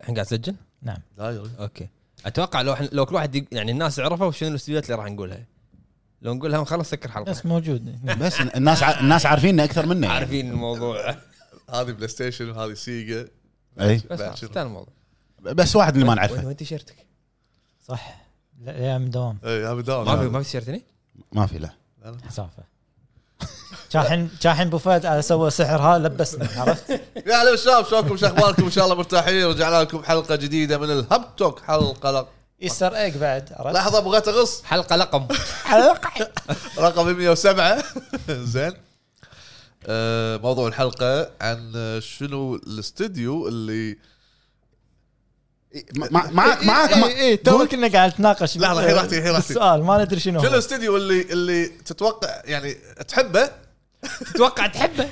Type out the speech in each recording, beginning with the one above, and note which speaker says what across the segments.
Speaker 1: الحين قاعد اسجل؟
Speaker 2: نعم
Speaker 1: اوكي اتوقع لو لو كل واحد يق- يعني الناس عرفوا شنو الاستديوهات اللي راح نقولها لو نقولها ونخلص سكر حلقه
Speaker 2: بس موجود
Speaker 3: بس الناس ع... الناس عارفيننا اكثر منه يعني.
Speaker 1: عارفين الموضوع
Speaker 4: هذه بلاي ستيشن وهذه سيجا
Speaker 3: اي
Speaker 1: بس
Speaker 4: بعد
Speaker 1: خلاص،
Speaker 4: شنو؟
Speaker 1: انتهى الموضوع
Speaker 3: بس واحد اللي ما
Speaker 1: وين
Speaker 3: نعرفه
Speaker 1: وين تيشيرتك؟
Speaker 2: صح لا يا مدوم
Speaker 4: اي إيه، هذا
Speaker 1: ما في
Speaker 4: داون
Speaker 1: ما في تيشيرت هني؟
Speaker 3: ما في له
Speaker 2: حسافه شاحن شاحن ابو فهد على سوى سحر ها لبسنا عرفت
Speaker 4: يا هلا بالشباب شلونكم شو اخباركم ان شاء الله مرتاحين رجعنا لكم حلقه جديده من الهب توك حلقه لق...
Speaker 2: ايستر ايج بعد عرفت
Speaker 4: لحظه بغيت اغص
Speaker 1: حلقه لقم
Speaker 2: حلقه
Speaker 4: رقم 107 زين آه، موضوع الحلقه عن آه، شنو الاستديو اللي
Speaker 3: ما- ما- معك معك ما-
Speaker 2: اي اي تو كنا قاعد نتناقش
Speaker 4: لحظة، الحين راحتي، الحين راحتي.
Speaker 2: السؤال ما ندري شنو
Speaker 4: شنو
Speaker 2: هو.
Speaker 4: الاستديو اللي اللي تتوقع يعني تحبه
Speaker 1: تتوقع تحبه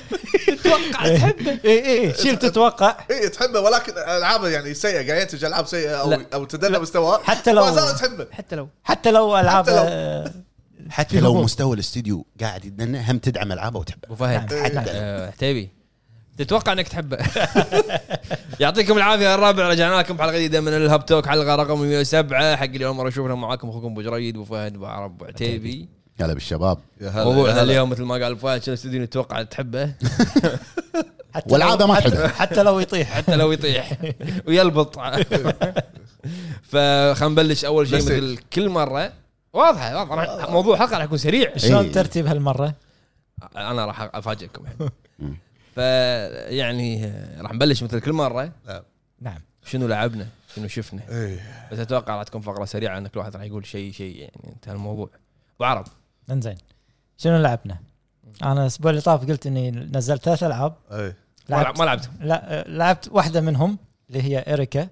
Speaker 1: تتوقع تحبه
Speaker 2: اي اي اي إيه، شيل تتوقع
Speaker 4: اي إيه، تحبه ولكن العابه يعني سيئه قاعد ينتج العاب سيئه او
Speaker 1: لا.
Speaker 4: او تدنى مستواه
Speaker 2: حتى لو-
Speaker 4: ما زالت تحبه
Speaker 1: حتى لو
Speaker 2: حتى لو العاب
Speaker 4: حتى لو-
Speaker 2: آه،
Speaker 3: حتى
Speaker 2: في
Speaker 3: لو
Speaker 2: هبوط.
Speaker 3: مستوى الاستديو قاعد يدنا هم تدعم العابه وتحبه
Speaker 1: ابو فهد
Speaker 2: نعم، حتى لو.
Speaker 1: آه، عتيبي تتوقع انك تحبه يعطيكم العافيه الرابع رجعنا لكم حلقه جديده من الهاب توك حلقه رقم 107 حق اليوم مره اشوفنا معاكم اخوكم ابو جريد ابو فهد ابو عرب ابو عتيبي
Speaker 3: هلا بالشباب
Speaker 1: موضوعنا اليوم مثل ما قال ابو فهد شنو الاستديو اللي تتوقع تحبه
Speaker 2: حتى لو-
Speaker 3: والعادة ما
Speaker 2: حتى-
Speaker 3: تحبها.
Speaker 2: حتى لو يطيح
Speaker 1: حتى لو يطيح ويلبط فخلينا نبلش اول شيء
Speaker 4: بس
Speaker 1: مثل كل مره واضحه واضحه راح- موضوع الحلقه راح يكون سريع
Speaker 2: شلون
Speaker 3: إي.
Speaker 2: ترتيب هالمره؟
Speaker 1: انا راح افاجئكم الحين فيعني آه، راح نبلش مثل كل مره
Speaker 2: نعم
Speaker 1: شنو لعبنا شنو شفنا
Speaker 4: إيه.
Speaker 1: بس اتوقع راح تكون فقره سريعه ان كل واحد راح يقول شيء شيء يعني انتهى الموضوع وعرب
Speaker 2: انزين شنو لعبنا؟ انا الاسبوع اللي طاف قلت اني نزلت ثلاث العاب
Speaker 4: إيه.
Speaker 1: ما لعب- ما لعبت
Speaker 2: لا آه، لعبت واحده منهم اللي هي اريكا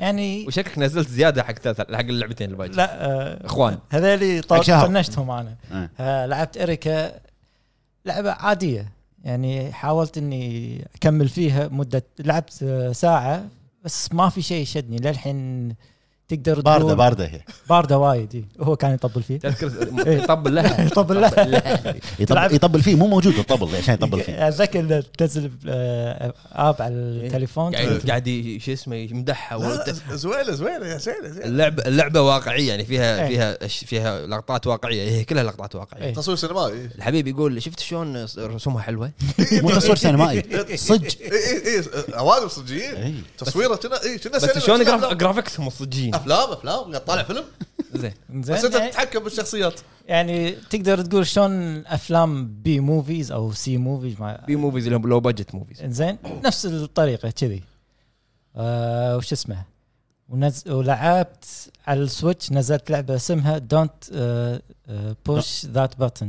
Speaker 2: يعني
Speaker 1: وشكلك نزلت زياده حق ثلاث حق اللعبتين الباقي
Speaker 2: لا آه،
Speaker 1: اخوان
Speaker 2: هذيلي
Speaker 3: حق شهر.
Speaker 2: طو- طنشتهم انا
Speaker 3: إيه.
Speaker 2: آه، لعبت اريكا لعبه عاديه يعني حاولت اني اكمل فيها مده لعبت آه، ساعه بس ما في شيء شدني للحين تقدر
Speaker 3: بارده
Speaker 2: تقول-
Speaker 3: بارده هي
Speaker 2: بارده وايد إي. هو كان يطبل فيه
Speaker 1: تذكر طبل لها
Speaker 2: يطبل له تلعب-
Speaker 3: يطبل, يطبل فيه مو موجود الطبل عشان يطبل فيه
Speaker 2: اتذكر إنه تنزل آه، اب على التليفون
Speaker 1: قاعد قاعد ي- شو اسمه يمدحها
Speaker 4: لا، لا،
Speaker 1: ويمدح-
Speaker 4: زويله زويله يا زويله زويله
Speaker 1: اللعبه اللعبه واقعيه يعني فيها
Speaker 2: إيه.
Speaker 1: فيها أش- فيها لقطات واقعيه هي كلها لقطات واقعيه
Speaker 2: إيه.
Speaker 4: تصوير سينمائي
Speaker 1: الحبيب يقول شفت شلون رسومها حلوه
Speaker 3: مو تصوير
Speaker 4: إيه،
Speaker 3: سينمائي إيه. صج
Speaker 4: اي اي اي عوادم صجيين
Speaker 3: إي.
Speaker 4: إيه، تصويره كنا اي كنا
Speaker 1: بس
Speaker 4: سينما،
Speaker 1: شلون
Speaker 4: كنا
Speaker 1: جراف-
Speaker 4: أفلام.
Speaker 1: جرافيكسهم الصجيين
Speaker 4: افلام افلام قاعد طالع فيلم
Speaker 1: زين
Speaker 4: بس انت
Speaker 2: زين
Speaker 4: تتحكم بالشخصيات
Speaker 2: يعني تقدر تقول شلون افلام بي موفيز او سي موفيز ما
Speaker 1: بي موفيز اللي هم لو بادجت موفيز
Speaker 2: زين نفس الطريقه كذي آه وش اسمه ونز... ولعبت على السويتش نزلت لعبه اسمها آه، دونت بوش ذات بutton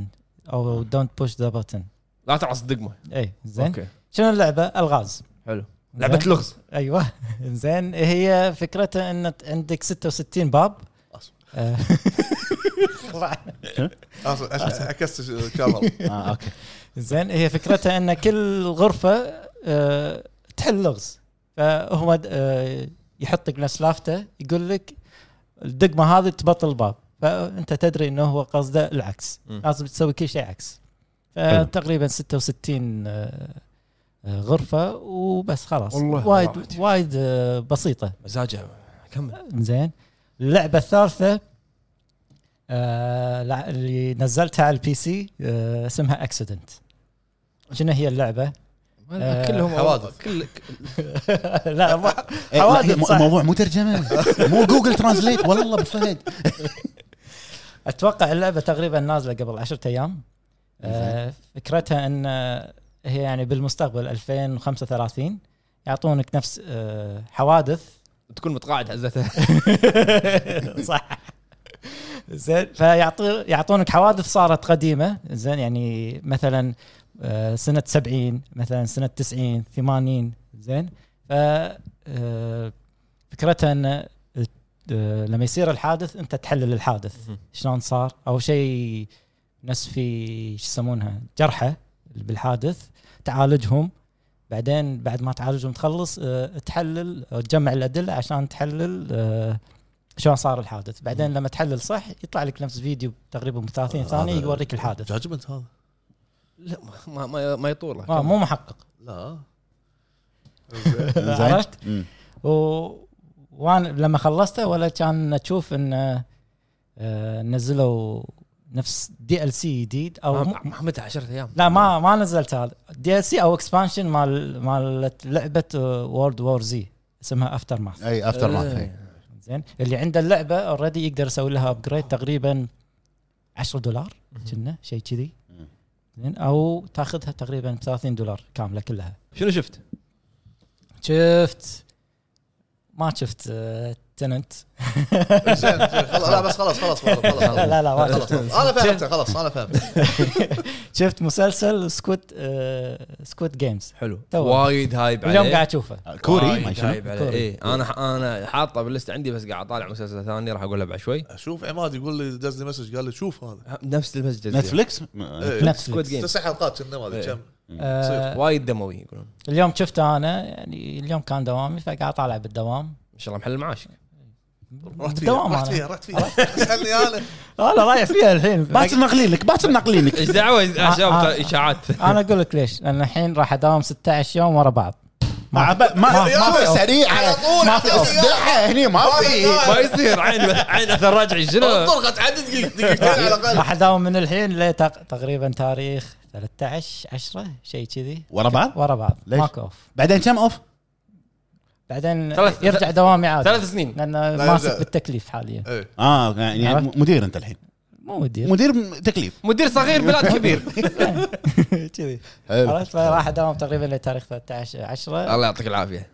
Speaker 2: او دونت بوش ذا بutton
Speaker 1: لا تعص دقمه
Speaker 2: اي زين
Speaker 1: اوكي
Speaker 2: إيه، شنو اللعبه الغاز
Speaker 1: حلو لعبه
Speaker 2: زين؟
Speaker 1: لغز
Speaker 2: ايوه زين هي فكرتها ان عندك 66 باب
Speaker 4: أصلاً.
Speaker 2: آه.
Speaker 4: أصلاً أش- عكست الكاميرا
Speaker 3: آه اوكي
Speaker 2: زين هي فكرتها ان كل غرفه آه، تحل لغز فهو د- آه، يحط لك نفس لافته يقول لك الدقمه هذه تبطل الباب فانت تدري انه هو قصده العكس
Speaker 1: مم.
Speaker 2: لازم تسوي كل شيء عكس
Speaker 3: حلو.
Speaker 2: فتقريبا 66 آه، آه، غرفه وبس خلاص
Speaker 1: والله
Speaker 2: وايد
Speaker 1: راحت.
Speaker 2: وايد آه، بسيطه
Speaker 1: مزاجها كمل
Speaker 2: زين اللعبه الثالثه آه لع- اللي نزلتها على البي سي آه اسمها اكسيدنت شنو هي اللعبه؟ آه،
Speaker 1: كلهم
Speaker 4: حوادث.
Speaker 1: كل
Speaker 2: لا مو-
Speaker 3: إيه، لا،
Speaker 2: حوادث،
Speaker 3: مو-
Speaker 2: صح.
Speaker 3: موضوع مو ترجمه مو جوجل ترانزليت والله بفهد
Speaker 2: اتوقع اللعبه تقريبا نازله قبل عشرة ايام آه فكرتها ان آه، هي يعني بالمستقبل 2035 يعطونك نفس آه حوادث
Speaker 1: تكون متقاعد عزتها
Speaker 2: صح زين فيعطي يعطونك حوادث صارت قديمه زين يعني مثلا آه، سنه 70 مثلا سنه 90 80 زين ف آه، فكرتها ان آه، لما يصير الحادث انت تحلل الحادث
Speaker 1: مهم.
Speaker 2: شلون صار او شيء ناس في شو يسمونها جرحى بالحادث تعالجهم بعدين بعد ما تعالجهم تخلص آه، تحلل آه، تجمع الادله عشان تحلل آه، شلون صار الحادث بعدين لما تحلل صح يطلع لك نفس فيديو تقريبا 30 ثانيه
Speaker 4: هذا
Speaker 2: يوريك الحادث
Speaker 4: جاجمنت هذا
Speaker 1: لا ما ما, ما يطوله
Speaker 2: آه، مو محقق
Speaker 4: لا
Speaker 3: زين
Speaker 2: عرفت؟
Speaker 3: مم.
Speaker 2: و... وانا لما خلصته ولا كان اشوف انه آه، نزلوا نفس دي ال سي جديد او مو-
Speaker 1: محمد 10 ايام
Speaker 2: لا ما ما نزلت هذا دي ال سي او اكسبانشن مال مال آه، لعبه وورد وور زي اسمها افتر ماث
Speaker 3: اي افتر ماث
Speaker 2: إيه. زين اللي عنده اللعبه اوريدي يقدر يسوي لها ابجريد تقريبا 10 دولار كنا شيء كذي
Speaker 3: مم.
Speaker 2: زين او تاخذها تقريبا ب 30 دولار كامله كلها
Speaker 1: شنو شفت؟
Speaker 2: شفت ما شفت آه، تننت
Speaker 4: زين زين، خلاص لا بس خلاص خلاص خلاص خلاص
Speaker 2: لا لا لا ما
Speaker 4: خلاص
Speaker 2: شفت
Speaker 4: انا فهمت خلاص انا فهمت
Speaker 2: شفت مسلسل سكوت سكوت جيمز
Speaker 1: حلو
Speaker 2: تو.
Speaker 1: وايد هايب عليه
Speaker 2: اليوم قاعد اشوفه
Speaker 4: آه،
Speaker 3: كوري ما
Speaker 1: وايد
Speaker 3: شنو
Speaker 1: هايب عليه
Speaker 2: كوري.
Speaker 1: اي انا انا حاطه باللسته عندي بس قاعد اطالع مسلسل ثاني راح اقولها بعد شوي
Speaker 4: شوف عماد يقول لي دز لي مسج قال لي شوف هذا
Speaker 1: نفس المسج
Speaker 3: نتفلكس آه.
Speaker 4: إيه.
Speaker 1: سكواد
Speaker 2: نتفلكس
Speaker 1: جيم
Speaker 4: تسع حلقات كنا ما ادري
Speaker 1: إيه.
Speaker 4: كم
Speaker 2: آه،
Speaker 1: وايد دموي يقولون
Speaker 2: اليوم شفته انا يعني اليوم كان دوامي فقاعد اطالع بالدوام
Speaker 1: ان شاء الله محل معاشك
Speaker 4: رحت فيها
Speaker 2: بالدوام
Speaker 4: رحت
Speaker 2: انا
Speaker 4: فيها رحت فيها خلني انا
Speaker 2: انا رايح فيها الحين
Speaker 3: باسم ناقلين لك باسم ناقلين لك
Speaker 1: ايش دعوه يا
Speaker 2: آه،
Speaker 1: شباب
Speaker 2: آه.
Speaker 1: اشاعات
Speaker 2: انا اقول لك ليش لان الحين راح اداوم 16 يوم ورا بعض
Speaker 3: مع ب- ما
Speaker 2: ما-
Speaker 4: ما في
Speaker 3: ما
Speaker 4: أوف.
Speaker 3: سريعه
Speaker 4: على طول،
Speaker 3: ما في
Speaker 4: على طول.
Speaker 3: اصدعه هني ما
Speaker 4: ما في
Speaker 3: في
Speaker 4: إصداع.
Speaker 1: ما يصير عين عين اثر رجعي شنو؟
Speaker 4: انطر قد عدد دقيق- دقيقتين على الاقل
Speaker 2: راح اداوم من الحين لتق- تقريبا تاريخ 13 10 شيء كذي
Speaker 3: ورا بعض
Speaker 2: ورا بعض
Speaker 3: ليش؟
Speaker 2: ماكو اوف
Speaker 3: بعدين كم اوف؟
Speaker 2: بعدين
Speaker 1: ثلاث-
Speaker 2: يرجع دوامي عادي
Speaker 1: ثلاث سنين
Speaker 2: لان
Speaker 4: لا يرجع.
Speaker 2: ماسك بالتكليف حاليا
Speaker 4: إيه.
Speaker 3: اه يعني
Speaker 2: عرفت؟
Speaker 3: مدير انت الحين
Speaker 2: مو مدير
Speaker 3: مدير م- تكليف
Speaker 1: مدير صغير بلاد كبير
Speaker 2: كذي عرفت فراح اداوم تقريبا لتاريخ 13 10
Speaker 1: الله يعطيك العافيه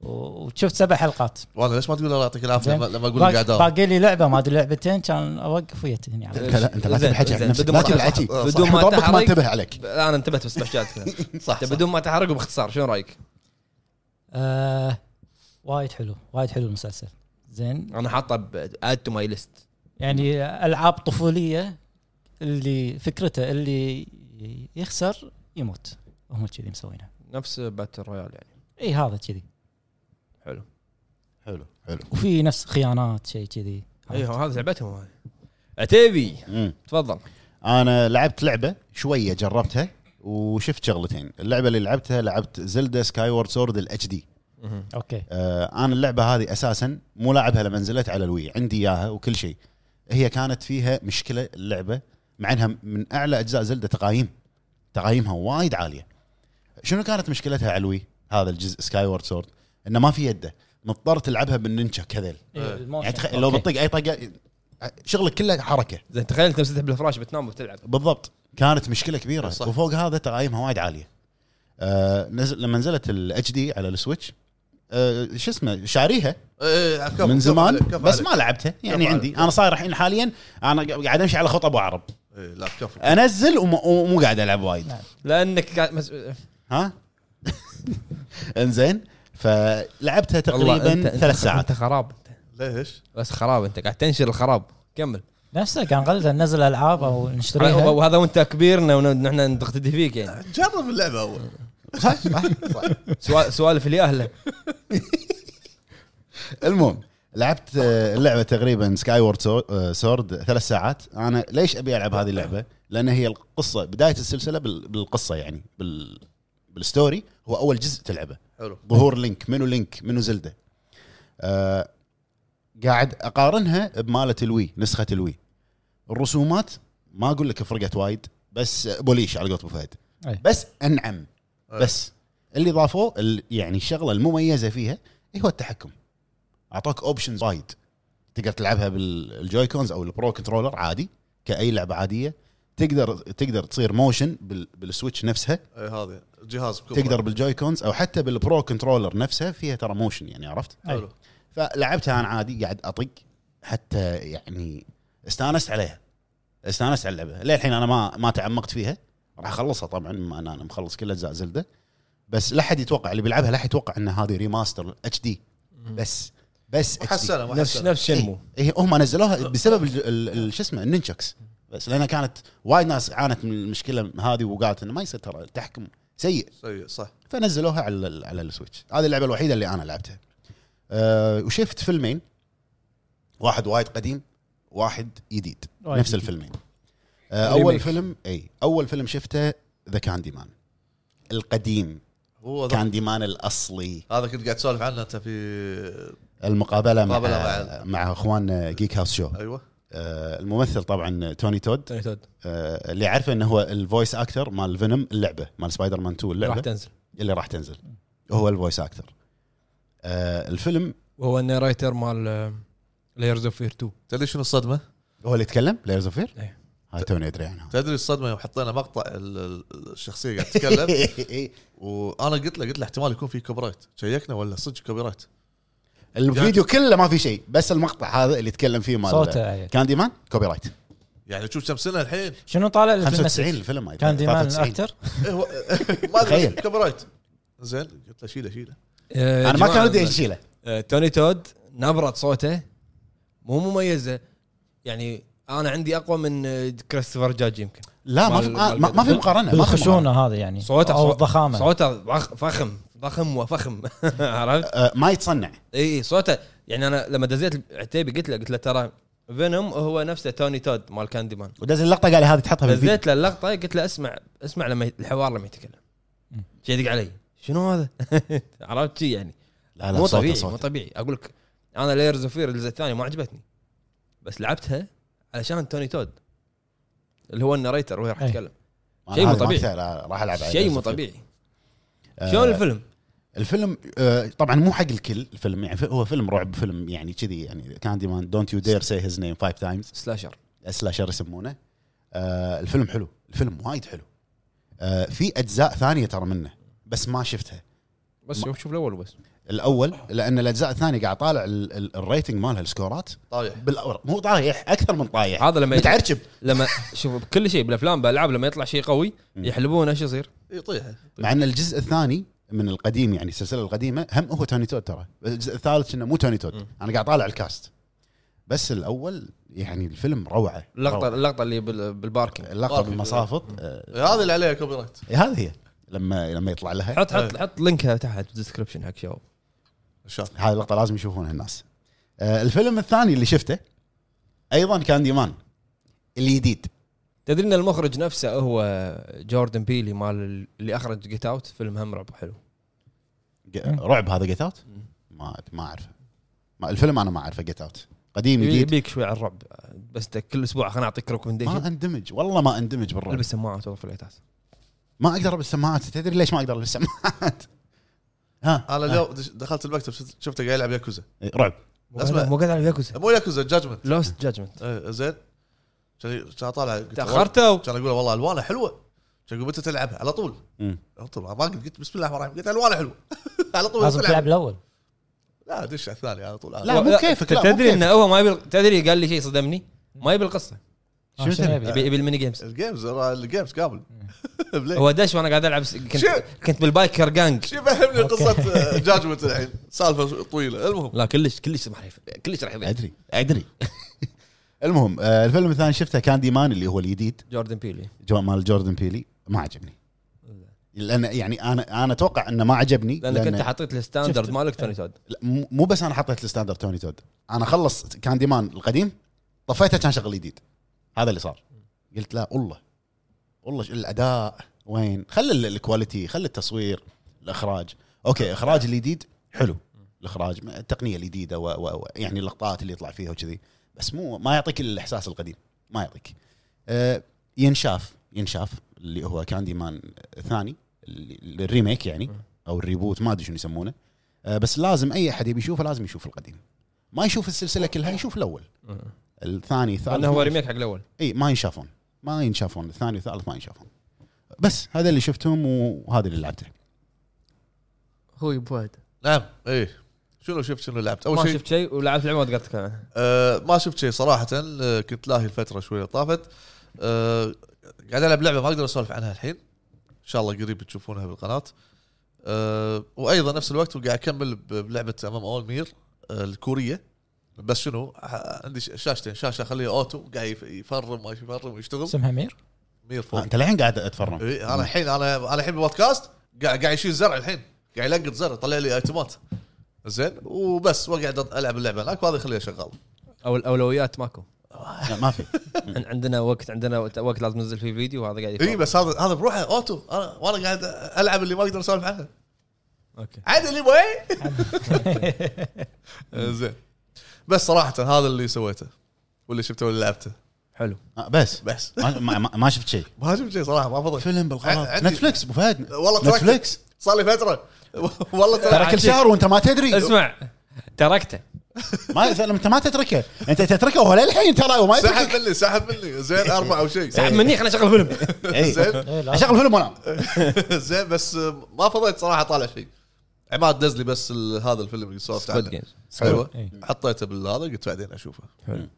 Speaker 2: و- وشفت سبع حلقات
Speaker 4: وانا ليش ما تقول الله يعطيك العافيه
Speaker 2: زين.
Speaker 4: لما لما اقول
Speaker 2: باق-
Speaker 4: لك قاعد أداوم؟
Speaker 2: باقي لي لعبه ما ادري لعبتين كان اوقف ويا هني على
Speaker 3: انت لا- انت لا
Speaker 1: زين،
Speaker 3: تبي حكي
Speaker 1: زين.
Speaker 3: عن نفسك
Speaker 1: بدون
Speaker 3: لا
Speaker 1: ما
Speaker 3: تبي
Speaker 1: تحرق.
Speaker 3: حكي
Speaker 4: صح.
Speaker 1: بدون ما
Speaker 3: ربك ما
Speaker 1: تحرق
Speaker 3: انتبه عليك
Speaker 1: لا، انا انتبهت بس بحجاتك
Speaker 4: صح صح.
Speaker 1: بدون ما تحرق وباختصار شنو رايك؟
Speaker 2: آه وايد حلو وايد حلو المسلسل زين
Speaker 1: انا حاطه اد تو ماي ليست
Speaker 2: يعني العاب طفوليه اللي فكرته اللي يخسر يموت هم كذي مسوينها
Speaker 1: نفس باتل رويال يعني
Speaker 2: اي هذا كذي
Speaker 1: حلو
Speaker 3: حلو حلو
Speaker 2: وفي نفس خيانات شيء كذي
Speaker 1: اي إيه، هو هذا لعبتهم هاي عتيبي
Speaker 3: مم.
Speaker 1: تفضل
Speaker 3: انا لعبت لعبه شويه جربتها وشفت شغلتين اللعبه اللي لعبتها لعبت زلدا سكاي وورد سورد الاتش دي
Speaker 2: اوكي
Speaker 3: آه، انا اللعبه هذه اساسا مو لاعبها لما نزلت على الوي عندي اياها وكل شيء هي كانت فيها مشكله اللعبه مع انها من اعلى اجزاء زلده تقايم تقايمها وايد عاليه شنو كانت مشكلتها على الوي هذا الجزء سكاي وورد سورد انه ما في يده مضطر تلعبها بالنينجا كذل
Speaker 2: إيه، الموشن.
Speaker 3: يعني تخ... لو
Speaker 2: أوكي.
Speaker 3: بتطق اي طقه شغلك كله حركه
Speaker 1: زين تخيل انت مسدح بالفراش بتنام وبتلعب
Speaker 3: بالضبط كانت مشكله كبيره
Speaker 4: صح.
Speaker 3: صح. وفوق هذا تقايمها وايد عاليه آه نزل لما نزلت الاتش دي على السويتش آه شو اسمه شاريها
Speaker 4: إيه، إيه، كفو،
Speaker 3: من
Speaker 4: كفو
Speaker 3: زمان
Speaker 4: عليك، كفو
Speaker 3: بس
Speaker 4: عليك.
Speaker 3: ما لعبتها يعني
Speaker 4: كفو
Speaker 3: عندي
Speaker 4: عليك.
Speaker 3: انا صاير الحين حاليا انا قاعد امشي على خط ابو عرب
Speaker 4: إيه، لا كفو
Speaker 3: انزل وم- ومو قاعد العب وايد
Speaker 2: نعم.
Speaker 1: لانك قاعد مس...
Speaker 3: ها انزين فلعبتها تقريبا ثلاث ساعات
Speaker 1: انت خراب انت
Speaker 4: ليش؟
Speaker 1: بس خراب انت قاعد تنشر الخراب كمل
Speaker 2: نفسه كان غلط ننزل العاب او
Speaker 1: على-
Speaker 2: نشتريها
Speaker 1: وهذا وانت كبيرنا ونحن نقتدي فيك يعني
Speaker 4: جرب اللعبه اول
Speaker 3: صح صح صح
Speaker 1: سوا- سوالف اللي اهله
Speaker 3: المهم لعبت آه، اللعبه تقريبا سكاي وورد سورد آه، ثلاث ساعات انا ليش ابي العب هذه اللعبه؟ لان هي القصه بدايه السلسله بال- بالقصه يعني بال بالستوري هو اول جزء تلعبه
Speaker 4: حلو
Speaker 3: ظهور لينك منو لينك منو زلده آه قاعد اقارنها بماله الوي نسخه الوي الرسومات ما اقول لك فرقت وايد بس بوليش على قولت ابو فهد
Speaker 2: أي.
Speaker 3: بس انعم
Speaker 4: أي.
Speaker 3: بس اللي ضافوه ال- يعني الشغله المميزه فيها إيه هو التحكم اعطوك اوبشنز وايد تقدر تلعبها بالجوي كونز او البرو كنترولر عادي كاي لعبه عاديه تقدر تقدر تصير موشن بال- بالسويتش نفسها
Speaker 4: إيه، هذه جهاز بكبره.
Speaker 3: تقدر بالجوي كونز او حتى بالبرو كنترولر نفسها فيها ترى موشن يعني عرفت
Speaker 4: حلو
Speaker 3: فلعبتها انا عادي قاعد اطق حتى يعني استانست عليها استانست على اللعبه للحين انا ما ما تعمقت فيها راح اخلصها طبعا بما ان انا مخلص كل اجزاء زلده بس لا حد يتوقع اللي بيلعبها لا حد يتوقع ان هذه ريماستر اتش دي بس بس HD.
Speaker 4: محسنه
Speaker 1: نفس
Speaker 4: محسنه
Speaker 1: نفس شنمو
Speaker 3: إيه هم نزلوها بسبب ال- ال- ال- شو اسمه النينشكس بس لانها كانت وايد ناس عانت من المشكله هذه وقالت انه ما يصير ترى التحكم سيء
Speaker 4: سيء صح
Speaker 3: فنزلوها على ال- على السويتش هذه اللعبه الوحيده اللي انا لعبتها أه وشفت فيلمين واحد وايد قديم واحد جديد
Speaker 2: وايد
Speaker 3: نفس
Speaker 2: جديد.
Speaker 3: الفيلمين أه
Speaker 1: ريميك.
Speaker 3: اول فيلم اي اول فيلم شفته ذا كاندي مان القديم
Speaker 4: هو ذا-
Speaker 3: كان ديمان الاصلي
Speaker 4: هذا كنت قاعد تسولف عنه انت في
Speaker 3: المقابله مع
Speaker 4: مقابلة
Speaker 3: مع,
Speaker 4: مع-
Speaker 3: اخواننا جيك هاوس شو
Speaker 4: ايوه
Speaker 3: آه، الممثل طبعا توني تود
Speaker 1: توني تود
Speaker 3: آه، اللي عارفه انه هو الفويس اكتر مال فينوم اللعبه مال سبايدر مان 2
Speaker 1: راح
Speaker 3: اللعبه
Speaker 1: تنزل
Speaker 3: اللي راح تنزل هو الفويس اكتر آه، الفيلم
Speaker 1: وهو النيرايتر مال آه، لايرز اوف فير 2
Speaker 4: تدري شنو الصدمه؟
Speaker 3: هو اللي يتكلم لايرز اوف
Speaker 1: إيه.
Speaker 3: فير؟ هاي توني ادري عنها
Speaker 4: تدري الصدمه يوم حطينا مقطع ال- ال- الشخصيه قاعد تتكلم
Speaker 3: إيه.
Speaker 4: وانا قلت له قلت له احتمال يكون في كوبرايت شيكنا ولا صدق كوبرايت
Speaker 3: الفيديو كله ما في شيء بس المقطع هذا اللي يتكلم فيه مال
Speaker 2: صوته أي.
Speaker 3: كاندي مان كوبي رايت
Speaker 4: يعني شوف كم سنه الحين
Speaker 2: شنو طالع لك
Speaker 3: 95
Speaker 2: بالمسج؟
Speaker 3: الفيلم ما
Speaker 2: كان ديمان
Speaker 3: 93.
Speaker 2: الاكتر
Speaker 4: إيه هو- ما ادري
Speaker 3: تخيل.
Speaker 4: كوبرايت زين قلت له شيله شيله
Speaker 3: انا ما كان ودي اشيله
Speaker 1: آه، توني تود نبرة صوته مو مميزة يعني انا عندي اقوى من آه، كريستوفر جاج يمكن
Speaker 3: لا ما في
Speaker 1: مال-
Speaker 3: ما-
Speaker 1: مال-
Speaker 3: ما ما في مقارنه ما في مقارنة.
Speaker 2: بالخشونه هذا يعني
Speaker 1: صوته
Speaker 2: او
Speaker 1: صوت-
Speaker 2: الضخامه
Speaker 1: صوته ضخ- فخم فخم وفخم عرفت؟
Speaker 3: آه، ما يتصنع
Speaker 1: اي صوته يعني انا لما دزيت عتيبي قلت له قلت له ترى فينوم هو نفسه توني تود مال كاندي مان
Speaker 3: ودز اللقطه قال لي هذه تحطها بالفيديو
Speaker 1: نزلت له اللقطه قلت له اسمع اسمع لما يت- الحوار لما يتكلم
Speaker 2: مم.
Speaker 1: شي يدق علي شنو هذا؟ عرفت شي يعني
Speaker 3: لا
Speaker 1: مو
Speaker 3: صوته-
Speaker 1: طبيعي
Speaker 3: صوته.
Speaker 1: مو طبيعي اقول لك انا لايرز اوف فير الجزء الثاني ما عجبتني بس لعبتها علشان توني تود اللي هو الناريتر وهي راح
Speaker 3: إيه.
Speaker 2: أي.
Speaker 1: تتكلم
Speaker 3: أنا
Speaker 1: شيء
Speaker 3: هذا
Speaker 1: مو
Speaker 3: ما
Speaker 1: طبيعي.
Speaker 3: أقتنع، لا، راح العب عليه.
Speaker 1: شيء مو طبيعي
Speaker 3: آه،
Speaker 1: شلون الفيلم؟
Speaker 3: الفيلم آه، طبعا مو حق الكل الفيلم يعني هو فيلم رعب فيلم يعني كذي يعني كاندي مان دونت يو دير سي هيز نيم فايف تايمز
Speaker 1: سلاشر
Speaker 3: سلاشر يسمونه آه الفيلم حلو الفيلم وايد حلو آه في اجزاء ثانيه ترى منه بس ما شفتها
Speaker 1: بس
Speaker 3: ما- إيه.
Speaker 1: شوف شوف الاول وبس
Speaker 3: الاول لان الاجزاء الثانيه قاعد طالع ال- ال- الريتنج مالها السكورات
Speaker 4: طايح
Speaker 3: بالأور مو طايح اكثر من طايح
Speaker 1: هذا لما
Speaker 3: متعرجب
Speaker 1: لما شوف بكل شيء بالافلام بالالعاب لما يطلع شيء قوي
Speaker 3: مم.
Speaker 1: يحلبونه ايش يصير؟
Speaker 4: يطيح
Speaker 1: طيب.
Speaker 3: مع ان الجزء الثاني من القديم يعني السلسله القديمه هم هو توني تود ترى الجزء الثالث انه مو توني تود
Speaker 1: مم.
Speaker 3: انا قاعد طالع الكاست بس الاول يعني الفيلم روعه
Speaker 1: اللقطه
Speaker 3: روعة.
Speaker 1: اللقطه اللي بال- بالباركينج
Speaker 3: اللقطه
Speaker 4: بارك.
Speaker 3: بالمصافط آه،
Speaker 4: هذا اللي عليه كوبرايت
Speaker 3: هذه هي لما لما يطلع لها
Speaker 1: حط حط حط لينكها تحت بالدسكربشن حق شباب
Speaker 4: ان شاء الله
Speaker 3: هاي اللقطه لازم يشوفونها الناس آه، الفيلم الثاني اللي شفته ايضا كان ديمان الجديد
Speaker 1: تدري ان المخرج نفسه هو جوردن بيلي مال ال- اللي اخرج جيت اوت فيلم هم رعب حلو
Speaker 3: ج- رعب هذا جيت اوت
Speaker 1: مم.
Speaker 3: ما ما اعرفه ما الفيلم انا ما اعرفه جيت اوت قديم
Speaker 1: إيه،
Speaker 3: جديد
Speaker 1: يبيك شوي على الرعب بس ت- كل اسبوع خليني اعطيك
Speaker 3: ما
Speaker 1: ريكومنديشن
Speaker 3: اندمج والله ما اندمج بالرعب
Speaker 1: البس سماعات وطفي العتاد
Speaker 3: ما اقدر البس سماعات تدري ليش ما اقدر البس سماعات ها
Speaker 4: انا اليوم دش- دخلت المكتب شفت- شفته قاعد يلعب ياكوزا
Speaker 3: رعب
Speaker 1: مو
Speaker 4: أسمع.
Speaker 1: قاعد- مو قاعد على ياكوزا
Speaker 4: مو ياكوزا جادجمنت
Speaker 1: لوست جادجمنت
Speaker 4: زين كان كان طالع قلت له والله-
Speaker 1: تاخرتوا
Speaker 4: كان اقول له والله الوانه حلوه كان يقول متى تلعبها على طول
Speaker 3: مم.
Speaker 4: على طول ما قلت قلت بسم الله الرحمن الرحيم قلت الوانه حلوه على طول
Speaker 2: لازم تلعب
Speaker 4: تلعب
Speaker 2: الاول
Speaker 4: لا دش على الثاني على طول
Speaker 3: لا، مو كيفك، لا، مو
Speaker 1: تدري
Speaker 3: كيفك.
Speaker 1: انه هو ما يبي تدري قال لي شيء صدمني ما يبي القصه
Speaker 2: آه،
Speaker 3: شنو
Speaker 2: شنو
Speaker 3: تلعب؟
Speaker 2: يبي؟
Speaker 1: يبي يبي الميني جيمز
Speaker 4: الجيمز الجيمز كامل بلاي.
Speaker 3: إيه.
Speaker 1: هو دش وانا قاعد العب س- كنت
Speaker 4: شو؟
Speaker 1: كنت بالبايكر جانج
Speaker 4: شي فهمني قصه جاجمنت الحين سالفه طويله المهم
Speaker 1: لا كلش كلش راح يف- كلش راح يضيع
Speaker 3: ادري ادري المهم آه، الفيلم الثاني شفته كان ديمان اللي هو الجديد
Speaker 1: جوردن بيلي
Speaker 3: جو- مال جوردن بيلي ما عجبني لان يعني انا انا اتوقع انه ما عجبني
Speaker 1: لانك انت
Speaker 3: لأن-
Speaker 1: حطيت
Speaker 2: شفت.
Speaker 1: الستاندرد مالك توني تود
Speaker 3: لا، مو- مو بس انا حطيت الستاندر توني تود انا خلص كان ديمان القديم طفيته كان شغل جديد هذا اللي صار قلت لا والله والله ش- الاداء وين خلي ال- الكواليتي خلي التصوير الاخراج اوكي اخراج الجديد حلو الاخراج ما- التقنيه الجديده و... و... و... يعني اللقطات اللي يطلع فيها وكذي بس مو ما يعطيك الاحساس القديم ما يعطيك أه ينشاف ينشاف اللي هو كاندي مان ثاني اللي- الريميك يعني او الريبوت ما ادري شنو يسمونه آه، بس لازم اي احد يبي يشوفه لازم يشوف القديم ما يشوف السلسله كلها يشوف الاول الثاني الثالث
Speaker 1: لانه هو
Speaker 3: ما-
Speaker 1: ريميك حق الاول
Speaker 3: اي ما ينشافون ما ينشافون الثاني والثالث ما ينشافون بس هذا اللي شفتهم وهذا اللي لعبته
Speaker 1: هو يبواد
Speaker 4: نعم ايه شنو شفت شنو لعبت اول
Speaker 1: ما
Speaker 4: شيء
Speaker 1: شفت شيء ولعبت العمود قلت لك أنا.
Speaker 4: آه ما شفت شيء صراحه آه كنت لاهي الفتره شويه اللي طافت آه قاعد العب لعبه ما اقدر اسولف عنها الحين ان شاء الله قريب تشوفونها بالقناه آه وايضا نفس الوقت قاعد اكمل ب- بلعبه امام اول مير آه الكوريه بس شنو ح- عندي ش- شاشتين شاشه اخليها اوتو قاعد يف- يفرم ما يفرم ويشتغل
Speaker 2: اسمها مير
Speaker 4: مير فوق
Speaker 3: آه، انت الحين قاعد اتفرم
Speaker 4: إيه، انا الحين انا انا الحين بالبودكاست قاعد قاعد يشيل زرع الحين قاعد يلقط زرع يطلع لي ايتمات زين وبس وقعد العب اللعبه هناك وهذا يخليها شغال
Speaker 1: او الاولويات ماكو
Speaker 3: لا، ما في
Speaker 1: عن- عندنا وقت عندنا وقت- وقت لازم ننزل فيه فيديو وهذا قاعد
Speaker 4: اي
Speaker 1: يفرق.
Speaker 4: بس هذا هذا بروحه اوتو انا وانا قاعد العب اللي ما اقدر اسولف عنها
Speaker 1: اوكي
Speaker 4: عدلي وين؟ زين بس صراحه هذا اللي سويته واللي شفته واللي لعبته
Speaker 1: حلو
Speaker 4: إيه.
Speaker 3: آه، بس
Speaker 4: بس
Speaker 3: ما, ما, ما- ما شفت شيء
Speaker 4: ما شفت شيء صراحه ما فضل
Speaker 3: فيلم بالغلط
Speaker 4: عندي-
Speaker 3: نتفلكس ابو فهد
Speaker 4: والله تركت.
Speaker 3: نتفلكس
Speaker 4: صار لي فتره والله
Speaker 1: ترى
Speaker 4: ترى
Speaker 3: ترى
Speaker 1: كل
Speaker 3: كل
Speaker 1: شيء.
Speaker 3: شهر وانت ما تدري
Speaker 1: اسمع تركته
Speaker 3: ما انت ما تتركه انت تتركه ولا الحين ترى وما
Speaker 4: سحب
Speaker 3: يتركك
Speaker 4: مني سحب مني زين اربعه وشيء
Speaker 1: سحب مني خليني اشغل فيلم
Speaker 3: إي.
Speaker 4: زين
Speaker 2: إيه، لا.
Speaker 3: اشغل فيلم وانا
Speaker 4: زين بس ما فضيت صراحه طالع شيء عماد دز لي بس ال- هذا الفيلم اللي سولفت
Speaker 1: سكواد
Speaker 4: عنه
Speaker 1: جيمز
Speaker 4: حلوه
Speaker 2: إي.
Speaker 4: حطيته بالهذا قلت بعدين اشوفه
Speaker 1: حلو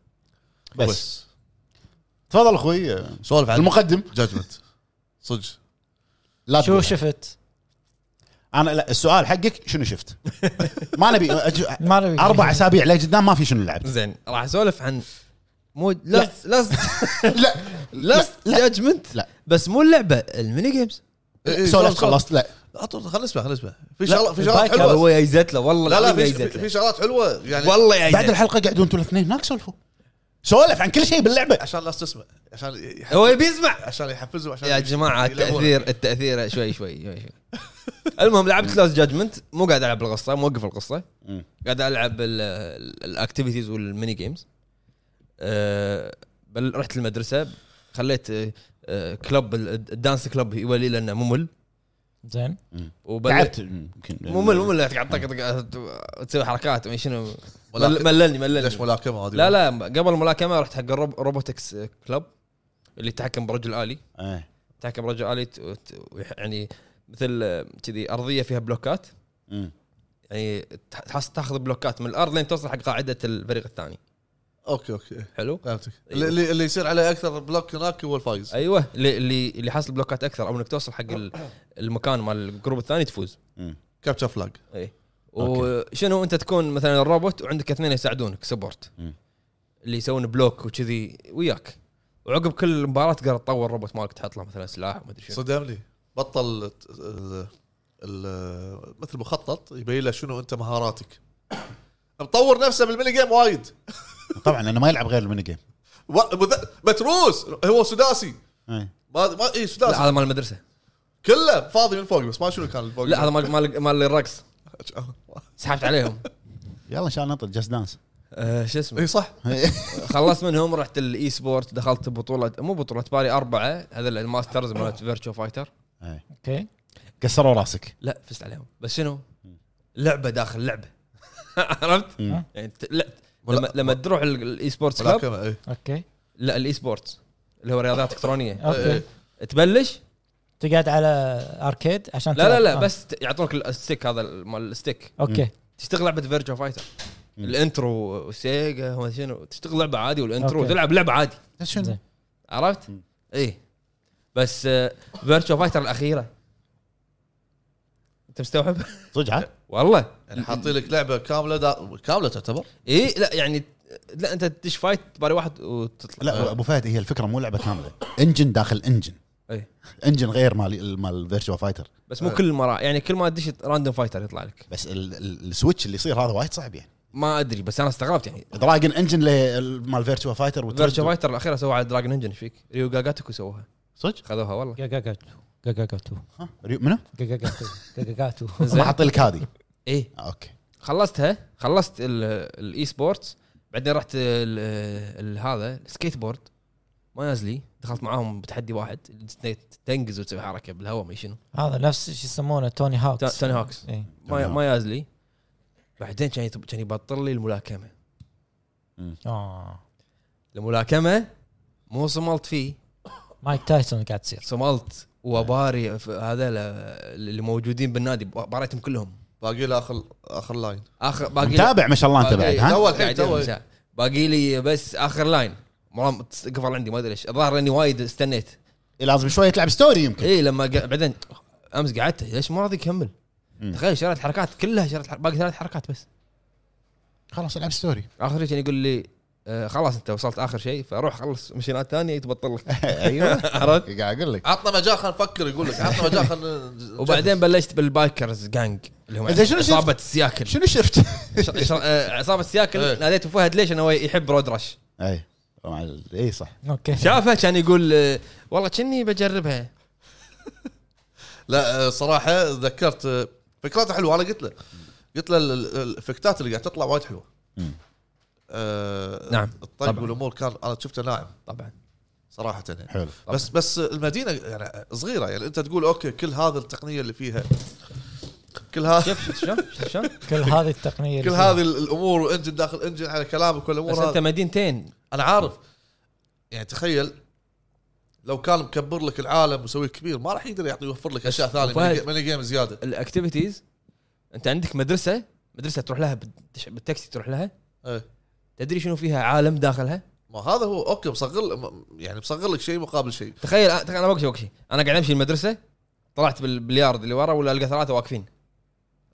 Speaker 3: بس تفضل اخوي
Speaker 4: سولف عن
Speaker 3: المقدم
Speaker 4: جاجمنت صدق
Speaker 3: لا
Speaker 2: شو
Speaker 3: تقول.
Speaker 2: شفت؟
Speaker 3: انا لا السؤال حقك شنو شفت؟ ما نبي أج-
Speaker 2: ما نبي.
Speaker 3: اربع اسابيع لقدام ما في شنو لعبت
Speaker 1: زين راح اسولف عن مو لاست لاست
Speaker 3: لا
Speaker 1: لاست جادجمنت
Speaker 3: لا.
Speaker 1: بس مو اللعبه الميني جيمز
Speaker 4: إيه،
Speaker 3: سولف
Speaker 1: إيه،
Speaker 3: خلصت لا
Speaker 4: عطوا خلنا نسمع خلنا نسمع في
Speaker 3: لا،
Speaker 4: شغلات في شغلات
Speaker 2: البايكر
Speaker 1: لا، هو
Speaker 4: حلوه
Speaker 1: يايزت له والله
Speaker 4: لا لا
Speaker 1: العظيم
Speaker 4: في
Speaker 1: يايزت
Speaker 4: في-
Speaker 1: له.
Speaker 4: في شغلات حلوه يعني
Speaker 1: والله
Speaker 3: بعد
Speaker 1: يايزت له.
Speaker 3: الحلقه قاعدوا انتوا الاثنين هناك سولفوا سولف عن كل شيء باللعبه
Speaker 4: عشان الناس تسمع عشان يح-
Speaker 1: هو يبي يسمع
Speaker 4: عشان يحفزوا عشان
Speaker 1: يا جماعه
Speaker 4: يلعبون.
Speaker 1: التاثير التاثير شوي شوي شوي شوي المهم لعبت لاست جادجمنت مو قاعد العب القصه موقف القصه
Speaker 3: مم.
Speaker 1: قاعد العب الاكتيفيتيز والميني جيمز أه بل رحت المدرسه خليت أه، أه، كلب ال- الدانس كلب يولي لانه ممل
Speaker 2: زين
Speaker 1: وبل-
Speaker 3: تعبت يمكن
Speaker 1: ممل ممل يعني قاعد طق- طق- تسوي حركات ما شنو
Speaker 4: ملاكمة.
Speaker 1: مل- مللني مللني
Speaker 4: ليش ملاكمه هذه
Speaker 1: لا لا قبل الملاكمه رحت حق الروب- روبوتكس كلب اللي يتحكم برجل الي
Speaker 3: إيه.
Speaker 1: تحكم برجل الي ت- وت- ويح- يعني مثل آه، كذي ارضيه فيها بلوكات
Speaker 3: مم.
Speaker 1: يعني تح- تحس تاخذ بلوكات من الارض لين توصل حق قاعده الفريق الثاني
Speaker 4: اوكي اوكي
Speaker 1: حلو
Speaker 4: فهمتك
Speaker 1: أيوة.
Speaker 4: اللي- اللي اللي يصير عليه اكثر بلوك هناك هو الفايز
Speaker 1: ايوه اللي اللي اللي حاصل بلوكات اكثر او انك توصل حق ال- المكان مال الجروب الثاني تفوز
Speaker 3: مم.
Speaker 4: كابتشر فلاج
Speaker 1: اي وشنو انت تكون مثلا الروبوت وعندك اثنين يساعدونك سبورت
Speaker 3: مم.
Speaker 1: اللي يسوون بلوك وكذي وياك وعقب كل مباراه تقدر تطور الروبوت مالك تحط له مثلا سلاح وما ادري شنو
Speaker 4: صدمني بطل ت- ال- ال- مثل مخطط يبين له شنو انت مهاراتك مطور نفسه بالميني جيم وايد
Speaker 3: طبعا انا ما يلعب غير الميني جيم
Speaker 4: و- مذ- متروس هو سداسي
Speaker 3: إيه.
Speaker 4: ما ما اي سداسي
Speaker 1: لا هذا مال المدرسه
Speaker 4: كله فاضي من فوق بس ما شنو كان الفوق
Speaker 1: لا هذا مال مال مال الرقص سحبت عليهم
Speaker 3: يلا ان شاء الله نطلع جاست دانس
Speaker 1: آه، شو اسمه
Speaker 4: اي إيه، صح
Speaker 1: خلصت منهم رحت الاي سبورت دخلت بطوله مو بطوله باري اربعه هذا الماسترز مالت فيرتشو فايتر إيه.
Speaker 2: اوكي
Speaker 3: كسروا راسك
Speaker 1: لا فزت عليهم بس شنو؟ لعبه داخل لعبه عرفت؟
Speaker 3: مم.
Speaker 1: يعني ت- لا لما, لما تروح ال- الاي سبورتس كلاب
Speaker 4: ملاكمه اي
Speaker 2: اوكي
Speaker 1: لا الاي سبورتس اللي هو رياضيات الكترونيه
Speaker 2: اوكي
Speaker 1: تبلش
Speaker 2: تقعد على اركيد عشان
Speaker 1: لا لا
Speaker 2: تلعب.
Speaker 1: لا
Speaker 2: آه.
Speaker 1: بس ت- يعطونك الستيك هذا ال- مال الستيك
Speaker 2: اوكي
Speaker 1: تشتغل لعبه فيرتشو فايتر
Speaker 3: مم.
Speaker 1: الانترو وسيجا وما شنو تشتغل لعبه عادي والانترو
Speaker 2: أوكي.
Speaker 1: تلعب لعبه عادي
Speaker 3: بس شنو
Speaker 2: زين.
Speaker 1: عرفت؟
Speaker 3: مم.
Speaker 1: ايه بس آه، فيرتشو فايتر الاخيره انت مستوعب؟
Speaker 3: صدق عاد؟
Speaker 1: والله
Speaker 4: يعني حاطين لك لعبه كامله دا... كامله تعتبر
Speaker 1: ايه لا يعني لا انت تدش فايت باري واحد وتطلع
Speaker 3: لا ابو فهد هي الفكره مو لعبه كامله انجن داخل انجن
Speaker 1: إيه.
Speaker 3: انجن غير مال مال فيرتشوال فايتر
Speaker 1: بس مو كل المرا يعني كل ما تدش راندوم فايتر يطلع لك
Speaker 3: بس ال- ال- السويتش اللي يصير هذا وايد صعب يعني
Speaker 1: ما ادري بس انا استغربت يعني
Speaker 3: دراجن انجن ل- مال فيرتشوال فايتر
Speaker 1: فيرتشو فايتر الاخيره سووها على دراجن انجن ايش فيك؟ ريو جاجاتكو سووها
Speaker 3: صدق؟
Speaker 1: خذوها والله
Speaker 2: جاجاجاتو جاجاجاتو
Speaker 3: ها ريو- منو؟
Speaker 2: جاجاجاتو جاجاجاتو
Speaker 3: ما حاط لك هذه
Speaker 1: ايه
Speaker 3: آه، اوكي
Speaker 1: خلصتها خلصت ال- الاي سبورتس بعدين رحت ال- ال- هذا السكيت بورد ما نازلي دخلت معاهم بتحدي واحد تنقز وتسوي حركه بالهواء ما شنو
Speaker 2: هذا نفس شو يسمونه توني هاوكس
Speaker 1: توني هاوكس.
Speaker 2: إيه.
Speaker 1: ما ما يازلي بعدين كان يط- كان يبطل لي الملاكمه
Speaker 2: اه
Speaker 1: الملاكمه مو صملت فيه
Speaker 2: مايك تايسون قاعد تصير
Speaker 1: صملت وباري ف- هذا ل- اللي موجودين بالنادي باريتهم كلهم
Speaker 4: باقي له اخر اخر لاين
Speaker 1: اخر باقي لي-
Speaker 3: متابع ما شاء الله انت
Speaker 1: باقي-
Speaker 3: بعد ها؟
Speaker 4: تو الحين،
Speaker 1: بعدين
Speaker 4: تو.
Speaker 1: مساء. باقي لي بس اخر لاين مرام تس- قفل عندي ما ادري ليش الظاهر اني وايد استنيت
Speaker 3: لازم شويه تلعب ستوري يمكن
Speaker 1: اي إيه، لما قا- بعدين امس قعدت ليش ما راضي يكمل
Speaker 3: مم.
Speaker 1: تخيل شريت حركات كلها شريت حر- باقي ثلاث حركات بس
Speaker 3: خلاص العب ستوري
Speaker 1: اخر شيء كان يقول لي آه خلاص انت وصلت اخر شيء فروح خلص مشينات ثانيه تبطل أيوه. لك
Speaker 3: ايوه
Speaker 1: عرفت
Speaker 3: قاعد اقول لك
Speaker 4: عطنا مجال خلينا نفكر يقول لك عطنا مجال خلينا نجهز.
Speaker 1: وبعدين بلشت بالبايكرز جانج اللي هم
Speaker 3: إنزين، شنو شفت؟
Speaker 1: عصابه السياكل
Speaker 3: شنو شفت؟
Speaker 1: ش- ش- آه، عصابه السياكل
Speaker 4: إيه.
Speaker 1: ناديت أبو فهد ليش انه هو يحب رود رش
Speaker 3: اي مع إيه، ال- اي صح
Speaker 2: اوكي
Speaker 1: شافه كان يقول آه، والله كني بجربها
Speaker 4: لا آه، صراحه ذكرت آه، فكرته حلوه انا قلت له قلت له ال- ال- الافكتات اللي قاعد تطلع وايد حلوه
Speaker 3: مم.
Speaker 4: آه
Speaker 1: نعم،
Speaker 4: الطلق
Speaker 1: طبعاً.
Speaker 4: والامور كان انا شفته ناعم
Speaker 1: طبعا
Speaker 4: صراحه يعني
Speaker 3: حلو
Speaker 1: طبعاً.
Speaker 4: بس بس المدينه يعني صغيره يعني انت تقول اوكي كل هذا التقنيه اللي فيها كل هذا
Speaker 1: شوف شوف شلون شوف شلون
Speaker 2: كل هذه التقنيه
Speaker 4: كل هذه الامور وانجن داخل انجن على كلامك والامور
Speaker 1: بس
Speaker 4: هذه.
Speaker 1: انت مدينتين
Speaker 4: انا عارف يعني تخيل لو كان مكبر لك العالم ومسويه كبير ما راح يقدر يعطي يوفر لك اشياء ثانيه
Speaker 1: فهد.
Speaker 4: ماني جيم زياده
Speaker 1: الاكتيفيتيز انت عندك مدرسه مدرسه تروح لها بالتش- بالتاكسي تروح لها
Speaker 4: إيه.
Speaker 1: تدري شنو فيها عالم داخلها
Speaker 4: ما هذا هو اوكي مصغر م- يعني مصغر لك شيء مقابل شيء
Speaker 1: تخيل أ- تخيل انا وقتي وقتي انا قاعد امشي المدرسه طلعت بالبليارد اللي ورا ولا القى ثلاثه واقفين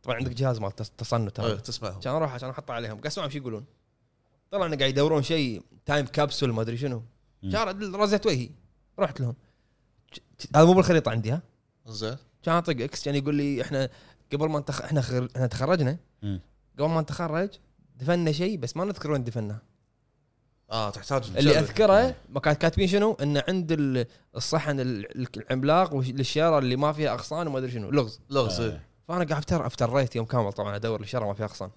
Speaker 1: طبعا عندك جهاز مال تص- تصنت
Speaker 4: إيه،
Speaker 1: هذا
Speaker 4: تسمعهم
Speaker 1: عشان اروح عشان احط عليهم قاعد اسمعهم شو يقولون طلع انه قاعد يدورون شيء تايم كابسول ما ادري شنو
Speaker 3: مم.
Speaker 1: كان رزت وجهي رحت لهم ج- ج- هذا مو بالخريطه عندي ها
Speaker 4: زين
Speaker 1: كان اطق اكس كان يقول لي احنا قبل ما نتخ... احنا خر... احنا تخرجنا
Speaker 3: مم.
Speaker 1: قبل ما نتخرج دفنا شيء بس ما نذكر وين دفناه
Speaker 4: اه تحتاج
Speaker 1: اللي
Speaker 4: تجرب.
Speaker 1: اذكره ما كان كاتبين شنو انه عند ال- الصحن ال- العملاق والشيره اللي ما فيها اغصان وما ادري شنو لغز
Speaker 4: لغز
Speaker 3: آه.
Speaker 4: إيه.
Speaker 1: فانا قاعد افتر افتريت يوم كامل طبعا ادور الشيره ما فيها اغصان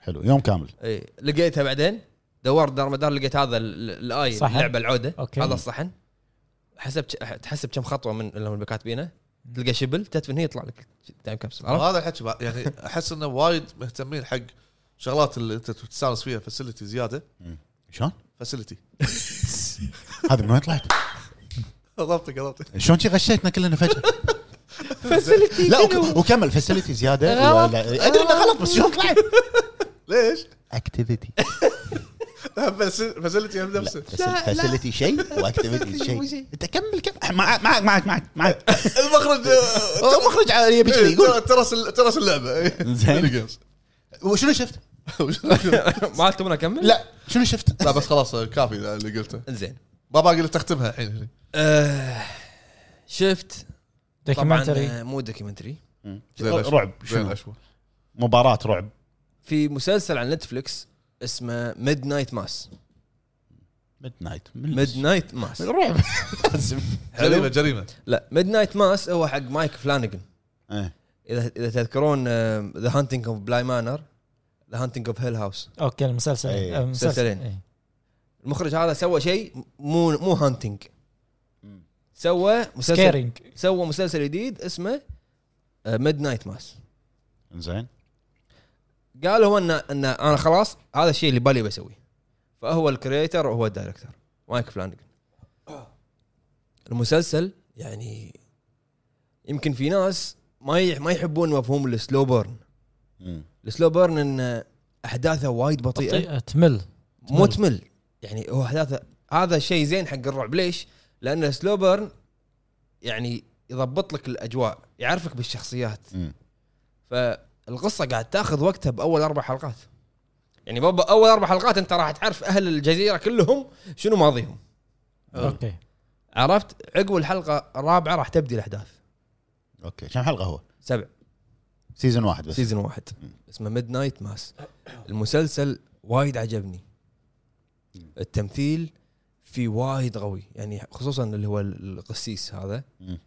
Speaker 3: حلو يوم كامل
Speaker 1: اي لقيتها بعدين دورت دار مدار لقيت هذا ال- ال- الاي
Speaker 2: صحن.
Speaker 1: اللعبه العوده
Speaker 2: أوكي.
Speaker 1: هذا الصحن حسب تحسب كم خطوه من اللي هم كاتبينه تلقى شبل تدفن هي يطلع لك تايم كابسول
Speaker 3: آه،
Speaker 1: عرفت؟
Speaker 4: هذا الحكي بقى- يعني احس انه وايد مهتمين حق شغلات اللي انت تستانس فيها فاسيلتي زياده
Speaker 3: شلون؟
Speaker 4: فاسيلتي
Speaker 3: هذا من وين طلعت؟
Speaker 4: ضبطك ضبطك
Speaker 3: شلون شي غشيتنا كلنا فجاه؟
Speaker 1: فاسيلتي
Speaker 3: لا وك- وكمل فاسيلتي زياده
Speaker 1: غلط.
Speaker 3: ولا- ادري انه إيه، غلط بس شلون طلعت؟
Speaker 4: ليش؟
Speaker 3: اكتيفيتي
Speaker 4: فاسيلتي هم نفسه
Speaker 3: فاسيلتي شيء واكتيفيتي شيء انت كمل كمل معك معك معك معك معك
Speaker 4: المخرج آه،
Speaker 3: انت مخرج على يبي كذي
Speaker 4: إيه،
Speaker 3: يقول
Speaker 4: ترس ال- ترس اللعبه إيه.
Speaker 3: زين.
Speaker 4: فيديو جيمز.
Speaker 3: وشنو شفت؟
Speaker 1: ما تبون اكمل؟
Speaker 3: لا شنو شفت؟
Speaker 4: لا بس خلاص آه، كافي اللي قلته
Speaker 1: زين
Speaker 4: ما باقي الا تختمها الحين هني.
Speaker 1: آه، شفت
Speaker 2: دوكيومنتري
Speaker 1: طبعا آه، مو دوكيومنتري
Speaker 4: زي العشوة.
Speaker 3: رعب
Speaker 4: زي
Speaker 3: شنو؟
Speaker 4: العشوة
Speaker 3: مباراة رعب
Speaker 1: في مسلسل على نتفلكس اسمه ميد نايت ماس
Speaker 3: ميد نايت
Speaker 1: ميد نايت ماس
Speaker 3: رعب لازم.
Speaker 4: جريمه جريمه
Speaker 1: لا ميد نايت ماس هو حق مايك فلانجن
Speaker 3: إيه.
Speaker 1: اذا اذا تذكرون آه، ذا هانتنج اوف بلاي مانر ذا هانتنج اوف هيل هاوس
Speaker 2: اوكي المسلسل
Speaker 3: إيه.
Speaker 2: آه، مسلسل.
Speaker 1: مسلسلين.
Speaker 2: إيه.
Speaker 1: المخرج هذا سوى شيء مو مو هانتنج سوى مسلسل
Speaker 2: سكيرينج
Speaker 1: سوى مسلسل جديد اسمه ميد نايت ماس
Speaker 3: زين
Speaker 1: قال هو ان ان انا خلاص هذا الشيء اللي بالي بسويه فهو الكريتر وهو الدايركتور مايك فلانجن المسلسل يعني يمكن في ناس ما يح- ما يحبون مفهوم السلو بيرن
Speaker 3: مم.
Speaker 1: السلو بيرن ان احداثه وايد بطيئه
Speaker 2: بطيئة، طيب. تمل
Speaker 1: مو تمل يعني هو احداثه هذا شيء زين حق الرعب ليش؟ لان سلو بيرن يعني يضبط لك الاجواء يعرفك بالشخصيات
Speaker 3: مم.
Speaker 1: فالقصه قاعد تاخذ وقتها باول اربع حلقات يعني بابا اول اربع حلقات انت راح تعرف اهل الجزيره كلهم شنو ماضيهم
Speaker 2: اوكي
Speaker 1: عرفت عقب الحلقه الرابعه راح تبدي الاحداث
Speaker 3: اوكي كم حلقة هو؟
Speaker 1: سبع
Speaker 3: سيزون واحد بس
Speaker 1: سيزون واحد اسمه ميد نايت ماس المسلسل وايد عجبني التمثيل فيه وايد قوي يعني خصوصا اللي هو القسيس هذا
Speaker 3: مم.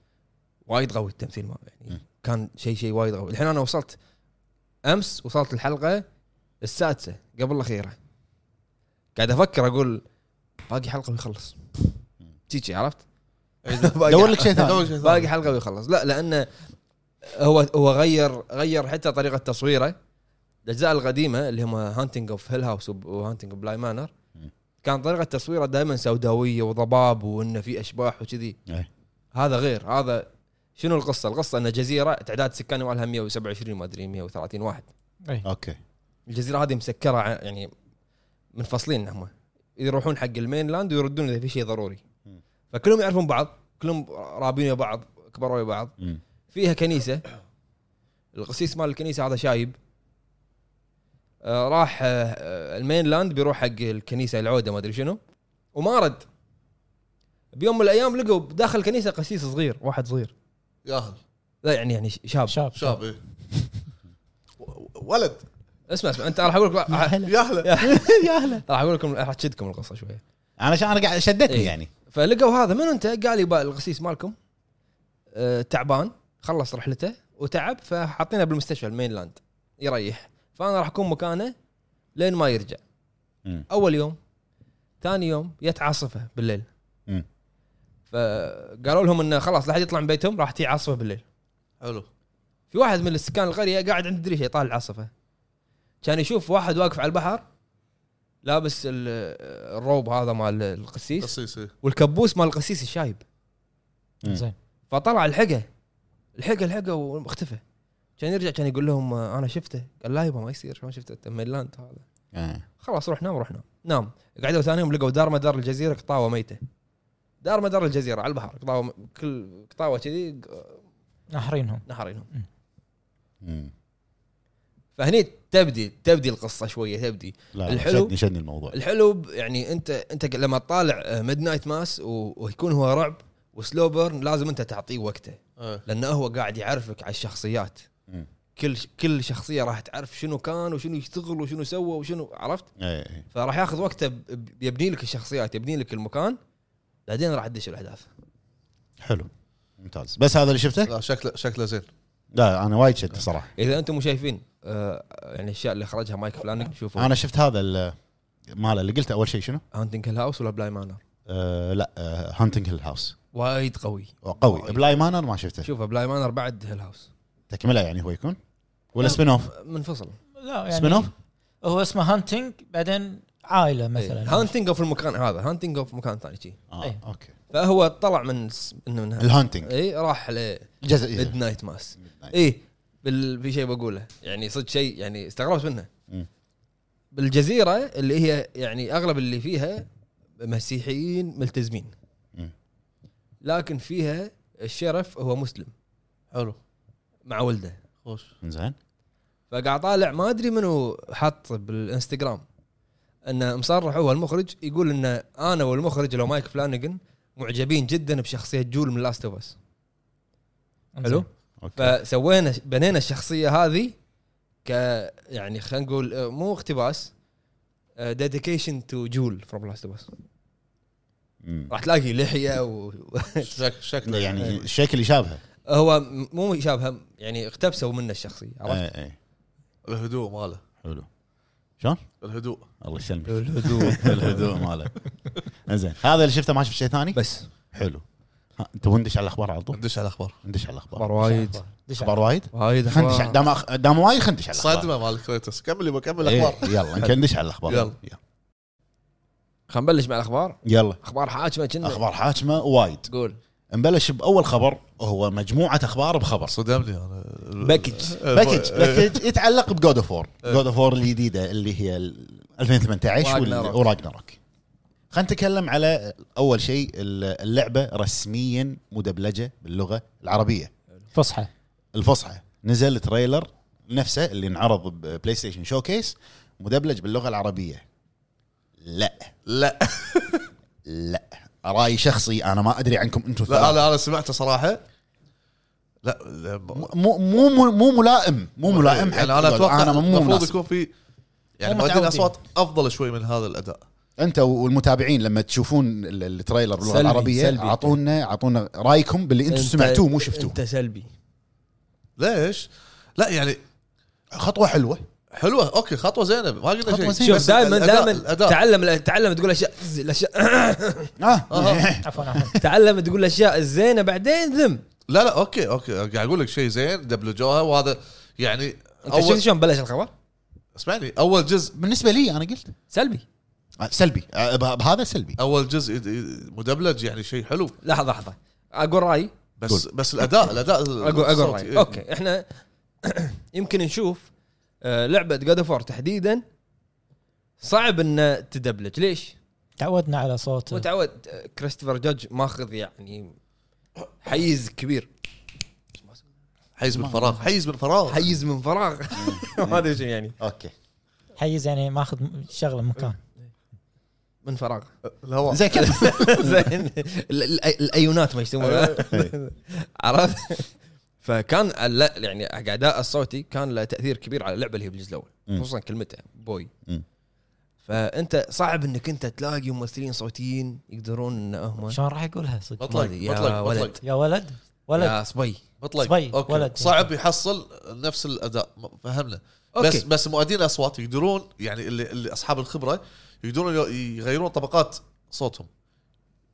Speaker 1: وايد قوي التمثيل ماله
Speaker 3: مم.
Speaker 1: يعني كان شيء شيء وايد قوي الحين انا وصلت امس وصلت الحلقه السادسه قبل الاخيره قاعد افكر اقول باقي حلقه ويخلص تيجي عرفت باقي
Speaker 3: دور لك شيء
Speaker 4: دور
Speaker 3: ثاني
Speaker 4: شيء
Speaker 1: باقي
Speaker 4: ثاني.
Speaker 1: حلقه ويخلص لا لانه هو هو غير غير حتى طريقه تصويره الاجزاء القديمه اللي هم هانتنج اوف هيل هاوس وهانتنج اوف بلاي مانر
Speaker 3: مم.
Speaker 1: كان طريقه تصويره دائما سوداويه وضباب وانه في اشباح وكذي
Speaker 3: إيه.
Speaker 1: هذا غير هذا شنو القصه؟ القصه ان جزيره تعداد سكاني مالها 127 ما ادري 130 واحد
Speaker 2: إيه.
Speaker 3: اوكي
Speaker 1: الجزيره هذه مسكره ع- يعني منفصلين هم يروحون حق المينلاند ويردون اذا في شيء ضروري
Speaker 3: مم.
Speaker 1: فكلهم يعرفون بعض كلهم رابين ويا بعض كبروا ويا بعض
Speaker 3: مم.
Speaker 1: فيها كنيسه القسيس مال الكنيسه هذا شايب آه راح آه، آه، المينلاند بيروح حق الكنيسه العوده ما ادري شنو وما رد بيوم من الايام لقوا داخل الكنيسه قسيس صغير واحد صغير
Speaker 4: ياهل
Speaker 1: لا يعني يعني ش- شاب
Speaker 2: شاب
Speaker 4: شاب ايه و- ولد
Speaker 1: اسمع اسمع انت راح اقول لك راح
Speaker 4: يا هلا
Speaker 2: يا هلا
Speaker 1: راح اقول لكم راح تشدكم القصه شويه
Speaker 3: انا شا- انا قاعد شدتني
Speaker 1: إيه.
Speaker 3: يعني
Speaker 1: فلقوا هذا من انت قال لي بقى القسيس مالكم آه تعبان خلص رحلته وتعب فحاطينه بالمستشفى المينلاند يريح فانا راح اكون مكانه لين ما يرجع
Speaker 3: مم.
Speaker 1: اول يوم ثاني يوم جت عاصفه بالليل
Speaker 3: مم.
Speaker 1: فقالوا لهم انه خلاص لا حد يطلع من بيتهم راح تجي عاصفه بالليل
Speaker 4: حلو
Speaker 1: في واحد من السكان القريه قاعد عند الدريشه يطالع العاصفه كان يشوف واحد واقف على البحر لابس ال- الروب هذا مال القسيس
Speaker 4: قصيص إيه.
Speaker 1: والكبوس مال القسيس الشايب
Speaker 3: مم.
Speaker 2: زين
Speaker 1: فطلع الحقه الحقه الحقه واختفى كان يرجع كان يقول لهم آه، انا شفته قال لا يبا ما يصير شلون شفته أنت ميلاند هذا
Speaker 3: آه.
Speaker 1: خلاص روح نام روح نام نام قعدوا ثاني يوم لقوا دار مدار الجزيره قطاوه ميته دار مدار الجزيره على البحر قطاوه م- كل قطاوه كذي آه،
Speaker 2: ناحرينهم
Speaker 1: نهرينهم
Speaker 3: مم.
Speaker 1: فهني تبدي تبدي القصه شويه تبدي
Speaker 3: لا
Speaker 1: الحلو-
Speaker 3: الحلو شدني شدني الموضوع
Speaker 1: الحلو ب- يعني انت انت لما تطالع ميد نايت ماس ويكون هو رعب وسلو بيرن لازم انت تعطيه وقته
Speaker 4: إيه.
Speaker 1: لانه هو قاعد يعرفك على الشخصيات
Speaker 3: مم.
Speaker 1: كل كل شخصيه راح تعرف شنو كان وشنو يشتغل وشنو سوى وشنو عرفت
Speaker 3: إيه، إيه.
Speaker 1: فراح ياخذ وقته ب- ب- يبني لك الشخصيات يبني لك المكان بعدين راح تدش الاحداث
Speaker 3: حلو ممتاز بس هذا اللي شفته
Speaker 4: لا شكله شكله زين
Speaker 3: لا انا وايد شدت صراحه
Speaker 1: اذا انتم مو شايفين آه يعني الاشياء اللي خرجها مايك فلانك شوفوا
Speaker 3: انا شفت هذا ال- ماله اللي قلته اول شيء شنو؟
Speaker 1: هانتنج هاوس ولا بلاي مانر
Speaker 3: آه لا آه هانتنج هيل هاوس
Speaker 1: وايد قوي
Speaker 3: قوي بلاي مانر ما شفته
Speaker 1: شوفه بلاي مانر بعد هيل هاوس
Speaker 3: تكمله يعني هو يكون ولا سبين اوف
Speaker 1: منفصل
Speaker 2: لا يعني
Speaker 3: سبين اوف
Speaker 2: هو اسمه هانتنج بعدين عائله مثلا
Speaker 1: هانتنج اوف إيه. المكان هذا هانتنج اوف مكان ثاني شي
Speaker 3: اه
Speaker 2: إيه.
Speaker 3: اوكي
Speaker 1: فهو طلع من س- من- من
Speaker 3: الهانتنج
Speaker 1: اي راح ل
Speaker 3: جزء إيه.
Speaker 1: ميد نايت ماس اي بال... في شيء بقوله يعني صدق شيء يعني استغربت منه
Speaker 3: مم.
Speaker 1: بالجزيره اللي هي يعني اغلب اللي فيها مسيحيين ملتزمين
Speaker 3: مم.
Speaker 1: لكن فيها الشرف هو مسلم
Speaker 4: حلو
Speaker 1: مع ولده
Speaker 4: خوش
Speaker 3: زين
Speaker 1: فقاعد طالع ما ادري منو حط بالانستغرام انه مصرح هو المخرج يقول انه انا والمخرج لو مايك فلانجن معجبين جدا بشخصيه جول من لاست اوف اس
Speaker 2: إنزين.
Speaker 1: حلو
Speaker 3: اوكي
Speaker 1: فسوينا بنينا الشخصيه هذه ك يعني خلينا نقول آه، مو اقتباس آه، ديديكيشن تو جول فروم لاست اوف اس
Speaker 3: مم.
Speaker 1: راح تلاقي لحيه و...
Speaker 4: شك شكله
Speaker 3: يعني
Speaker 1: إيه.
Speaker 3: الشكل يشابهه
Speaker 1: هو م- مو مشابهه يعني اقتبسوا منه الشخصيه عرفت؟
Speaker 3: اي اي
Speaker 4: الهدوء ماله
Speaker 3: إيه، حلو شلون؟
Speaker 4: الهدوء
Speaker 3: الله يسلمك
Speaker 1: الهدوء
Speaker 3: الهدوء ماله زين هذا اللي شفته ما شفت شيء ثاني
Speaker 1: بس
Speaker 3: حلو ها، انت وندش على الاخبار على طول
Speaker 4: ندش على الاخبار
Speaker 3: ندش على الاخبار
Speaker 1: اخبار وايد
Speaker 2: دش
Speaker 3: اخبار وايد
Speaker 1: وايد
Speaker 3: خندش على-
Speaker 1: أخبار.
Speaker 3: دام أخ- دام وايد خندش على الاخبار
Speaker 4: صدمه مال كريتوس كمل يبا كمل
Speaker 3: إيه،
Speaker 4: الاخبار
Speaker 3: يلا نكندش على الاخبار
Speaker 4: يلا.
Speaker 3: يلا
Speaker 1: خلينا نبلش مع الاخبار
Speaker 3: يلا
Speaker 1: اخبار حاكمه كنا
Speaker 3: اخبار حاكمه وايد
Speaker 1: تقول
Speaker 3: نبلش باول خبر هو مجموعه اخبار بخبر
Speaker 4: صدمني انا
Speaker 1: باكج
Speaker 4: إيه،
Speaker 3: باكج باكج يتعلق بجود اوف وور جود اوف وور الجديده اللي هي ال 2018
Speaker 1: Ragnarok.
Speaker 3: وراجناروك خلينا نتكلم على اول شيء اللعبه رسميا مدبلجه باللغه العربيه
Speaker 2: فصحى
Speaker 3: الفصحى نزل تريلر نفسه اللي انعرض ببلاي ستيشن شوكيس مدبلج باللغه العربيه لا
Speaker 4: لا
Speaker 3: لا راي شخصي انا ما ادري عنكم انتم
Speaker 4: لا
Speaker 3: الثلاثة.
Speaker 4: انا انا سمعته صراحه لا, لا م-
Speaker 3: مو مو مو- مو ملائم مو ملائم حق
Speaker 4: يعني انا اتوقع
Speaker 3: انا مو
Speaker 4: المفروض
Speaker 3: مناسب
Speaker 4: يكون في يعني
Speaker 2: مو
Speaker 4: مؤدين
Speaker 2: متعودين.
Speaker 4: اصوات افضل شوي من هذا الاداء
Speaker 3: انت والمتابعين لما تشوفون ال- التريلر باللغه
Speaker 1: سلبي-
Speaker 3: العربيه
Speaker 1: سلبي.
Speaker 3: اعطونا اعطونا رايكم باللي انتم سمعتوه مو شفتوه
Speaker 1: انت سلبي
Speaker 4: ليش؟ لا يعني
Speaker 3: خطوه حلوه
Speaker 4: حلوه اوكي خطوه زينه ما قلنا
Speaker 3: خطوة
Speaker 4: شيء
Speaker 3: زينة.
Speaker 1: شوف
Speaker 3: بس
Speaker 1: دائما
Speaker 4: الأداء-
Speaker 1: دائما
Speaker 4: الأداء.
Speaker 1: تعلم الأ- تعلم تقول اشياء ز- الاشياء
Speaker 3: اه
Speaker 4: آه.
Speaker 2: عفوا عفوا
Speaker 1: تعلم تقول الاشياء الزينه بعدين ذم
Speaker 4: لا لا اوكي اوكي قاعد اقول لك شيء زين دبلجوها وهذا يعني
Speaker 1: انت شفت
Speaker 4: اول
Speaker 1: شلون بلش الخبر؟
Speaker 4: اسمعني اول جزء
Speaker 3: بالنسبه لي انا قلت
Speaker 1: سلبي
Speaker 3: آه، سلبي آه، بها- بهذا سلبي
Speaker 4: اول جزء يد- يد- مدبلج يعني شيء حلو
Speaker 1: لحظه لحظه اقول رايي
Speaker 4: بس
Speaker 3: قول.
Speaker 4: بس الاداء الاداء
Speaker 1: اقول اقول
Speaker 4: الصوت،
Speaker 1: رايي
Speaker 4: إيه.
Speaker 1: اوكي احنا يمكن نشوف آه، لعبه جاد فور تحديدا صعب ان تدبلج ليش؟
Speaker 2: تعودنا على صوت
Speaker 1: متعود آه، كريستوفر جاج ماخذ يعني حيز كبير
Speaker 4: حيز من فراغ حيز من فراغ
Speaker 1: حيز من فراغ طيب. ما ادري شنو يعني
Speaker 3: اوكي
Speaker 2: حيز يعني ماخذ شغله من مكان
Speaker 1: من فراغ
Speaker 4: الهواء
Speaker 3: زي كذا
Speaker 1: زين ال- ال- الايونات ما يسمونها عرفت فكان ال- يعني حق اداء الصوتي كان له تاثير كبير على اللعبه اللي هي بالجزء الاول
Speaker 3: مم.
Speaker 1: خصوصا كلمته بوي
Speaker 3: مم.
Speaker 1: فانت صعب انك انت تلاقي ممثلين صوتيين يقدرون ان هم
Speaker 2: شلون راح يقولها صدق
Speaker 4: مطلق
Speaker 1: يا
Speaker 4: مطلق
Speaker 1: ولد.
Speaker 4: مطلق
Speaker 2: يا ولد ولد
Speaker 1: يا صبي
Speaker 4: مطلق
Speaker 2: صبي،
Speaker 4: أوكي.
Speaker 2: ولد.
Speaker 4: صعب يحصل نفس الاداء م- فهمنا
Speaker 1: أوكي.
Speaker 4: بس بس مؤدين الاصوات يقدرون يعني اللي, اللي اصحاب الخبره يقدرون يو- يغيرون طبقات صوتهم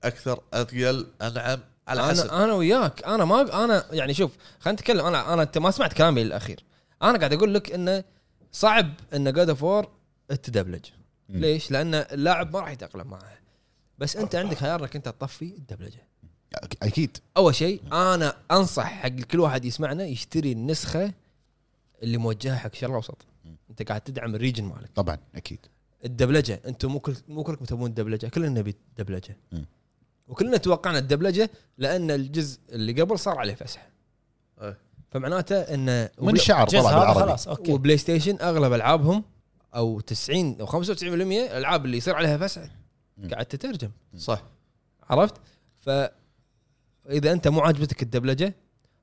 Speaker 4: اكثر اثقل انعم على حسب
Speaker 1: انا انا وياك انا ما انا يعني شوف خلينا نتكلم انا انا انت ما سمعت كلامي الاخير انا قاعد اقول لك انه صعب ان جاد اوف وور تدبلج
Speaker 3: مم.
Speaker 1: ليش؟ لان اللاعب ما راح يتاقلم معه بس انت عندك خيار انك انت تطفي الدبلجه
Speaker 3: أك- اكيد
Speaker 1: اول شيء انا انصح حق كل واحد يسمعنا يشتري النسخه اللي موجهه حق شرق الاوسط انت قاعد تدعم الريجن مالك
Speaker 3: طبعا اكيد
Speaker 1: الدبلجه انتم مو كل مو كلكم تبون الدبلجه كلنا نبي الدبلجه
Speaker 3: مم.
Speaker 1: وكلنا توقعنا الدبلجه لان الجزء اللي قبل صار عليه فسح
Speaker 4: إيه.
Speaker 1: فمعناته انه
Speaker 3: من الشعر
Speaker 2: جز
Speaker 3: طلع
Speaker 2: هذا
Speaker 3: بالعربي
Speaker 2: خلاص اوكي
Speaker 1: وبلاي ستيشن اغلب العابهم او 90 او 95% الالعاب اللي يصير عليها فسح
Speaker 3: مم.
Speaker 1: قاعد تترجم
Speaker 4: صح
Speaker 1: عرفت؟ ف اذا انت مو عاجبتك الدبلجه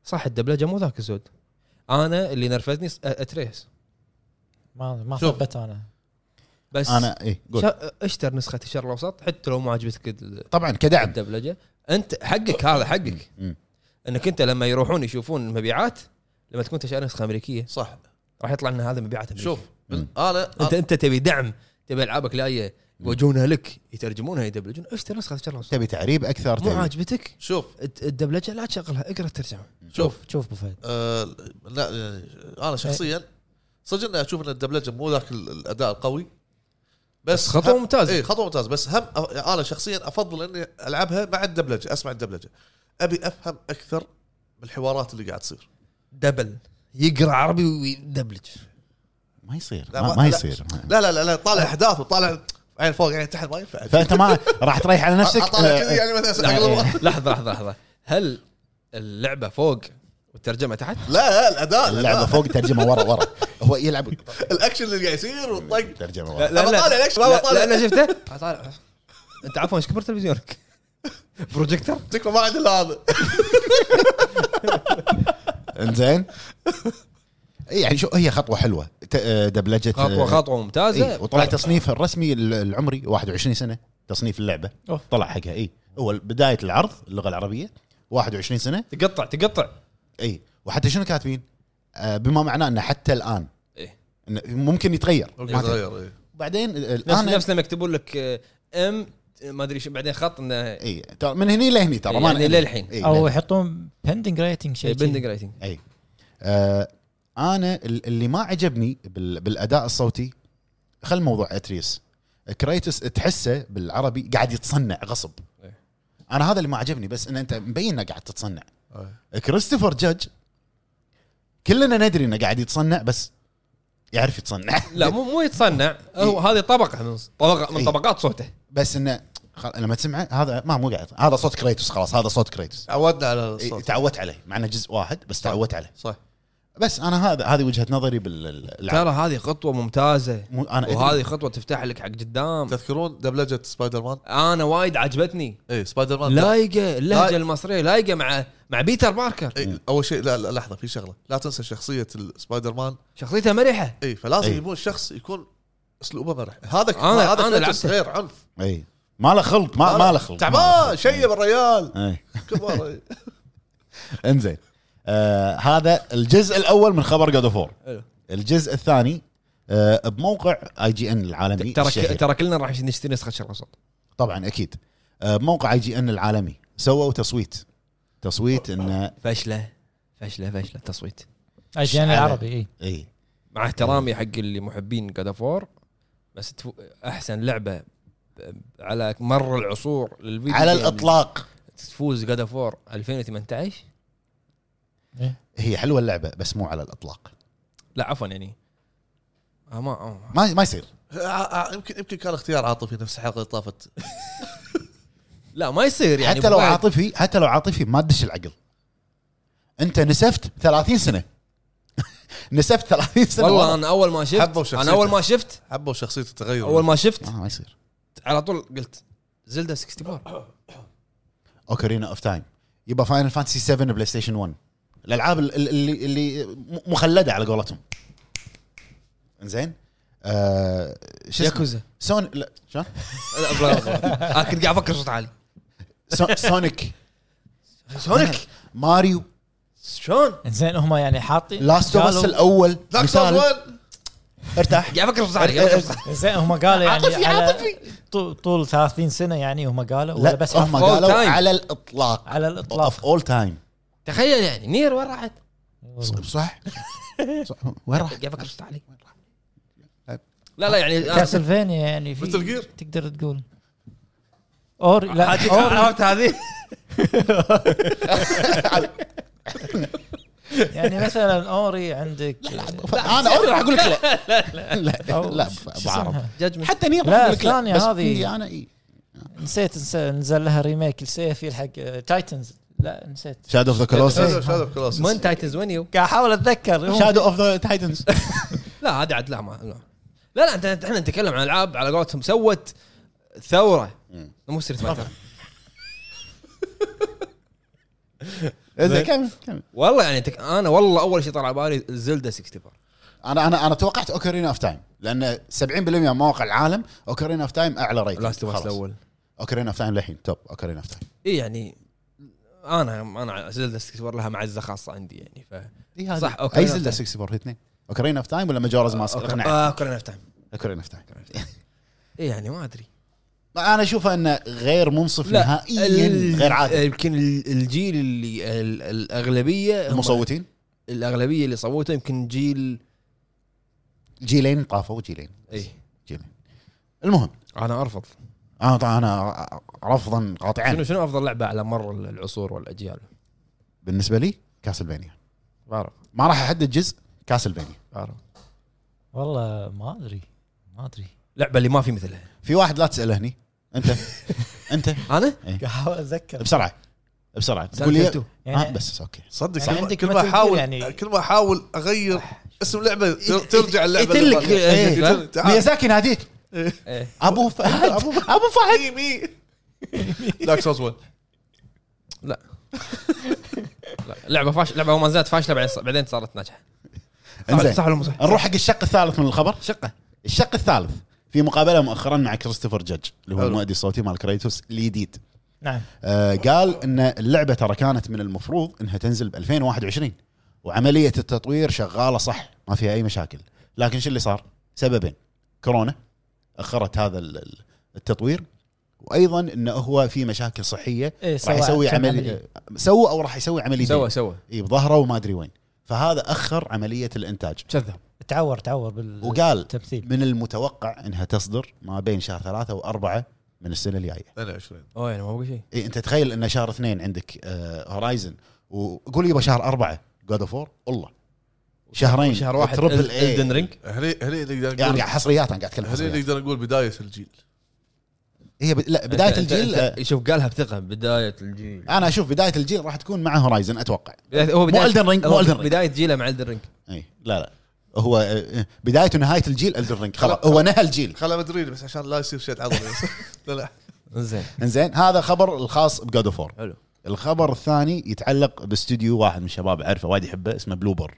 Speaker 1: صح الدبلجه مو ذاك الزود انا اللي نرفزني س- اتريس
Speaker 2: ما ما
Speaker 4: شوف.
Speaker 2: ثبت انا
Speaker 1: بس
Speaker 3: انا اي إيه، قول
Speaker 1: شا- اشتر نسخه الشرق الاوسط حتى لو مو عاجبتك ال-
Speaker 3: طبعا كدعم
Speaker 1: الدبلجه انت حقك هذا حقك
Speaker 3: نعم. مم.
Speaker 1: انك انت لما يروحون يشوفون المبيعات لما تكون تشتري نسخه امريكيه
Speaker 4: صح
Speaker 1: راح يطلع ان هذا مبيعات امريكيه
Speaker 4: شوف
Speaker 3: مم.
Speaker 4: انا
Speaker 1: انت انت تبي دعم تبي العابك لايه
Speaker 3: مم.
Speaker 1: يوجهونها لك يترجمونها يدبلجون اشتري نسخه الشرق الاوسط
Speaker 3: تبي تعريب اكثر
Speaker 1: مو
Speaker 3: تبي
Speaker 1: عاجبتك
Speaker 4: شوف
Speaker 1: الد- الدبلجه لا تشغلها اقرا الترجمه
Speaker 4: شوف
Speaker 2: شوف ابو فهد
Speaker 4: آه لا آه، انا
Speaker 3: إيه.
Speaker 4: شخصيا صدق اني اشوف ان الدبلجه مو ذاك ال- الاداء القوي بس
Speaker 1: بس خطوة
Speaker 4: هم-
Speaker 1: ممتازة.
Speaker 4: اي خطوه ممتازه بس هم أ- انا شخصيا افضل اني العبها مع الدبلجه اسمع الدبلجه ابي افهم اكثر بالحوارات اللي قاعد تصير
Speaker 1: دبل يقرا عربي ويدبلج
Speaker 3: ما يصير
Speaker 4: لا،
Speaker 3: ما,
Speaker 4: ما-
Speaker 3: ما
Speaker 4: لا.
Speaker 3: يصير ما-
Speaker 4: لا لا لا, لا
Speaker 3: آه.
Speaker 4: طالع احداث وطالع عين فوق عين تحت ما ينفع
Speaker 3: فانت ما راح تريح على نفسك
Speaker 4: اطالع كذي
Speaker 3: آه،
Speaker 4: يعني مثلا أقلب.
Speaker 1: لحظه لحظه لحظه هل اللعبه فوق والترجمه تحت؟
Speaker 4: لا الاداء
Speaker 3: اللعبه
Speaker 4: الأداء.
Speaker 3: آه، فوق ترجمه ورا ورا هو يلعب
Speaker 4: الاكشن اللي قاعد يصير والطق
Speaker 3: ترجمه
Speaker 1: لا لا
Speaker 4: أبى
Speaker 3: ورا
Speaker 1: لا
Speaker 4: أطالع لك شباب،
Speaker 1: لا- لا
Speaker 4: أطالع.
Speaker 1: انا شفته أطالع. انت عفوا ايش كبر تلفزيونك؟ بروجيكتر؟
Speaker 4: تكفى ما عندي الا هذا
Speaker 3: انزين إي يعني شو هي خطوه حلوه ت- آه، دبلجه
Speaker 1: خطوه
Speaker 3: آه،
Speaker 1: خطوه
Speaker 3: إي،
Speaker 1: ممتازه
Speaker 3: وطلع تصنيف الرسمي ال- العمري 21 سنه تصنيف اللعبه
Speaker 2: أوف.
Speaker 3: طلع حقها اي هو بدايه العرض اللغه العربيه 21 سنه
Speaker 1: تقطع تقطع
Speaker 3: اي إيه. وحتى شنو كاتبين؟ آه، بما معناه انه حتى الان
Speaker 1: إيه.
Speaker 3: إنه ممكن يتغير ما تدري.
Speaker 4: تغير، إي.
Speaker 3: بعدين آه،
Speaker 1: نفس
Speaker 3: الان
Speaker 1: نفس لما يكتبون لك آه، ام ما ادري شو بعدين خط انه
Speaker 3: اي إيه، ترى من هني لهني ترى ما إيه،
Speaker 1: يعني إيه،
Speaker 3: نحن-
Speaker 1: للحين.
Speaker 3: إي،
Speaker 2: او
Speaker 3: للحين.
Speaker 2: يحطون بندنج ريتنج شيء
Speaker 1: بندنج رايتنج
Speaker 3: اي آه انا ال- اللي ما عجبني بال- بالاداء الصوتي خل موضوع اتريس كريتوس تحسه بالعربي قاعد يتصنع غصب
Speaker 1: إيه.
Speaker 3: انا هذا اللي ما عجبني بس ان انت مبين انه قاعد تتصنع
Speaker 4: إي.
Speaker 3: إيه. كريستوفر جاج كلنا ندري انه قاعد يتصنع بس يعرف يتصنع
Speaker 1: لا مو مو يتصنع هو هذه طبقه من طبقه من
Speaker 3: إي.
Speaker 1: طبقات صوته
Speaker 3: بس انه خل... لما تسمعه هذا ما مو قاعد هذا صوت كريتوس خلاص هذا صوت كريتوس
Speaker 4: عودنا على
Speaker 3: إيه،
Speaker 4: الصوت
Speaker 3: تعودت عليه مع انه جزء واحد بس تعودت عليه
Speaker 4: صح
Speaker 3: بس انا هذا هذه وجهه نظري باللعب
Speaker 1: ترى هذه خطوه ممتازه
Speaker 3: مو انا
Speaker 1: وهذه خطوه تفتح لك حق قدام
Speaker 4: تذكرون دبلجه سبايدر مان؟
Speaker 1: انا وايد عجبتني
Speaker 4: اي إيه، سبايدر مان
Speaker 1: لايقه اللهجه
Speaker 4: لا-
Speaker 1: المصريه لايقه مع مع بيتر باركر
Speaker 4: اي اول إيه، شيء لا, لا لحظه في شغله لا تنسى شخصيه السبايدر مان
Speaker 1: شخصيته مرحه
Speaker 4: اي فلازم
Speaker 3: إي.
Speaker 4: يبون شخص يكون اسلوبه مرح هذا
Speaker 1: أنا-
Speaker 4: هذا
Speaker 1: أنا
Speaker 4: كريتوس
Speaker 1: لعبته.
Speaker 4: غير عنف
Speaker 3: اي ما له خلق ما ما له خلق
Speaker 4: تعبان شيب الريال
Speaker 3: اي
Speaker 4: كبار
Speaker 3: انزين آه هذا الجزء الاول من خبر جود اوف
Speaker 1: حلو.
Speaker 3: الجزء الثاني آه بموقع اي جي ان العالمي
Speaker 1: ترى
Speaker 3: الشهير.
Speaker 1: ترى كلنا راح نشتري نسخه شرق الاوسط
Speaker 3: طبعا اكيد آه بموقع اي جي ان العالمي سووا تصويت تصويت انه
Speaker 1: فشله فشله فشله تصويت
Speaker 2: اجيان
Speaker 3: شعر.
Speaker 2: العربي إيه. اي
Speaker 3: اي
Speaker 1: مع احترامي حق اللي محبين جاد اوف وور بس تفو- احسن لعبه ب- على مر العصور للفيديو
Speaker 3: على
Speaker 1: جيم
Speaker 3: الاطلاق
Speaker 1: تفوز جاد اوف وور 2018
Speaker 3: هي حلوه اللعبه بس مو على الاطلاق
Speaker 1: لا عفوا يعني آه ما آه.
Speaker 3: ما ما يصير
Speaker 4: آه، يمكن يمكن كان اختيار عاطفي نفس الحلقه اللي طافت
Speaker 1: لا ما يصير يعني
Speaker 3: يعني حتى لو
Speaker 1: بعد-
Speaker 3: عاطفي حتى لو عاطفي ما تدش العقل انت نسفت 30 سنه نسفت 30 سنه
Speaker 1: والله
Speaker 3: ورا.
Speaker 1: انا اول ما
Speaker 4: حبوا
Speaker 1: شفت انا
Speaker 4: شخصيته.
Speaker 1: اول ما شفت
Speaker 4: حبوا شخصيه التغير
Speaker 1: اول ما شفت
Speaker 3: آه، ما ما يصير
Speaker 1: على طول قلت زلدا 64
Speaker 3: اوكرينا اوف تايم يبقى فاينل فانتسي 7 بلاي ستيشن 1 الالعاب ال- ال- اللي اللي م- مخلده على قولتهم زين آه شو اسمه
Speaker 1: ياكوزا
Speaker 3: سون لا شلون
Speaker 1: لا بلا بلا. انا كنت قاعد افكر صوت عالي
Speaker 3: سو- سونيك
Speaker 1: سونيك
Speaker 3: ماريو
Speaker 1: شلون؟
Speaker 2: زين هم يعني حاطين
Speaker 3: لاست اوف اس
Speaker 2: قالوا-
Speaker 3: الاول
Speaker 4: دارك سولز
Speaker 3: مثال
Speaker 4: 1
Speaker 3: ارتاح
Speaker 1: قاعد افكر بصحري قاعد أفكر بصحري.
Speaker 2: زين هم قالوا
Speaker 3: عاطفي،
Speaker 2: يعني على
Speaker 3: عاطفي.
Speaker 2: طو- طول 30 سنه يعني هم قالوا ولا
Speaker 3: لا
Speaker 2: بس
Speaker 3: بس هم
Speaker 1: All
Speaker 3: قالوا
Speaker 1: time.
Speaker 3: على الاطلاق
Speaker 2: على الاطلاق
Speaker 3: اوف اول تايم
Speaker 1: تخيل يعني نير وين راحت؟
Speaker 3: صح صح. وين راح
Speaker 1: قاعد افكر بصحري لا لا يعني أنا-
Speaker 2: كاسلفينيا يعني في
Speaker 4: Metal Gear.
Speaker 2: تقدر تقول اور لا
Speaker 1: عاد-
Speaker 2: اور
Speaker 1: عرفت آه، هذه؟
Speaker 2: يعني مثلا اوري عندك
Speaker 3: انا اوري راح اقول لك لا لا
Speaker 2: أو
Speaker 3: لا
Speaker 2: شو
Speaker 3: ابو عرب
Speaker 2: اسمها؟
Speaker 1: جاجمنت
Speaker 3: حتى نير راح
Speaker 2: لا،
Speaker 3: أقول لك
Speaker 2: الثانية
Speaker 3: بس يعني
Speaker 2: هذه.
Speaker 3: إيه. عندي انا اي
Speaker 2: نسيت نس- نزل لها ريميك السيفي حق تايتنز لا نسيت
Speaker 3: شادو اوف ذا
Speaker 4: شادو
Speaker 3: كلوسس
Speaker 4: شادو كلوسس
Speaker 1: من تايتنز ونيو
Speaker 2: قاعد احاول اتذكر هو-
Speaker 3: شادو اوف ذا تايتنز
Speaker 1: لا هذا عاد لا ما لا لا, لا انت احنا نتكلم عن العاب على قولتهم سوت ثوره مو ستريت فايتر
Speaker 3: زين كمل كمل
Speaker 1: والله يعني تك... انا والله اول شيء طلع على بالي زلدا 64
Speaker 3: انا انا انا توقعت اوكرين اوف تايم لان 70% من مواقع العالم اوكرين اوف تايم اعلى ريت
Speaker 1: لاست اوف الاول
Speaker 3: اوكرين اوف تايم للحين توب اوكرين اوف تايم
Speaker 1: اي يعني انا انا زلدا 64 لها معزه خاصه عندي يعني ف صح، Ocarina
Speaker 3: اي
Speaker 1: of
Speaker 3: زلده
Speaker 1: Time.
Speaker 3: 64 هي اثنين اوكرين اوف تايم ولا ماجورز ماسك اقنع
Speaker 1: آه اوكرين اوف تايم
Speaker 3: اوكرين اوف تايم
Speaker 1: اي يعني ما ادري
Speaker 3: انا اشوفه انه غير منصف نهائيا
Speaker 1: ال- آه،
Speaker 3: غير عادل
Speaker 1: يمكن ال- الجيل اللي ال- الاغلبيه هم-
Speaker 3: المصوتين
Speaker 1: الاغلبيه اللي صوتوا يمكن جيل إيه.
Speaker 3: جيلين طافوا جيلين
Speaker 1: اي
Speaker 3: جيلين المهم
Speaker 1: انا ارفض
Speaker 3: انا طبعا انا رفضا
Speaker 1: شنو
Speaker 3: قاطعا
Speaker 1: شنو افضل لعبه على مر العصور والاجيال؟
Speaker 3: بالنسبه لي كاسلفينيا
Speaker 1: بعرف
Speaker 3: ما راح احدد جزء كاسلفينيا
Speaker 1: بعرف
Speaker 2: والله ما ادري ما ادري
Speaker 1: لعبه اللي ما في مثلها
Speaker 3: في واحد لا تساله هني انت انت
Speaker 1: انا
Speaker 2: قاعد احاول اتذكر
Speaker 3: بسرعه بسرعه تقول
Speaker 1: سالفة
Speaker 3: لي
Speaker 1: تو.
Speaker 2: يعني-
Speaker 3: آه بس اوكي
Speaker 4: صدق
Speaker 2: يعني
Speaker 4: كل ما-
Speaker 2: عندك
Speaker 4: كل ما
Speaker 2: Metal Gear
Speaker 4: احاول
Speaker 2: يعني-
Speaker 4: كل ما احاول اغير اسم لعبه تر- ترجع اللعبه
Speaker 1: يتلك-
Speaker 4: اللي بالي.
Speaker 1: إيه.
Speaker 4: يتلك- تعال.
Speaker 3: ميازاكي ناديك
Speaker 1: إيه.
Speaker 3: ابو فهد ابو فهد
Speaker 4: مي مي دارك سولز 1
Speaker 1: لا لا لعبه فاش لعبه ما زالت فاشله بعدين ص- بعدين صارت ناجحه
Speaker 3: انزين
Speaker 1: صح ولا مو صح؟
Speaker 3: نروح حق الشق الثالث من الخبر
Speaker 1: شقه
Speaker 3: الشق الثالث في مقابله مؤخرا مع كريستوفر جاج اللي هو
Speaker 4: حلو.
Speaker 3: المؤدي الصوتي مال كريتوس الجديد
Speaker 2: نعم
Speaker 3: آه قال ان اللعبه ترى كانت من المفروض انها تنزل ب 2021 وعمليه التطوير شغاله صح ما فيها اي مشاكل لكن شو اللي صار؟ سببين كورونا اخرت هذا ال- ال- التطوير وايضا انه هو في مشاكل صحيه
Speaker 2: إيه،
Speaker 3: راح
Speaker 2: سواء
Speaker 3: يسوي
Speaker 2: كان
Speaker 3: عمليه سوى او راح يسوي عمليه
Speaker 1: سوى سوى
Speaker 3: اي بظهره وما ادري وين فهذا اخر عمليه الانتاج
Speaker 1: كذب
Speaker 2: تعور تعور بال
Speaker 3: وقال
Speaker 2: التمثيل
Speaker 3: من المتوقع انها تصدر ما بين شهر ثلاثة وأربعة من السنة الجاية
Speaker 4: 22
Speaker 1: اوه يعني ما بقى شيء
Speaker 3: إيه انت تخيل ان شهر اثنين عندك آه، هورايزن وقول يبا شهر أربعة جود اوف والله شهرين
Speaker 1: شهر واحد
Speaker 3: تربل
Speaker 1: الدن
Speaker 3: اي
Speaker 1: رينج
Speaker 4: هني هني نقدر نقول
Speaker 3: يعني حصريات انا قاعد اتكلم
Speaker 4: هني
Speaker 3: حصريات
Speaker 4: نقدر نقول بدايه الجيل
Speaker 3: هي ب... لا بدايه الجيل آه،
Speaker 1: شوف قالها بثقه بدايه الجيل
Speaker 3: انا اشوف بدايه الجيل راح تكون مع هورايزن اتوقع
Speaker 1: بداية- هو
Speaker 3: مو Elden Ring،
Speaker 1: هو
Speaker 3: مو Elden Ring.
Speaker 1: بدايه جيله مع الدن رينج
Speaker 3: اي لا لا إيه. هو آه، آه، بدايه ونهايه الجيل الدر رينج خلاص هو نهى الجيل
Speaker 4: خلا مدريد بس عشان لا يصير شيء عضلي لا لا
Speaker 1: زين
Speaker 3: انزين هذا خبر الخاص بجود اوف
Speaker 1: حلو
Speaker 3: الخبر الثاني يتعلق باستوديو واحد من الشباب اعرفه وايد يحبه اسمه بلوبر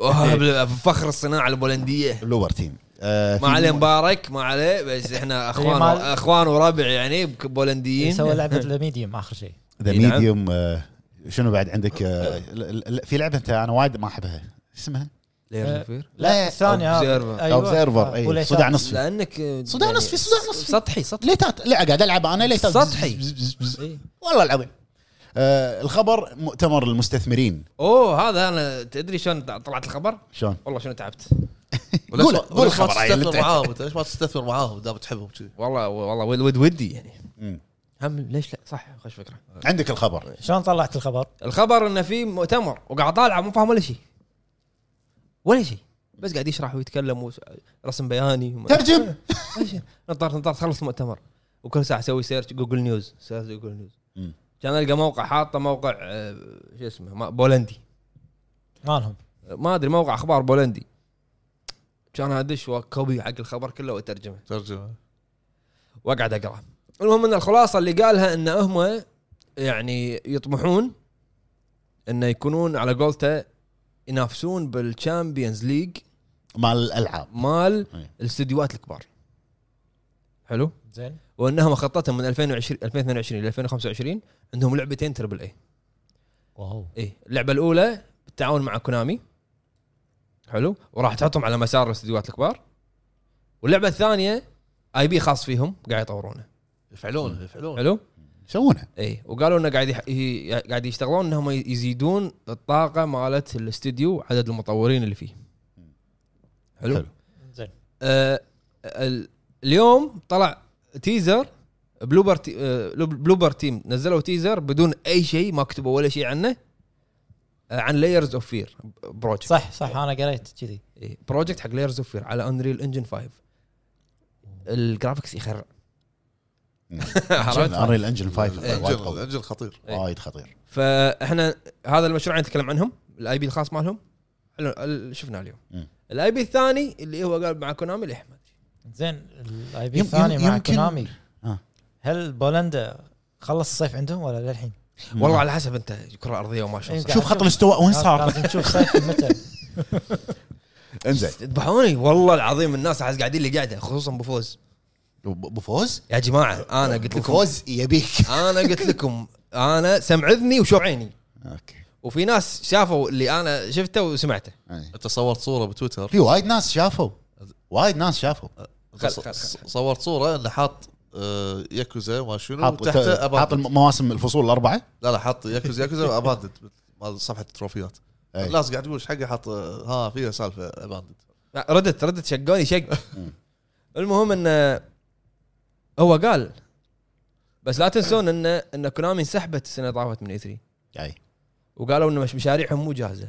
Speaker 1: أوه، بل- فخر الصناعه البولنديه
Speaker 3: بلوبر تيم آه
Speaker 1: ما
Speaker 3: في-
Speaker 1: عليه مبارك ما عليه بس
Speaker 3: إيه،
Speaker 1: احنا اخوان
Speaker 2: مال-
Speaker 1: اخوان وربع يعني بك- بولنديين
Speaker 2: سوى لعبه الميديوم اخر شيء
Speaker 3: ذا
Speaker 1: إي نعم.
Speaker 3: ميديوم آه، شنو بعد عندك آه، ل- ل- في لعبه انت انا وايد ما احبها اسمها آه،
Speaker 1: ليرن فير.
Speaker 3: لا،
Speaker 2: لا الثانيه
Speaker 1: Observer.
Speaker 2: أيوة.
Speaker 3: Observer، إيه، أي،
Speaker 2: وليشات.
Speaker 3: صداع آه، نصفي.
Speaker 1: لانك
Speaker 3: صداع
Speaker 1: يعني
Speaker 3: نصفي، صداع نصفي.
Speaker 1: سطحي سطحي
Speaker 3: ليتات لا قاعد العب انا ليتات
Speaker 1: سطحي.
Speaker 3: بز- بز- بز- بز.
Speaker 1: إي.
Speaker 3: والله العظيم آه الخبر مؤتمر المستثمرين
Speaker 1: اوه هذا انا تدري شلون طلعت الخبر؟
Speaker 3: شلون
Speaker 1: والله شنو تعبت
Speaker 3: قول- قول
Speaker 4: وليش ما
Speaker 3: الخبر عيل
Speaker 4: تستثمر
Speaker 3: أنت.
Speaker 4: معاهم أنت ليش ما تستثمر معاهم دام تحبهم كذي
Speaker 1: والله والله ود ود ودي يعني
Speaker 3: مم.
Speaker 1: هم ليش لا صح خوش فكره
Speaker 3: عندك الخبر
Speaker 2: شلون طلعت الخبر؟
Speaker 1: الخبر انه في مؤتمر وقاعد طالعه مو فاهم ولا شيء ولا شيء بس قاعد يشرح ويتكلم وس- رسم بياني وما-
Speaker 3: ترجم
Speaker 1: ولا شيء. نطرت نطرت خلص المؤتمر وكل ساعه اسوي سيرش جوجل نيوز سيرش جوجل نيوز
Speaker 3: مم.
Speaker 1: كان القى موقع حاطه موقع آه، شو اسمه ما- بولندي
Speaker 2: مالهم
Speaker 1: ما ادري موقع اخبار بولندي كان ادش وكوبي حق الخبر كله واترجمه
Speaker 4: ترجمه
Speaker 1: واقعد اقرا المهم ان الخلاصه اللي قالها ان هم يعني يطمحون انه يكونون على قولته ينافسون بالشامبيونز ليج
Speaker 3: مال الالعاب
Speaker 1: مال
Speaker 3: أي.
Speaker 1: الاستديوهات الكبار حلو
Speaker 2: زين
Speaker 1: وانهم خطتهم من 2020 2022 ل 2025 عندهم لعبتين تربل اي
Speaker 2: واو
Speaker 1: اي اللعبه الاولى إيه. بالتعاون مع كونامي حلو وراح تحطهم على مسار الاستديوهات الكبار واللعبه الثانيه اي بي خاص فيهم قاعد يطورونه
Speaker 4: يفعلونه يفعلونه
Speaker 1: حلو
Speaker 3: يسوونها
Speaker 1: اي إيه. وقالوا انه قاعد يح... ي- قاعد يشتغلون انهم يزيدون الطاقه مالت الاستديو عدد المطورين اللي فيه حلو,
Speaker 3: حلو.
Speaker 1: حلو.
Speaker 2: زين
Speaker 1: آه ال- اليوم طلع تيزر بلوبر تي... آه بلوبر تيم نزلوا تيزر بدون اي شيء ما كتبوا ولا شيء عنه آه عن لايرز اوف فير بروجكت
Speaker 2: صح صح انا قريت كذي
Speaker 1: إيه، بروجكت حق لايرز اوف فير على انريل انجن 5 الجرافكس يخرع عرفت؟
Speaker 3: انريل انجن 5 وايد
Speaker 4: الانجل
Speaker 3: قوي
Speaker 4: الانجل خطير
Speaker 1: إيه.
Speaker 3: وايد خطير
Speaker 1: فاحنا هذا المشروع نتكلم عنهم الاي بي الخاص مالهم حلو، ال- شفناه اليوم
Speaker 3: مم.
Speaker 1: الاي بي الثاني اللي هو قال مع كونامي الاحمد
Speaker 2: زين الاي بي
Speaker 3: يم-
Speaker 2: الثاني
Speaker 3: يم-
Speaker 2: مع
Speaker 3: يمكن-
Speaker 2: كونامي
Speaker 3: آه.
Speaker 2: هل بولندا خلص الصيف عندهم ولا للحين؟
Speaker 1: والله على حسب انت الكره الارضيه وما شو
Speaker 2: إيه،
Speaker 1: صار.
Speaker 3: شوف خط الاستواء وين صار
Speaker 2: لازم نشوف صيف متى
Speaker 3: انزين
Speaker 1: ذبحوني والله العظيم الناس احس قاعدين اللي قاعده خصوصا بفوز
Speaker 3: بفوز
Speaker 1: يا جماعه انا قلت لكم
Speaker 3: بفوز يبيك
Speaker 1: انا قلت لكم انا سمع اذني وشوف عيني
Speaker 3: اوكي
Speaker 1: وفي ناس شافوا اللي انا شفته وسمعته
Speaker 3: أي.
Speaker 4: انت صورت صوره بتويتر
Speaker 3: في وايد ناس شافوا وايد ناس شافوا
Speaker 4: أنت
Speaker 1: خل-
Speaker 4: ص-
Speaker 1: خل-
Speaker 4: ص- صورت صوره انه حاط آه، ياكوزا وما شنو
Speaker 3: حاط
Speaker 4: تحته
Speaker 3: حاط
Speaker 4: أباندد.
Speaker 3: المواسم الفصول الاربعه
Speaker 4: لا لا حاط ياكوزا ياكوزا اباندد مال صفحه التروفيات
Speaker 3: أي.
Speaker 4: الناس قاعد تقول ايش حقه حاط آه، ها فيها سالفه اباندد
Speaker 1: ردت ردت شقوني شق
Speaker 3: مم.
Speaker 1: المهم انه هو قال بس لا تنسون ان ان كونامي انسحبت السنه اللي طافت من اي 3
Speaker 3: اي
Speaker 1: وقالوا ان مش مشاريعهم مو جاهزه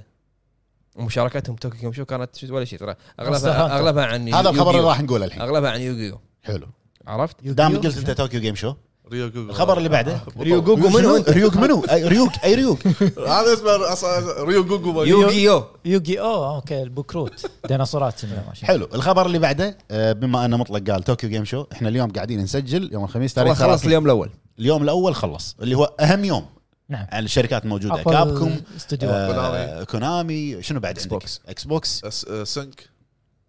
Speaker 1: ومشاركتهم توكي كيم شو كانت شو- ولا شيء ترى
Speaker 2: مصلحة أنت.
Speaker 1: اغلبها اغلبها عن يو-
Speaker 3: هذا الخبر اللي
Speaker 1: يوغيو.
Speaker 3: راح نقوله الحين
Speaker 1: اغلبها عن يوغيو
Speaker 3: حلو
Speaker 1: عرفت؟
Speaker 3: دام قلت انت طوكيو جيم شو
Speaker 4: ريو جوجو
Speaker 3: الخبر اللي بعده
Speaker 1: ريو جوجو
Speaker 3: شنو؟
Speaker 1: منو انت؟
Speaker 3: ريوك منو أي ريوك اي ريوك
Speaker 4: هذا اسمه أصلاً ريو جوجو
Speaker 1: يوغيو
Speaker 2: يوغي او اوكي البكروت ديناصورات هنا ما شاء الله.
Speaker 3: حلو الخبر اللي بعده آه، بما انه مطلق قال طوكيو جيم شو احنا اليوم قاعدين نسجل يوم الخميس
Speaker 1: هو
Speaker 3: تاريخ
Speaker 1: خلاص
Speaker 3: 30.
Speaker 1: اليوم الاول
Speaker 3: اليوم الاول خلص اللي هو اهم يوم
Speaker 2: نعم
Speaker 3: على الشركات الموجوده
Speaker 2: أقوى
Speaker 3: كابكوم
Speaker 2: استوديو
Speaker 3: آه، كونامي شنو بعد
Speaker 1: Xbox.
Speaker 3: عندك اكس بوكس
Speaker 4: سنك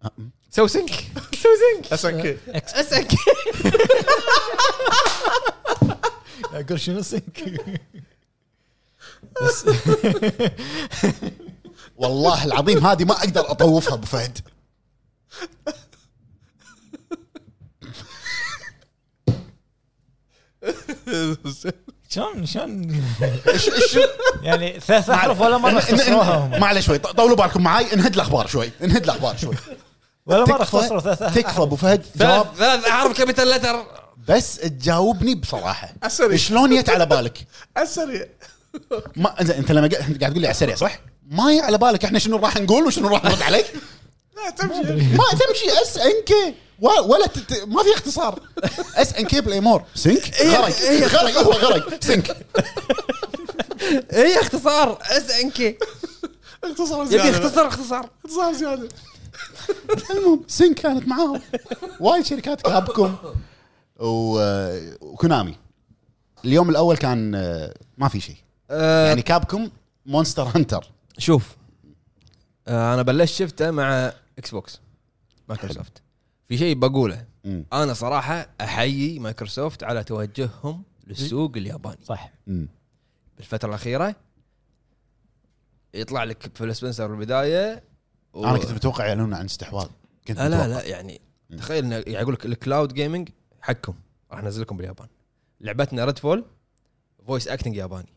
Speaker 3: آه،
Speaker 1: سو سنك سو سنك
Speaker 4: اس ان كي
Speaker 2: إكس-
Speaker 1: اسك
Speaker 2: اقول شنو سنك بس
Speaker 3: والله العظيم هذه ما اقدر اطوفها ابو فهد
Speaker 2: شلون شلون
Speaker 3: إيش- إيش-
Speaker 2: يعني ثلاث احرف ولا مره
Speaker 3: إن- إن-
Speaker 2: اختصروها هم
Speaker 3: معلش شوي طولوا بالكم معاي انهد الاخبار شوي انهد الاخبار شوي
Speaker 2: ولا مره
Speaker 3: تكفى-
Speaker 2: اختصروا ثلاث احرف
Speaker 3: تكفى ابو فهد جواب
Speaker 1: ثلاث ثلاث احرف كابيتال لتر
Speaker 3: بس تجاوبني بصراحه
Speaker 4: عسري.
Speaker 3: شلون جت على بالك؟
Speaker 4: السريع
Speaker 3: ما إنزين، انت لما قا- أنت قاعد تقول لي على السريع صح؟ ما هي على بالك احنا شنو راح نقول وشنو راح نرد عليك؟
Speaker 4: لا تمشي
Speaker 3: ما تمشي اس ان كي ولا تت... ما في اختصار اس ان كي بلاي مور سنك غرق غرق هو غرق سنك
Speaker 1: اي إيه، اختصار اس ان كي
Speaker 4: اختصر
Speaker 1: يبي
Speaker 4: زياده
Speaker 1: اختصر اختصار
Speaker 4: اختصار زياده
Speaker 3: المهم سنك كانت معاهم وايد شركات كابكوم و... وكونامي اليوم الاول كان آه، ما في شيء
Speaker 1: آه،
Speaker 3: يعني كابكوم مونستر هانتر
Speaker 1: شوف آه، انا بلشت شفته مع اكس بوكس مايكروسوفت في شيء بقوله
Speaker 3: مم.
Speaker 1: انا صراحه احيي مايكروسوفت على توجههم للسوق الياباني
Speaker 2: صح
Speaker 3: مم.
Speaker 1: بالفتره الاخيره يطلع لك فيل سبنسر بالبدايه و...
Speaker 3: انا كنت متوقع يعلنون عن استحواذ كنت
Speaker 1: لا لا,
Speaker 3: متوقع.
Speaker 1: لا يعني تخيل انه يعني اقول لك الكلاود جيمنج حقكم راح ننزلكم باليابان لعبتنا ريد فول فويس اكتنج ياباني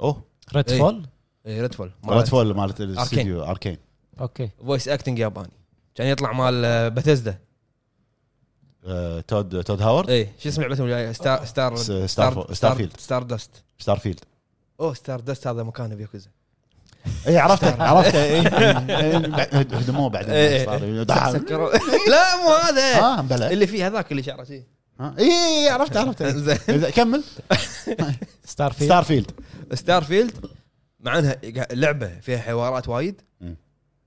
Speaker 3: اوه
Speaker 2: ريد
Speaker 1: إيه.
Speaker 2: فول
Speaker 1: اي ريد فول
Speaker 3: ريد فول مالت الاستديو اركين
Speaker 2: اوكي
Speaker 1: فويس اكتنج ياباني كان يطلع مال باتيزدا
Speaker 3: آه، تود تود هاورد
Speaker 1: ايه شو اسم لعبتهم الجايه ستار ستار
Speaker 3: س- ستار فو- ستار فيلد.
Speaker 1: ستار دست
Speaker 3: ستار فيلد
Speaker 1: اوه ستار دست هذا مكانه بياكوزا
Speaker 3: اي إيه، عرفته عرفته اي هدموه بعدين
Speaker 1: إيه.
Speaker 3: صار
Speaker 1: سكروا لا مو هذا
Speaker 3: اه بلى
Speaker 1: اللي فيه هذاك اللي شعره شيء
Speaker 3: آه، اي عرفت عرفت
Speaker 1: زين.
Speaker 3: إيه، كمل
Speaker 2: ستار فيلد
Speaker 3: ستار فيلد
Speaker 1: ستار فيلد مع انها قا- لعبه فيها حوارات وايد
Speaker 3: مم.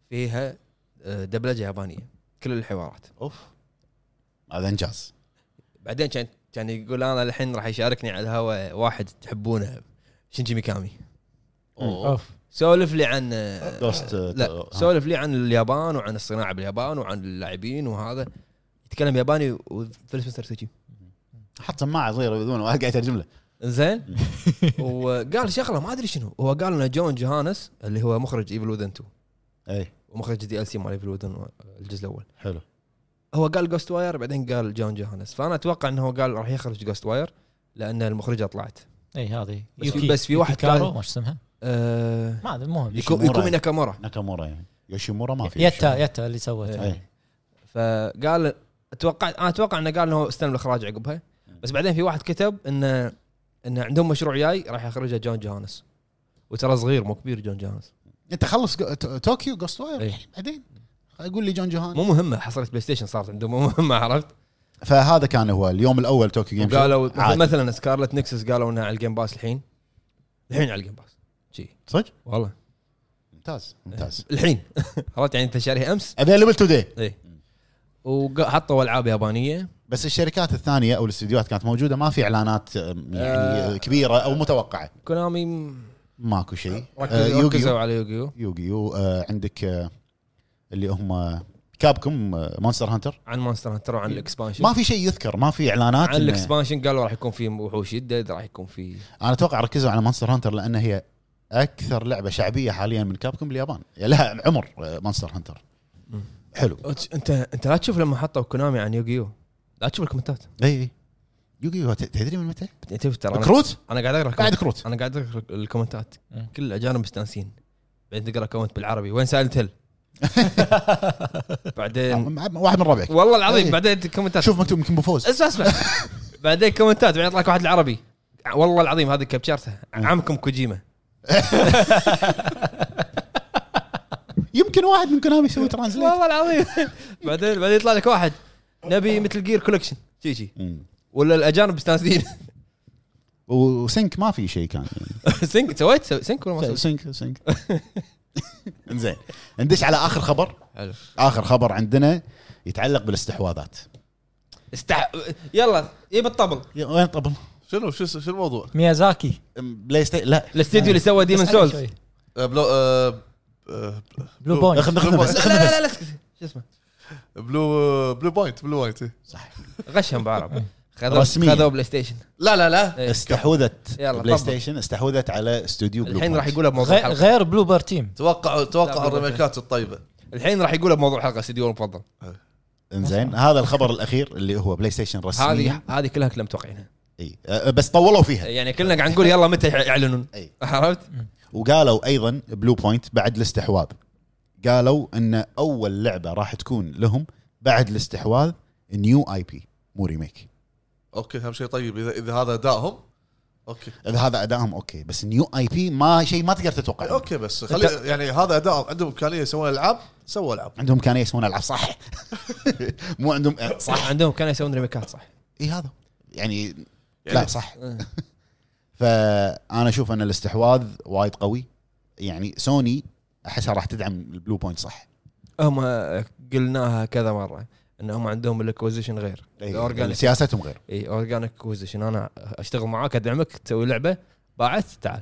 Speaker 1: فيها آه، دبلجه يابانيه كل الحوارات
Speaker 3: اوف هذا انجاز
Speaker 1: بعدين كان كان يقول انا الحين راح يشاركني على الهواء واحد تحبونه شنجي ميكامي
Speaker 4: اوه
Speaker 2: اوف
Speaker 1: سولف لي عن آه،
Speaker 3: جوست
Speaker 1: لا سولف لي عن اليابان وعن الصناعه باليابان وعن اللاعبين وهذا يتكلم ياباني وفيلسوفر سوتشي
Speaker 3: حط سماعه صغيره بدون واحد "أه، قاعد يترجم له
Speaker 1: زين وقال شغله ما ادري شنو هو قال ان جون جوهانس اللي هو مخرج ايفل وذن 2
Speaker 3: اي
Speaker 1: ومخرج دي ال سي مال ايفل وذن الجزء الاول
Speaker 3: إيه، حلو
Speaker 1: هو قال جوست واير بعدين قال جون جوهانس فانا اتوقع انه هو قال راح يخرج جوست واير لان المخرجه طلعت
Speaker 2: اي هذه
Speaker 1: بس في- بس في واحد
Speaker 2: كارو
Speaker 1: كان-
Speaker 2: ما شو اسمها
Speaker 1: آه
Speaker 2: ما ادري المهم
Speaker 3: يك-
Speaker 1: يكو-
Speaker 3: يوشيمورا.
Speaker 1: يكومي ناكامورا
Speaker 3: ناكامورا يعني يوشيمورا إيه. ما في
Speaker 2: يتا يتا اللي سوته
Speaker 3: اي
Speaker 1: فقال اتوقع انا اتوقع انه قال انه استلم الاخراج عقبها بس بعدين في واحد كتب انه انه عندهم مشروع جاي راح يخرجه جون جوهانس وترى صغير مو كبير جون جوهانس
Speaker 3: انت خلص جو- تو- طوكيو جوست واير
Speaker 1: إي.
Speaker 3: بعدين قول لي جون جوهان
Speaker 1: مو مهمه حصرت بلاي ستيشن صارت عندهم مو مهمه عرفت
Speaker 3: فهذا كان هو اليوم الاول طوكيو جيم شو.
Speaker 1: وقالوا
Speaker 3: عادي.
Speaker 1: مثلا, مثلا سكارلت نكسس قالوا انها على الجيم باس الحين الحين على الجيم باس شي
Speaker 3: صدق
Speaker 1: والله
Speaker 3: ممتاز ممتاز
Speaker 1: الحين عرفت يعني انت شاريها امس
Speaker 3: افيلبل توداي
Speaker 1: اي وحطوا العاب يابانيه
Speaker 3: بس الشركات الثانيه او الاستديوهات كانت موجوده ما في اعلانات أم، يعني
Speaker 1: آه.
Speaker 3: كبيره او متوقعه
Speaker 1: كونامي م-
Speaker 3: ماكو شيء آه،
Speaker 1: ركزوا ركزوا
Speaker 3: يوغيو
Speaker 1: على يوغيو
Speaker 3: يوغيو آه، عندك آه، اللي هم آه، كابكم مونستر هانتر
Speaker 1: عن مونستر هانتر وعن الاكسبانشن
Speaker 3: ما في شيء يذكر ما في اعلانات
Speaker 1: عن
Speaker 3: إنه-
Speaker 1: الاكسبانشن قالوا راح يكون في وحوش يدد راح يكون في
Speaker 3: انا اتوقع ركزوا على مونستر هانتر لان هي اكثر لعبه شعبيه حاليا من كابكم باليابان يعني لها عمر مونستر هانتر
Speaker 1: مم.
Speaker 3: حلو
Speaker 1: انت انت لا تشوف لما حطوا كونامي عن يوغيو لا تشوف الكومنتات
Speaker 3: اي اي يوغي هو ت- تدري من متى؟
Speaker 1: تشوف ترى أنا-
Speaker 3: كروت
Speaker 1: انا قاعد اقرا
Speaker 3: بعد
Speaker 1: كومنت-
Speaker 3: كروت
Speaker 1: انا قاعد اقرا الكومنتات
Speaker 2: مم.
Speaker 1: كل الاجانب مستانسين بعدين تقرا كومنت بالعربي وين سايلنت هيل بعدين
Speaker 3: آه، مع- واحد من ربعك
Speaker 1: والله العظيم
Speaker 3: إيه.
Speaker 1: بعدين كومنتات
Speaker 3: شوف مكتوب يمكن بفوز
Speaker 1: اسمع اسمع بعدين كومنتات بعدين يطلع لك واحد العربي والله العظيم هذه كبشرتها
Speaker 3: مم.
Speaker 1: عمكم كوجيما
Speaker 3: يمكن واحد من كونامي يسوي ترانزليت
Speaker 1: والله العظيم بعدين بعدين يطلع لك واحد نبي مثل جير كولكشن شي شي
Speaker 3: مم.
Speaker 1: ولا الاجانب مستانسين
Speaker 3: و- وسينك ما في شيء كان
Speaker 1: سينك سويت سو- سينك ولا ما
Speaker 3: يعني
Speaker 1: سويت؟
Speaker 3: سينك سينك زين ندش على اخر خبر
Speaker 1: حلو
Speaker 3: اخر خبر عندنا يتعلق بالاستحواذات
Speaker 1: استح... يلا جيب الطبل
Speaker 3: يا- وين طبل
Speaker 4: شنو شو شو الموضوع؟
Speaker 2: ميازاكي
Speaker 3: بلاي ستيشن لا
Speaker 1: الاستديو اللي سوى ديمن
Speaker 2: بس عليه
Speaker 1: سولز
Speaker 2: شوي.
Speaker 1: لا
Speaker 4: آه، بلو آه، آه،
Speaker 2: بلو بوينت
Speaker 3: اخذ اخذ نفس
Speaker 1: لا لا لا اسكت. شو اسمه
Speaker 4: بلو بلو بوينت بلو بوينت إيه.
Speaker 1: غشم بعرب خذوا
Speaker 3: رسمياً.
Speaker 1: خذوا بلاي ستيشن
Speaker 4: لا لا لا
Speaker 1: إيه.
Speaker 3: استحوذت
Speaker 1: يلا،
Speaker 3: بلاي
Speaker 1: طبل.
Speaker 3: ستيشن استحوذت على استوديو بلو
Speaker 1: الحين راح
Speaker 3: بوينت.
Speaker 1: يقولها بموضوع
Speaker 2: غير,
Speaker 1: الحلقه
Speaker 2: غير بلوبر تيم
Speaker 4: توقعوا توقعوا
Speaker 1: لا،
Speaker 4: الريميكات الطيبه
Speaker 1: الحين راح يقولها بموضوع الحلقه استديو المفضل
Speaker 3: انزين هذا الخبر الاخير اللي هو بلاي ستيشن رسميا
Speaker 1: هذه هذه كلها كنا متوقعينها
Speaker 3: اي أه، بس طولوا فيها
Speaker 1: يعني كلنا قاعد نقول يلا متى يعلنون
Speaker 3: إي.
Speaker 1: عرفت
Speaker 3: وقالوا ايضا بلو بوينت بعد الاستحواذ قالوا ان اول لعبه راح تكون لهم بعد الاستحواذ نيو اي بي مو ريميك
Speaker 4: اوكي اهم شيء طيب اذا اذا هذا ادائهم اوكي
Speaker 3: اذا هذا ادائهم اوكي بس نيو اي بي ما شيء ما تقدر تتوقع
Speaker 4: اوكي بس خلي يعني هذا ادائهم عندهم امكانيه يسوون العاب سووا العاب
Speaker 3: عندهم كانوا يسوون العاب صح مو عندهم أه، صح
Speaker 1: صح عندهم كانوا يسوون ريميكات صح
Speaker 3: اي هذا يعني لا
Speaker 4: يعني-
Speaker 3: صح فانا اشوف ان الاستحواذ وايد قوي يعني سوني احسها راح تدعم البلو بوينت صح
Speaker 1: هم قلناها كذا مره ان هم عندهم الاكوزيشن غير
Speaker 3: أي.
Speaker 1: الاورجانيك
Speaker 3: يعني سياستهم غير
Speaker 1: اي اورجانيك اكوزيشن انا اشتغل معاك ادعمك تسوي لعبه باعت تعال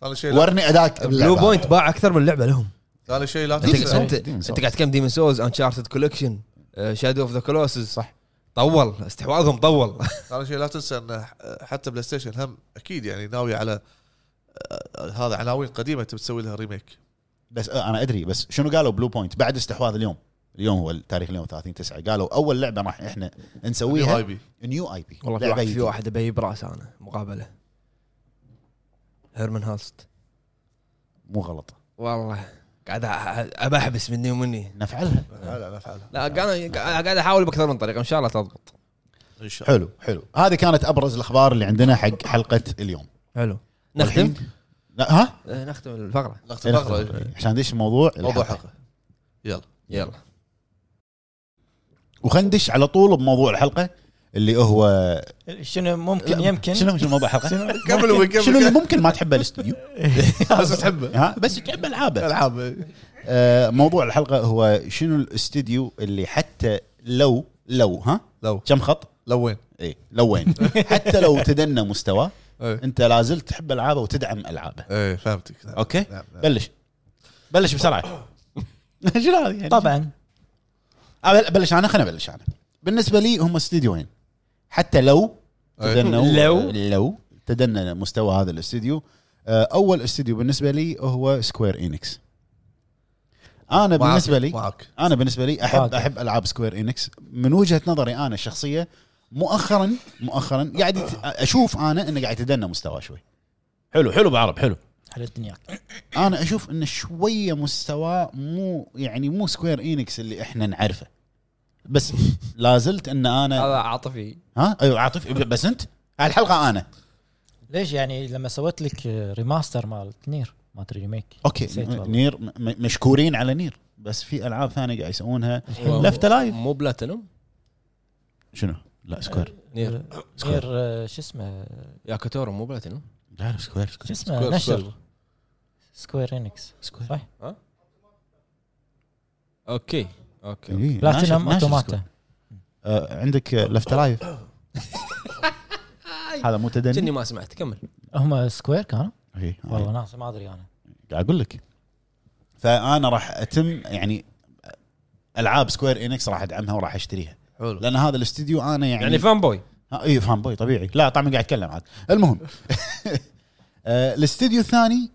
Speaker 4: ثاني شيء لا-
Speaker 3: ورني اداك
Speaker 1: بلو بوينت باع اكثر من لعبه لهم
Speaker 4: ثاني شيء لا
Speaker 1: انت
Speaker 4: تنسى
Speaker 1: انت,
Speaker 3: Demon's Souls.
Speaker 1: انت قاعد تكلم ديمن سوز انشارتد كولكشن شادو اوف ذا كلوسز صح طول استحواذهم طول
Speaker 4: ثاني شيء لا تنسى ان ح- حتى بلاي ستيشن هم اكيد يعني ناويه على آه، هذا عناوين قديمه تبي تسوي لها ريميك
Speaker 3: بس آه، انا ادري بس شنو قالوا بلو بوينت بعد استحواذ اليوم اليوم هو التاريخ اليوم 30 9 قالوا اول لعبه راح احنا
Speaker 4: هاي
Speaker 3: نسويها
Speaker 4: بي
Speaker 3: نيو اي بي
Speaker 1: والله في واحد في واحد ابي براس انا مقابله هيرمان هالست
Speaker 3: مو غلط
Speaker 1: والله قاعد أ- ابى احبس مني ومني
Speaker 3: نفعلها
Speaker 4: لا لا نفعلها
Speaker 1: لا قاعد قاعد احاول باكثر من طريقه ان شاء الله تضبط
Speaker 4: ان شاء الله
Speaker 3: حلو حلو هذه كانت ابرز الاخبار اللي عندنا حق حلقه اليوم
Speaker 1: حلو نختم
Speaker 3: والحين- لا ها
Speaker 1: آه، نختم الفقره
Speaker 4: نختم فقرة.
Speaker 1: طيب.
Speaker 3: عشان ندش الموضوع
Speaker 4: موضوع حلقه يلا
Speaker 1: يلا
Speaker 3: وخلينا ندش على طول بموضوع الحلقه اللي هو
Speaker 2: شنو ممكن
Speaker 3: لا،
Speaker 2: يمكن
Speaker 3: شنو شنو موضوع الحلقه؟
Speaker 4: قبل وقبل
Speaker 3: شنو اللي ممكن ما تحبه الاستوديو؟
Speaker 4: بس تحبه
Speaker 3: ها بس تحب العابه
Speaker 4: العاب
Speaker 3: آه، موضوع الحلقه هو شنو الاستوديو اللي حتى لو لو ها
Speaker 4: لو
Speaker 3: كم خط؟
Speaker 4: لو وين
Speaker 3: اي لو وين حتى لو تدنى مستواه
Speaker 4: ايه
Speaker 3: انت لازلت تحب العابه وتدعم العابه
Speaker 4: ايه فهمتك نعم.
Speaker 3: اوكي
Speaker 4: نعم، نعم.
Speaker 3: بلش بلش بسرعه شنو هذه يعني؟
Speaker 2: طبعا
Speaker 3: أبل- بلش انا خليني ابلش انا بالنسبه لي هم استديوين حتى لو تدنوا
Speaker 2: لو.
Speaker 3: لو تدنى مستوى هذا الاستوديو آه، اول استوديو بالنسبه لي هو سكوير انكس انا
Speaker 4: معك-
Speaker 3: بالنسبه لي
Speaker 4: معك
Speaker 3: انا بالنسبه لي احب
Speaker 2: واقع.
Speaker 3: احب العاب سكوير انكس من وجهه نظري انا الشخصيه مؤخرا مؤخرا قاعد يت- اشوف انا انه قاعد يتدنى مستواه شوي حلو حلو بعرب حلو
Speaker 2: على الدنيا
Speaker 3: انا اشوف انه شويه مستواه مو يعني مو سكوير انكس اللي احنا نعرفه بس لازلت ان انا
Speaker 1: هذا عاطفي
Speaker 3: ها ايوه عاطف بس انت هالحلقه انا
Speaker 2: ليش يعني لما سويت لك ريماستر مال نير ما ادري ريميك
Speaker 3: اوكي
Speaker 2: نسيت والله.
Speaker 3: نير م- م- مشكورين على نير بس في العاب ثانيه قاعد يسوونها
Speaker 2: الحين
Speaker 3: لفت لايف
Speaker 1: مو بلاتينوم
Speaker 3: شنو لا سكوير
Speaker 1: نير
Speaker 2: نير آه، شو اسمه
Speaker 1: يا كاتورو مو بلاتينوم
Speaker 3: لا لا سكوير سكوير
Speaker 2: شو اسمه
Speaker 4: سكوير-
Speaker 2: آه، نشر
Speaker 4: سكوير.
Speaker 2: سكوير انكس
Speaker 3: سكوير
Speaker 2: صح
Speaker 1: اوكي اوكي
Speaker 3: إيه،
Speaker 2: بلاتينم
Speaker 3: ناشر- ناشر
Speaker 2: اوتوماتا
Speaker 3: سكوير. آه، عندك لفت لايف هذا مو
Speaker 1: كني
Speaker 3: تدني
Speaker 1: ما سمعت كمل
Speaker 2: هم سكوير كانوا
Speaker 3: إيه،
Speaker 2: والله ناس ما ادري انا
Speaker 3: قاعد اقول لك فانا راح اتم يعني العاب سكوير انكس راح ادعمها وراح اشتريها
Speaker 4: حلو
Speaker 3: لان هذا الاستديو انا يعني,
Speaker 1: يعني فان بوي
Speaker 3: ها، اي فان بوي طبيعي لا طبعا قاعد اتكلم عاد المهم آه، الاستديو الثاني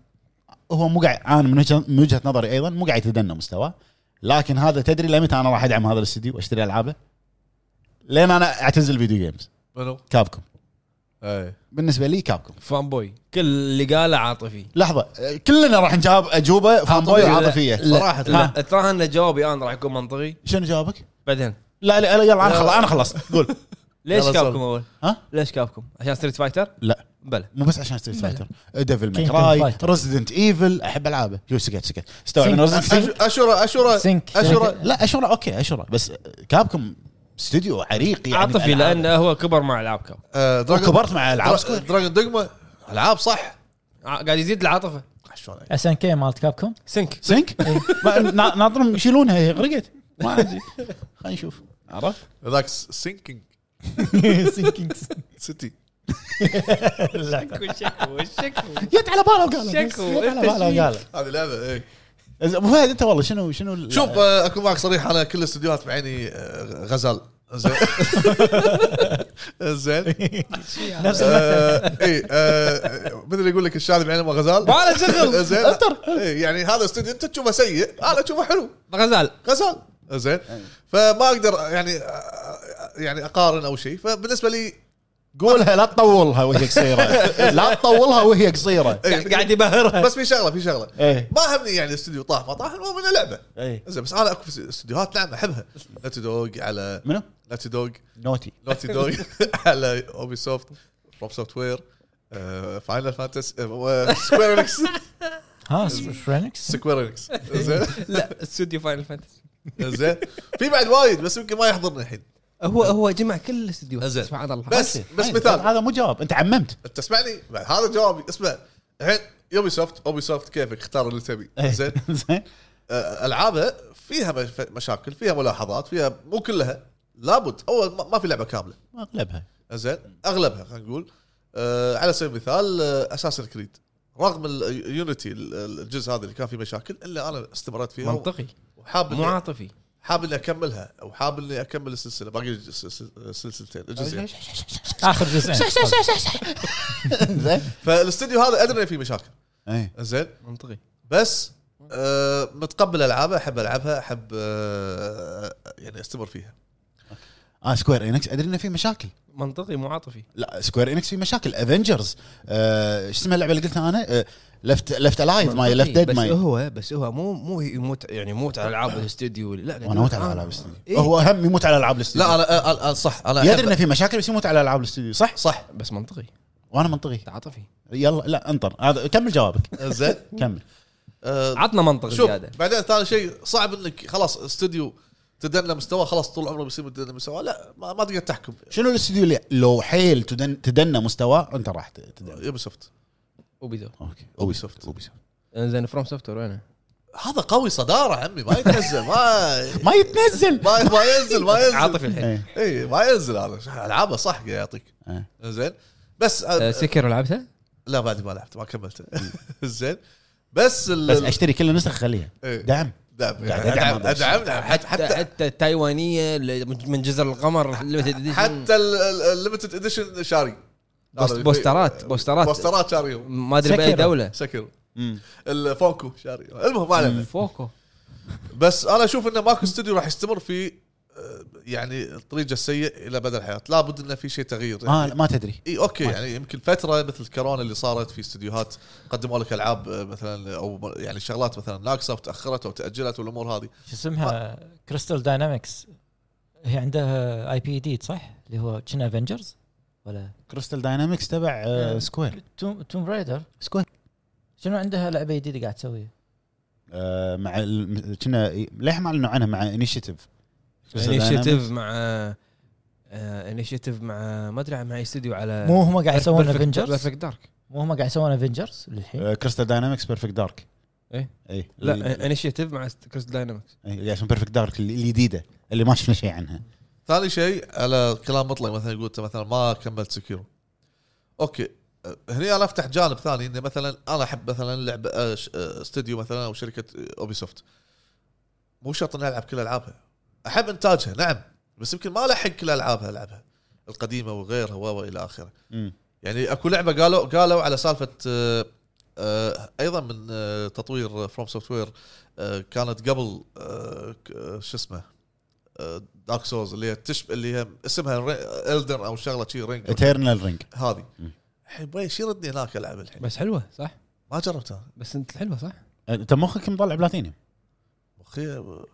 Speaker 3: هو مو قاعد انا من وجهة- من وجهه نظري ايضا مو قاعد يتدنى مستواه لكن هذا تدري لمتى انا راح ادعم هذا الاستديو واشتري العابه لين انا اعتزل الفيديو جيمز
Speaker 4: منو؟ إيه.
Speaker 3: كابكم
Speaker 4: اي
Speaker 3: بالنسبه لي كابكم
Speaker 1: فان بوي كل اللي قاله عاطفي
Speaker 3: لحظه آه، كلنا راح نجاوب اجوبه فان بوي
Speaker 1: لا،
Speaker 3: وعاطفيه
Speaker 1: صراحه
Speaker 3: ها،
Speaker 1: لا ترى ان جوابي انا راح يكون منطقي
Speaker 3: شنو جوابك؟
Speaker 1: بعدين
Speaker 3: لا لا لا، يلا انا خلص انا خلصت قول
Speaker 1: ليش
Speaker 4: يلا
Speaker 1: كابكم
Speaker 4: سولف.
Speaker 1: اول؟
Speaker 3: ها؟
Speaker 1: ليش كابكم؟ عشان ستريت فايتر؟
Speaker 3: لا
Speaker 1: بلى
Speaker 3: مو بس عشان ستريت فايتر ديفل
Speaker 2: Kingdom
Speaker 3: ماكراي
Speaker 2: Fighter.
Speaker 3: ريزدنت ايفل احب العابه شو سكت سكت استوعب
Speaker 2: Sync.
Speaker 3: إن Resident Evil-
Speaker 4: أش- اشوره اشوره
Speaker 2: سينك
Speaker 4: اشوره
Speaker 3: لا اشوره اوكي اشوره بس كابكم استوديو عريق يعني
Speaker 1: عاطفي
Speaker 3: بالألعاب.
Speaker 1: لانه هو كبر مع العاب كاب
Speaker 4: آه، دراجون-
Speaker 3: وكبرت مع العاب
Speaker 4: درا-
Speaker 3: سكوير
Speaker 4: دراجون دوجما العاب صح
Speaker 1: ع- قاعد يزيد العاطفه
Speaker 4: شلون
Speaker 2: اس ان كي مالت كابكم
Speaker 1: سنك
Speaker 3: سينك ما- نا- ناطرهم يشيلونها هي غرقت ما عندي خلينا نشوف عرفت
Speaker 4: ذاك سينكينج
Speaker 2: سينكينج
Speaker 4: سيتي
Speaker 1: شكو شكو شكو
Speaker 3: جت على باله وقال
Speaker 1: شكو.
Speaker 3: على باله وقال
Speaker 4: هذه لعبه ايه
Speaker 3: ابو فهد انت والله شنو شنو ال-
Speaker 4: شوف آه، اكون معك صريح انا كل الاستديوهات بعيني آه، غزال زين زين
Speaker 2: نفس
Speaker 4: آه، اي آه، مثل يقول لك الشاذ بعينه ما غزال
Speaker 1: ولا شغل
Speaker 4: زين إيه، يعني هذا استوديو انت تشوفه سيء انا اشوفه حلو
Speaker 1: غزال
Speaker 4: غزال زين فما اقدر يعني يعني اقارن او شيء فبالنسبه لي إيه،
Speaker 3: قولها لا تطولها وهي قصيره لا تطولها وهي قصيره
Speaker 4: إيه،
Speaker 1: قاعد إيه. يبهرها
Speaker 4: بس في شغله في شغله
Speaker 3: ايه
Speaker 4: ما همني يعني استوديو طاح ما طاح المهم انه لعبه
Speaker 1: إيه.
Speaker 3: ايه
Speaker 4: زين بس انا اكو في استديوهات نعم احبها ناتي دوج على
Speaker 3: منو؟
Speaker 4: ناتي دوج
Speaker 3: نوتي
Speaker 4: نوتي دوج على اوبي سوفت فروم سوفت وير فاينل فانتس سكوير انكس
Speaker 2: ها فرينكس
Speaker 4: سكوير انكس زين
Speaker 1: لا استوديو فاينل فانتسي
Speaker 4: زين في بعد وايد بس يمكن ما يحضرني الحين
Speaker 1: هو هو جمع كل الاستديوهات
Speaker 4: زين.
Speaker 1: سبحان الله
Speaker 4: بس بس
Speaker 1: طيب.
Speaker 4: مثال
Speaker 3: طيب، هذا مو جواب انت عممت
Speaker 4: انت اسمعني بعد هذا جوابي اسمع الحين يوبي سوفت اوبي سوفت كيفك اختار اللي تبي
Speaker 3: إيه.
Speaker 4: زين
Speaker 3: زين
Speaker 4: آه، العابها فيها مش- مشاكل فيها ملاحظات فيها مو كلها لابد اول ما- ما في لعبه كامله
Speaker 3: اغلبها
Speaker 4: زين اغلبها خلينا نقول آه على سبيل المثال اساسن كريد رغم اليونتي الجزء هذا اللي كان فيه مشاكل الا انا استمريت فيها
Speaker 1: منطقي
Speaker 4: وحاب
Speaker 1: مو
Speaker 4: إني-
Speaker 1: عاطفي
Speaker 4: حاب اني اكملها او حاب اني اكمل السلسله باقي الس- الس- سلسلتين الجزئين
Speaker 2: اخر جزئين
Speaker 3: زين
Speaker 4: فالاستديو هذا ادري إنه فيه مشاكل
Speaker 3: ايه
Speaker 4: زين
Speaker 1: منطقي
Speaker 4: بس آه متقبل العابها احب العبها احب آه يعني استمر فيها
Speaker 3: اه سكوير انكس ادري انه في مشاكل
Speaker 1: منطقي مو عاطفي
Speaker 3: لا سكوير انكس في مشاكل افنجرز آه، شو اسمها اللعبه اللي قلتها آه، انا لفت لفت الايف ماي لفت
Speaker 1: منطقي.
Speaker 3: ديد
Speaker 1: بس
Speaker 3: ماي
Speaker 1: هو بس هو مو مو يموت يعني يموت على العاب الاستوديو لا قاعد
Speaker 3: وانا
Speaker 1: يقول
Speaker 3: موت على
Speaker 1: أنا-
Speaker 3: العاب الاستوديو
Speaker 1: إيه.
Speaker 3: هو هم يموت على العاب الاستوديو
Speaker 4: لا انا أنا- أنا- صح انا أحب-
Speaker 3: يدري انه في مشاكل بس يموت على العاب الاستوديو صح
Speaker 4: صح
Speaker 1: بس منطقي
Speaker 3: وانا منطقي
Speaker 1: عاطفي
Speaker 3: يلا لا انطر هذا كمل جوابك
Speaker 4: زين
Speaker 3: كمل
Speaker 4: آه،
Speaker 1: عطنا منطق
Speaker 4: شوف
Speaker 1: زياده
Speaker 4: بعدين ثاني شيء صعب انك خلاص استوديو تدنى مستوى خلاص طول عمره بيصير متدنى مستوى لا ما, ما تقدر تحكم
Speaker 3: شنو الاستوديو اللي لو حيل تدن تدنى مستواه انت راح ت- تدنى
Speaker 4: يوبي سوفت
Speaker 1: وبيدو
Speaker 3: اوكي
Speaker 4: أوبي سوفت.
Speaker 3: اوبي سوفت
Speaker 1: زين فروم سوفت وير وينه؟
Speaker 4: هذا قوي صداره عمي ما يتنزل ما
Speaker 3: ما يتنزل
Speaker 4: ما, ما ينزل ما ينزل
Speaker 1: عاطفي الحين
Speaker 3: إيه.
Speaker 4: اي ما ينزل هذا العابه صح قاعد يعطيك
Speaker 3: إيه.
Speaker 4: زين بس
Speaker 1: آه،
Speaker 4: آه،
Speaker 1: سكر لعبته؟
Speaker 4: لا بعد ما لعبت ما كملت زين بس ال-
Speaker 3: بس اشتري كل النسخ خليها
Speaker 4: إيه.
Speaker 3: دعم
Speaker 4: دعم
Speaker 3: قاعد أدعم
Speaker 4: ادعم
Speaker 3: هذا الشيء.
Speaker 4: ادعم نعم حتى
Speaker 1: حتى
Speaker 4: حتى
Speaker 1: حتى التايوانيه اللي من جزر القمر limited edition.
Speaker 4: حتى الليمتد اديشن شاري
Speaker 1: بوست-
Speaker 4: هذا في-
Speaker 1: بوسترات- بوسترات.
Speaker 4: بوسترات شاريهم
Speaker 1: ما ادري باي
Speaker 2: شكله.
Speaker 1: دوله
Speaker 4: سكر الفونكو شاري المهم ما علينا
Speaker 1: فوكو
Speaker 4: بس انا اشوف انه ماكو استوديو راح يستمر في آه، يعني الطريق السيء الى بدء الحياه لابد انه في شيء تغيير
Speaker 3: ما
Speaker 1: آه،
Speaker 4: يعني
Speaker 3: آه، ما تدري
Speaker 4: اي اوكي يعني يمكن فتره مثل الكورونا اللي صارت في استديوهات قدموا لك العاب آه، مثلا او م- يعني شغلات مثلا ناقصه وتاخرت او تاجلت والامور هذه
Speaker 2: شو اسمها كريستال داينامكس هي عندها اي بي جديد صح اللي هو كنا افنجرز ولا
Speaker 3: كريستال داينامكس تبع آه، سكوير
Speaker 2: توم توم رايدر
Speaker 3: سكوير
Speaker 2: شنو عندها لعبه جديده قاعد تسويها
Speaker 3: آه، مع ال- كنا ليه ما اعلنوا عنها مع انيشيتيف
Speaker 1: انيشيتيف مع انيشيتيف مع ما ادري مع أي استوديو على
Speaker 2: مو هم قاعد يسوون افنجرز
Speaker 1: بيرفكت دارك
Speaker 2: مو هم قاعد يسوون افنجرز
Speaker 4: إيه.
Speaker 2: للحين
Speaker 3: كريستال داينامكس بيرفكت دارك
Speaker 1: إيه.
Speaker 3: اي
Speaker 1: لا انيشيتيف مع كريستال داينامكس
Speaker 3: إيه، اسمه بيرفكت دارك الجديده اللي ما شفنا شيء عنها
Speaker 4: ثاني شيء على كلام مطلق مثلا يقول أنت مثلا ما كملت سكيرو اوكي آه، هني انا افتح جانب ثاني انه مثلا انا احب مثلا لعبه آه، ش- آه، استوديو مثلا او شركه اوبي سوفت آه، مو شرط اني العب كل العابها احب انتاجها نعم بس يمكن ما الحق كل العابها العبها القديمه وغيرها و- والى اخره
Speaker 3: مم.
Speaker 4: يعني اكو لعبه قالوا قالوا على سالفه آه، آه، ايضا من آه، تطوير فروم سوفت وير كانت قبل آه، ك- آه، شو اسمه دارك سولز اللي هي تشب اللي هي اسمها الدر او شغله شي رينج
Speaker 3: ايترنال رينج
Speaker 4: هذه
Speaker 3: مم.
Speaker 4: الحين وين شي ردني هناك العب الحين
Speaker 1: بس حلوه صح
Speaker 4: ما جربتها
Speaker 1: بس انت حلوه صح
Speaker 3: انت آه، مخك مطلع بلاتينيوم
Speaker 4: اخي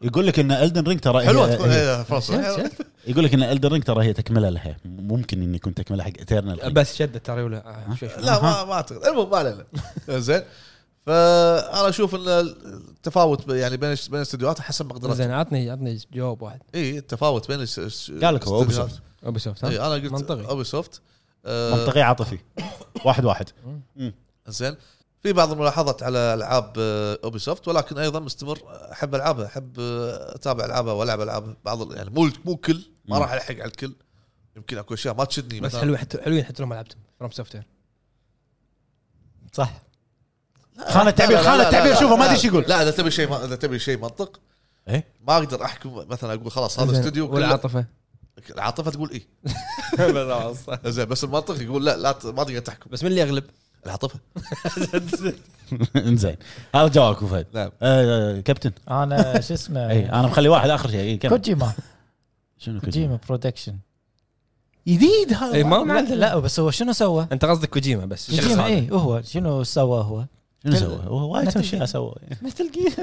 Speaker 3: يقول لك ان الدن رينج ترى هي-
Speaker 4: حلوه آه، تكون
Speaker 3: هي-
Speaker 4: إيه، فرصة.
Speaker 1: شفت- شفت؟
Speaker 3: يقول لك ان الدن رينج ترى هي تكمله لها ممكن ان يكون تكمله حق ايترنال
Speaker 1: آه، بس شدت ترى ولا آه، شوي شوي.
Speaker 4: لا ما ما اعتقد المهم ما علينا زين فانا اشوف ان التفاوت يعني بين بين الاستديوهات حسب مقدرات
Speaker 1: زين عطني عطني جواب واحد
Speaker 4: اي التفاوت بين الس-
Speaker 3: قال لك هو أوبي
Speaker 4: الاستديوهات.
Speaker 3: سوفت.
Speaker 1: اوبي سوفت ها؟
Speaker 4: اي انا إيه، قلت
Speaker 1: منطقي.
Speaker 4: اوبي سوفت آه،
Speaker 3: منطقي عاطفي واحد واحد
Speaker 4: زين في بعض الملاحظات على العاب آه، اوبي سوفت ولكن ايضا مستمر احب العابها احب آه، اتابع العابها والعب العابها بعض ال- يعني مو مو كل ما
Speaker 3: مم.
Speaker 4: راح الحق على الكل يمكن اكو اشياء ما تشدني
Speaker 1: بس
Speaker 4: مثلا
Speaker 1: حلوين حتى حلوين حتى لو ما لعبتهم فروم سوفت وير
Speaker 2: صح
Speaker 3: خانه تعبير
Speaker 4: لا، لا،
Speaker 3: خانه
Speaker 4: لا،
Speaker 3: تعبير
Speaker 4: لا،
Speaker 3: شوفه ما
Speaker 4: لا،
Speaker 3: ادري ايش يقول
Speaker 4: لا اذا تبي شيء ما- اذا تبي شيء منطق
Speaker 3: إيه؟
Speaker 4: ما اقدر احكم مثلا اقول خلاص هذا استوديو كله-
Speaker 1: والعاطفه
Speaker 4: العاطفه تقول ايه زين بس المنطق يقول لا لا ت- ما تقدر تحكم
Speaker 1: بس من اللي يغلب؟
Speaker 4: العاطفه
Speaker 3: انزين هذا جوابك أبو فهد
Speaker 4: نعم
Speaker 3: آه، آه، كابتن
Speaker 2: انا شو
Speaker 3: اي
Speaker 2: اسمه
Speaker 3: انا مخلي واحد اخر شيء إي، كمل.
Speaker 2: كوجيما
Speaker 3: شنو كوجيما
Speaker 2: كوجيما برودكشن
Speaker 3: جديد هذا
Speaker 1: اي
Speaker 4: إيه،
Speaker 1: آه، إيه، ما ما
Speaker 2: لا,
Speaker 1: عنده لا
Speaker 2: لا بس هو شنو سوى؟
Speaker 1: انت قصدك كوجيما بس
Speaker 2: كوجيما اي هو شنو سوى هو؟
Speaker 3: شنو سوى؟ هو وايد اشياء سوى
Speaker 2: مثل جير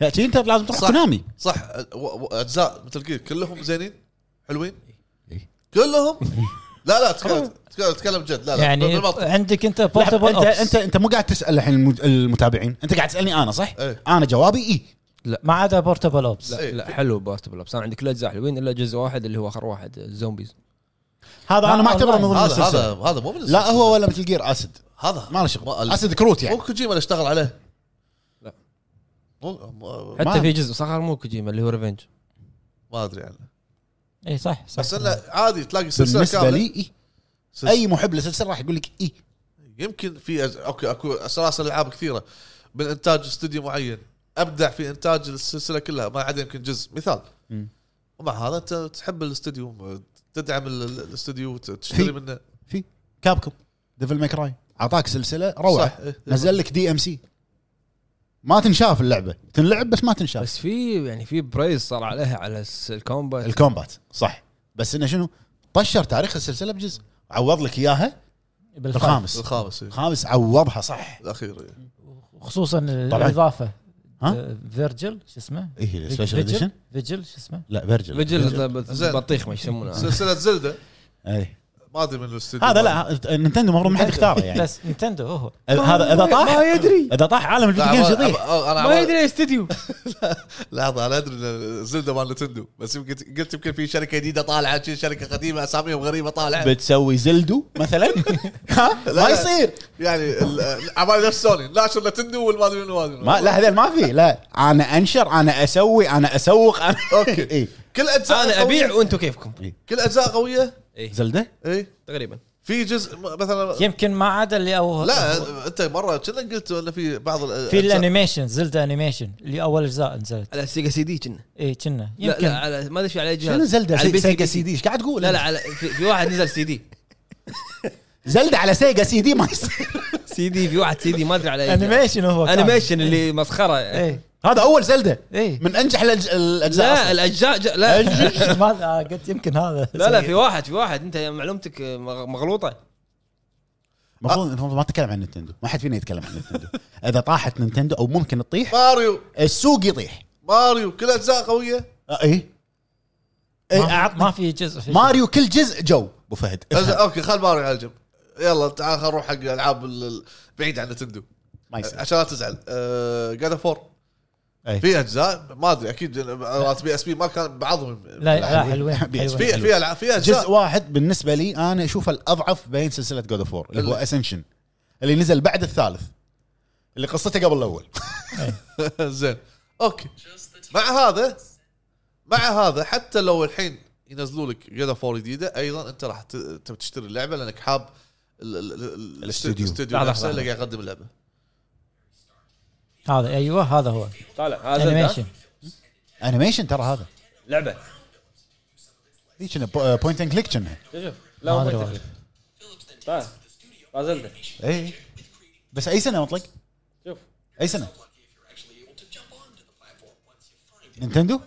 Speaker 3: لا شي انت لازم تروح
Speaker 4: صح.
Speaker 3: كونامي
Speaker 4: صح أ- و- و- اجزاء مثل جير كلهم زينين حلوين
Speaker 3: إيه.
Speaker 4: كلهم لا لا تكلم تكلم- تكلم جد لا لا
Speaker 2: يعني
Speaker 4: بالمنطق.
Speaker 2: عندك انت
Speaker 3: لحظة،
Speaker 2: بورتبل
Speaker 3: انت انت انت مو قاعد تسال الحين المج- المتابعين انت قاعد تسالني انا صح؟
Speaker 4: إيه.
Speaker 3: انا جوابي اي
Speaker 2: ما عدا بورتبل اوبس
Speaker 1: لا, لا حلو باست بلوبس انا عندي كل اجزاء حلوين الا جزء واحد اللي هو اخر واحد آه، الزومبيز
Speaker 3: هذا انا
Speaker 2: لا،
Speaker 3: ما اعتبره
Speaker 2: والله.
Speaker 3: من ضمن
Speaker 4: هذا هذا
Speaker 3: السلسله
Speaker 4: هذا مو من
Speaker 3: لا هو ولا مثل جير اسد
Speaker 4: هذا
Speaker 3: ما له شغل
Speaker 4: ما-
Speaker 3: اسد كروت يعني
Speaker 4: مو كوجيما اللي اشتغل عليه
Speaker 1: لا.
Speaker 4: مو مو-
Speaker 1: حتى
Speaker 3: ما-
Speaker 1: في جزء صغر مو كوجيما اللي هو ريفنج
Speaker 4: ما ادري عنه
Speaker 2: اي إيه، صح صح
Speaker 4: بس انه عادي تلاقي سلسله
Speaker 3: بالنسبه
Speaker 4: كامله
Speaker 3: لي إيه.
Speaker 4: سلسلة-
Speaker 3: اي محب للسلسله راح يقول لك إيه. اي
Speaker 4: يمكن في أز... اوكي اكو سلاسل العاب كثيره من انتاج استوديو معين ابدع في انتاج السلسله كلها ما عدا يمكن جزء مثال
Speaker 3: مم.
Speaker 4: ومع هذا انت تحب الاستوديو تدعم ال- ال- الاستوديو ت- تشتري
Speaker 3: في
Speaker 4: منه
Speaker 3: كابكم ديفل ماي كراي اعطاك سلسله روعه
Speaker 4: صح إيه.
Speaker 3: نزل لك دي ام سي ما تنشاف اللعبه تنلعب بس ما تنشاف
Speaker 1: بس في يعني في برايز صار عليها على الس- الكومبات
Speaker 3: الكومبات صح بس انه شنو طشر تاريخ السلسله بجزء عوض لك اياها بالخامس
Speaker 4: الخامس إيه.
Speaker 3: الخامس عوضها صح
Speaker 4: الاخير إيه.
Speaker 2: خصوصا
Speaker 3: طبعاً.
Speaker 2: الاضافه
Speaker 3: ها؟
Speaker 2: آه، فيرجل شو اسمه؟
Speaker 3: ايه السبيشل
Speaker 2: فيجل-
Speaker 3: اديشن
Speaker 2: فيجل شو اسمه؟
Speaker 3: لا فيرجل
Speaker 1: فيجل
Speaker 4: زين.
Speaker 1: بطيخ ما يسمونه
Speaker 4: سلسله زلدة
Speaker 3: اي
Speaker 4: ما ادري من الاستوديو
Speaker 3: آه. إيه. هذا لا نينتندو المفروض ما حد اختاره يعني
Speaker 2: بس نينتندو هو
Speaker 3: هذا اذا طاح
Speaker 1: ما يدري
Speaker 3: اذا طاح عالم
Speaker 4: لا،
Speaker 3: الفيديو جيمز
Speaker 4: أبا-
Speaker 3: يضيع
Speaker 4: أبا- انا
Speaker 1: ما
Speaker 4: أبا-
Speaker 1: يدري استديو
Speaker 4: لحظه انا ادري ان زلدة مال نتندو بس يمكن قلت يمكن في شركه جديده طالعه شي شركه قديمه اساميهم غريبه طالعه
Speaker 3: بتسوي زلدو مثلا ها
Speaker 4: لا.
Speaker 3: ما يصير
Speaker 4: يعني ال- عمال نفس سوني ناشر نتندو والما ادري من والما أدري من.
Speaker 3: ما لا هذول ما في لا انا انشر انا اسوي انا اسوق انا
Speaker 4: أوكي.
Speaker 3: اي
Speaker 4: كل اجزاء
Speaker 1: انا
Speaker 4: قوية.
Speaker 1: ابيع وانتم كيفكم
Speaker 4: كل اجزاء قويه
Speaker 1: إيه.
Speaker 3: زلده
Speaker 4: اي
Speaker 1: تقريبا
Speaker 4: في جزء م- مثلا
Speaker 2: يمكن ما عدا اللي او
Speaker 4: لا انت مره كنا قلت انه في بعض الأ-
Speaker 2: في
Speaker 4: الأجزاء-
Speaker 2: الانيميشن زلدا انيميشن اللي اول اجزاء نزلت
Speaker 1: على سيجا سي دي كنا
Speaker 2: اي كنا
Speaker 1: لا
Speaker 2: يمكن
Speaker 1: لا على ما ادري شو على أي جهاز
Speaker 3: شنو زلدة
Speaker 1: على
Speaker 3: سي-
Speaker 1: بي سي-
Speaker 3: سيجا
Speaker 1: بي
Speaker 3: سي دي ايش قاعد تقول
Speaker 1: لا لا على في, في واحد نزل سي دي
Speaker 3: زلدة على سيجا سي دي ما يصير
Speaker 1: سي دي في واحد سي دي ما ادري على أي جهاز.
Speaker 2: انيميشن هو كان. إيه،
Speaker 1: انيميشن اللي مسخره
Speaker 2: اي
Speaker 3: هذا اول زلدة
Speaker 2: اي
Speaker 3: من انجح الأج- الاجزاء
Speaker 1: إيه، لا
Speaker 3: أصلاً.
Speaker 1: الاجزاء ج- لا
Speaker 2: ما- آه، قلت يمكن هذا
Speaker 1: لا لا في واحد في واحد انت معلومتك مغ- مغلوطه
Speaker 3: المفروض المفروض ما تتكلم عن نينتندو ما حد فينا يتكلم عن نينتندو اذا طاحت نينتندو او ممكن تطيح
Speaker 4: ماريو
Speaker 3: السوق يطيح
Speaker 4: ماريو كل اجزاء قويه
Speaker 3: آه،
Speaker 1: إيه.
Speaker 3: اي إي،
Speaker 2: ما,
Speaker 3: أعطني.
Speaker 2: ما في جزء في
Speaker 3: إيه. ماريو كل جزء جو ابو فهد
Speaker 4: أجزاء-
Speaker 3: افهم.
Speaker 4: اوكي خل ماريو على جنب يلا تعال خل نروح حق العاب ال- ال- بعيد عن نتندو
Speaker 3: ما يصير
Speaker 4: عشان لا تزعل آه، جاد اوف 4
Speaker 3: أي.
Speaker 4: في اجزاء ما أه، ادري اكيد مرات بي اس بي ما كان بعضهم
Speaker 2: لا لا حلوين
Speaker 3: حبيبي.
Speaker 2: حلوين.
Speaker 4: في في العاب في
Speaker 3: جزء
Speaker 4: اجزاء
Speaker 3: واحد بالنسبه لي انا اشوفه الاضعف بين سلسله جود اوف 4 اللي هو اسنشن اللي نزل بعد الثالث اللي قصته قبل الاول
Speaker 4: زين اوكي مع هذا مع هذا حتى لو الحين ينزلوا لك جاد اوف 4 جديده ايضا انت راح ت- تبي تشتري اللعبه لانك حاب ال- ال- ال-
Speaker 3: الاستوديو.
Speaker 4: الاستوديو
Speaker 1: لحظة،
Speaker 4: نفسه
Speaker 1: لحظة.
Speaker 4: اللي قاعد يقدم اللعبه
Speaker 2: هذا ايوه هذا هو
Speaker 1: طالع
Speaker 2: انيميشن
Speaker 3: انيميشن ترى هذا
Speaker 1: لعبه
Speaker 3: هي كنا بوينت اند كليك كنا
Speaker 1: لا طيب.
Speaker 2: ما أدري والله.
Speaker 1: طالع رازلدا
Speaker 3: اي إيه. بس اي سنه مطلق
Speaker 1: شوف
Speaker 3: اي سنه نينتندو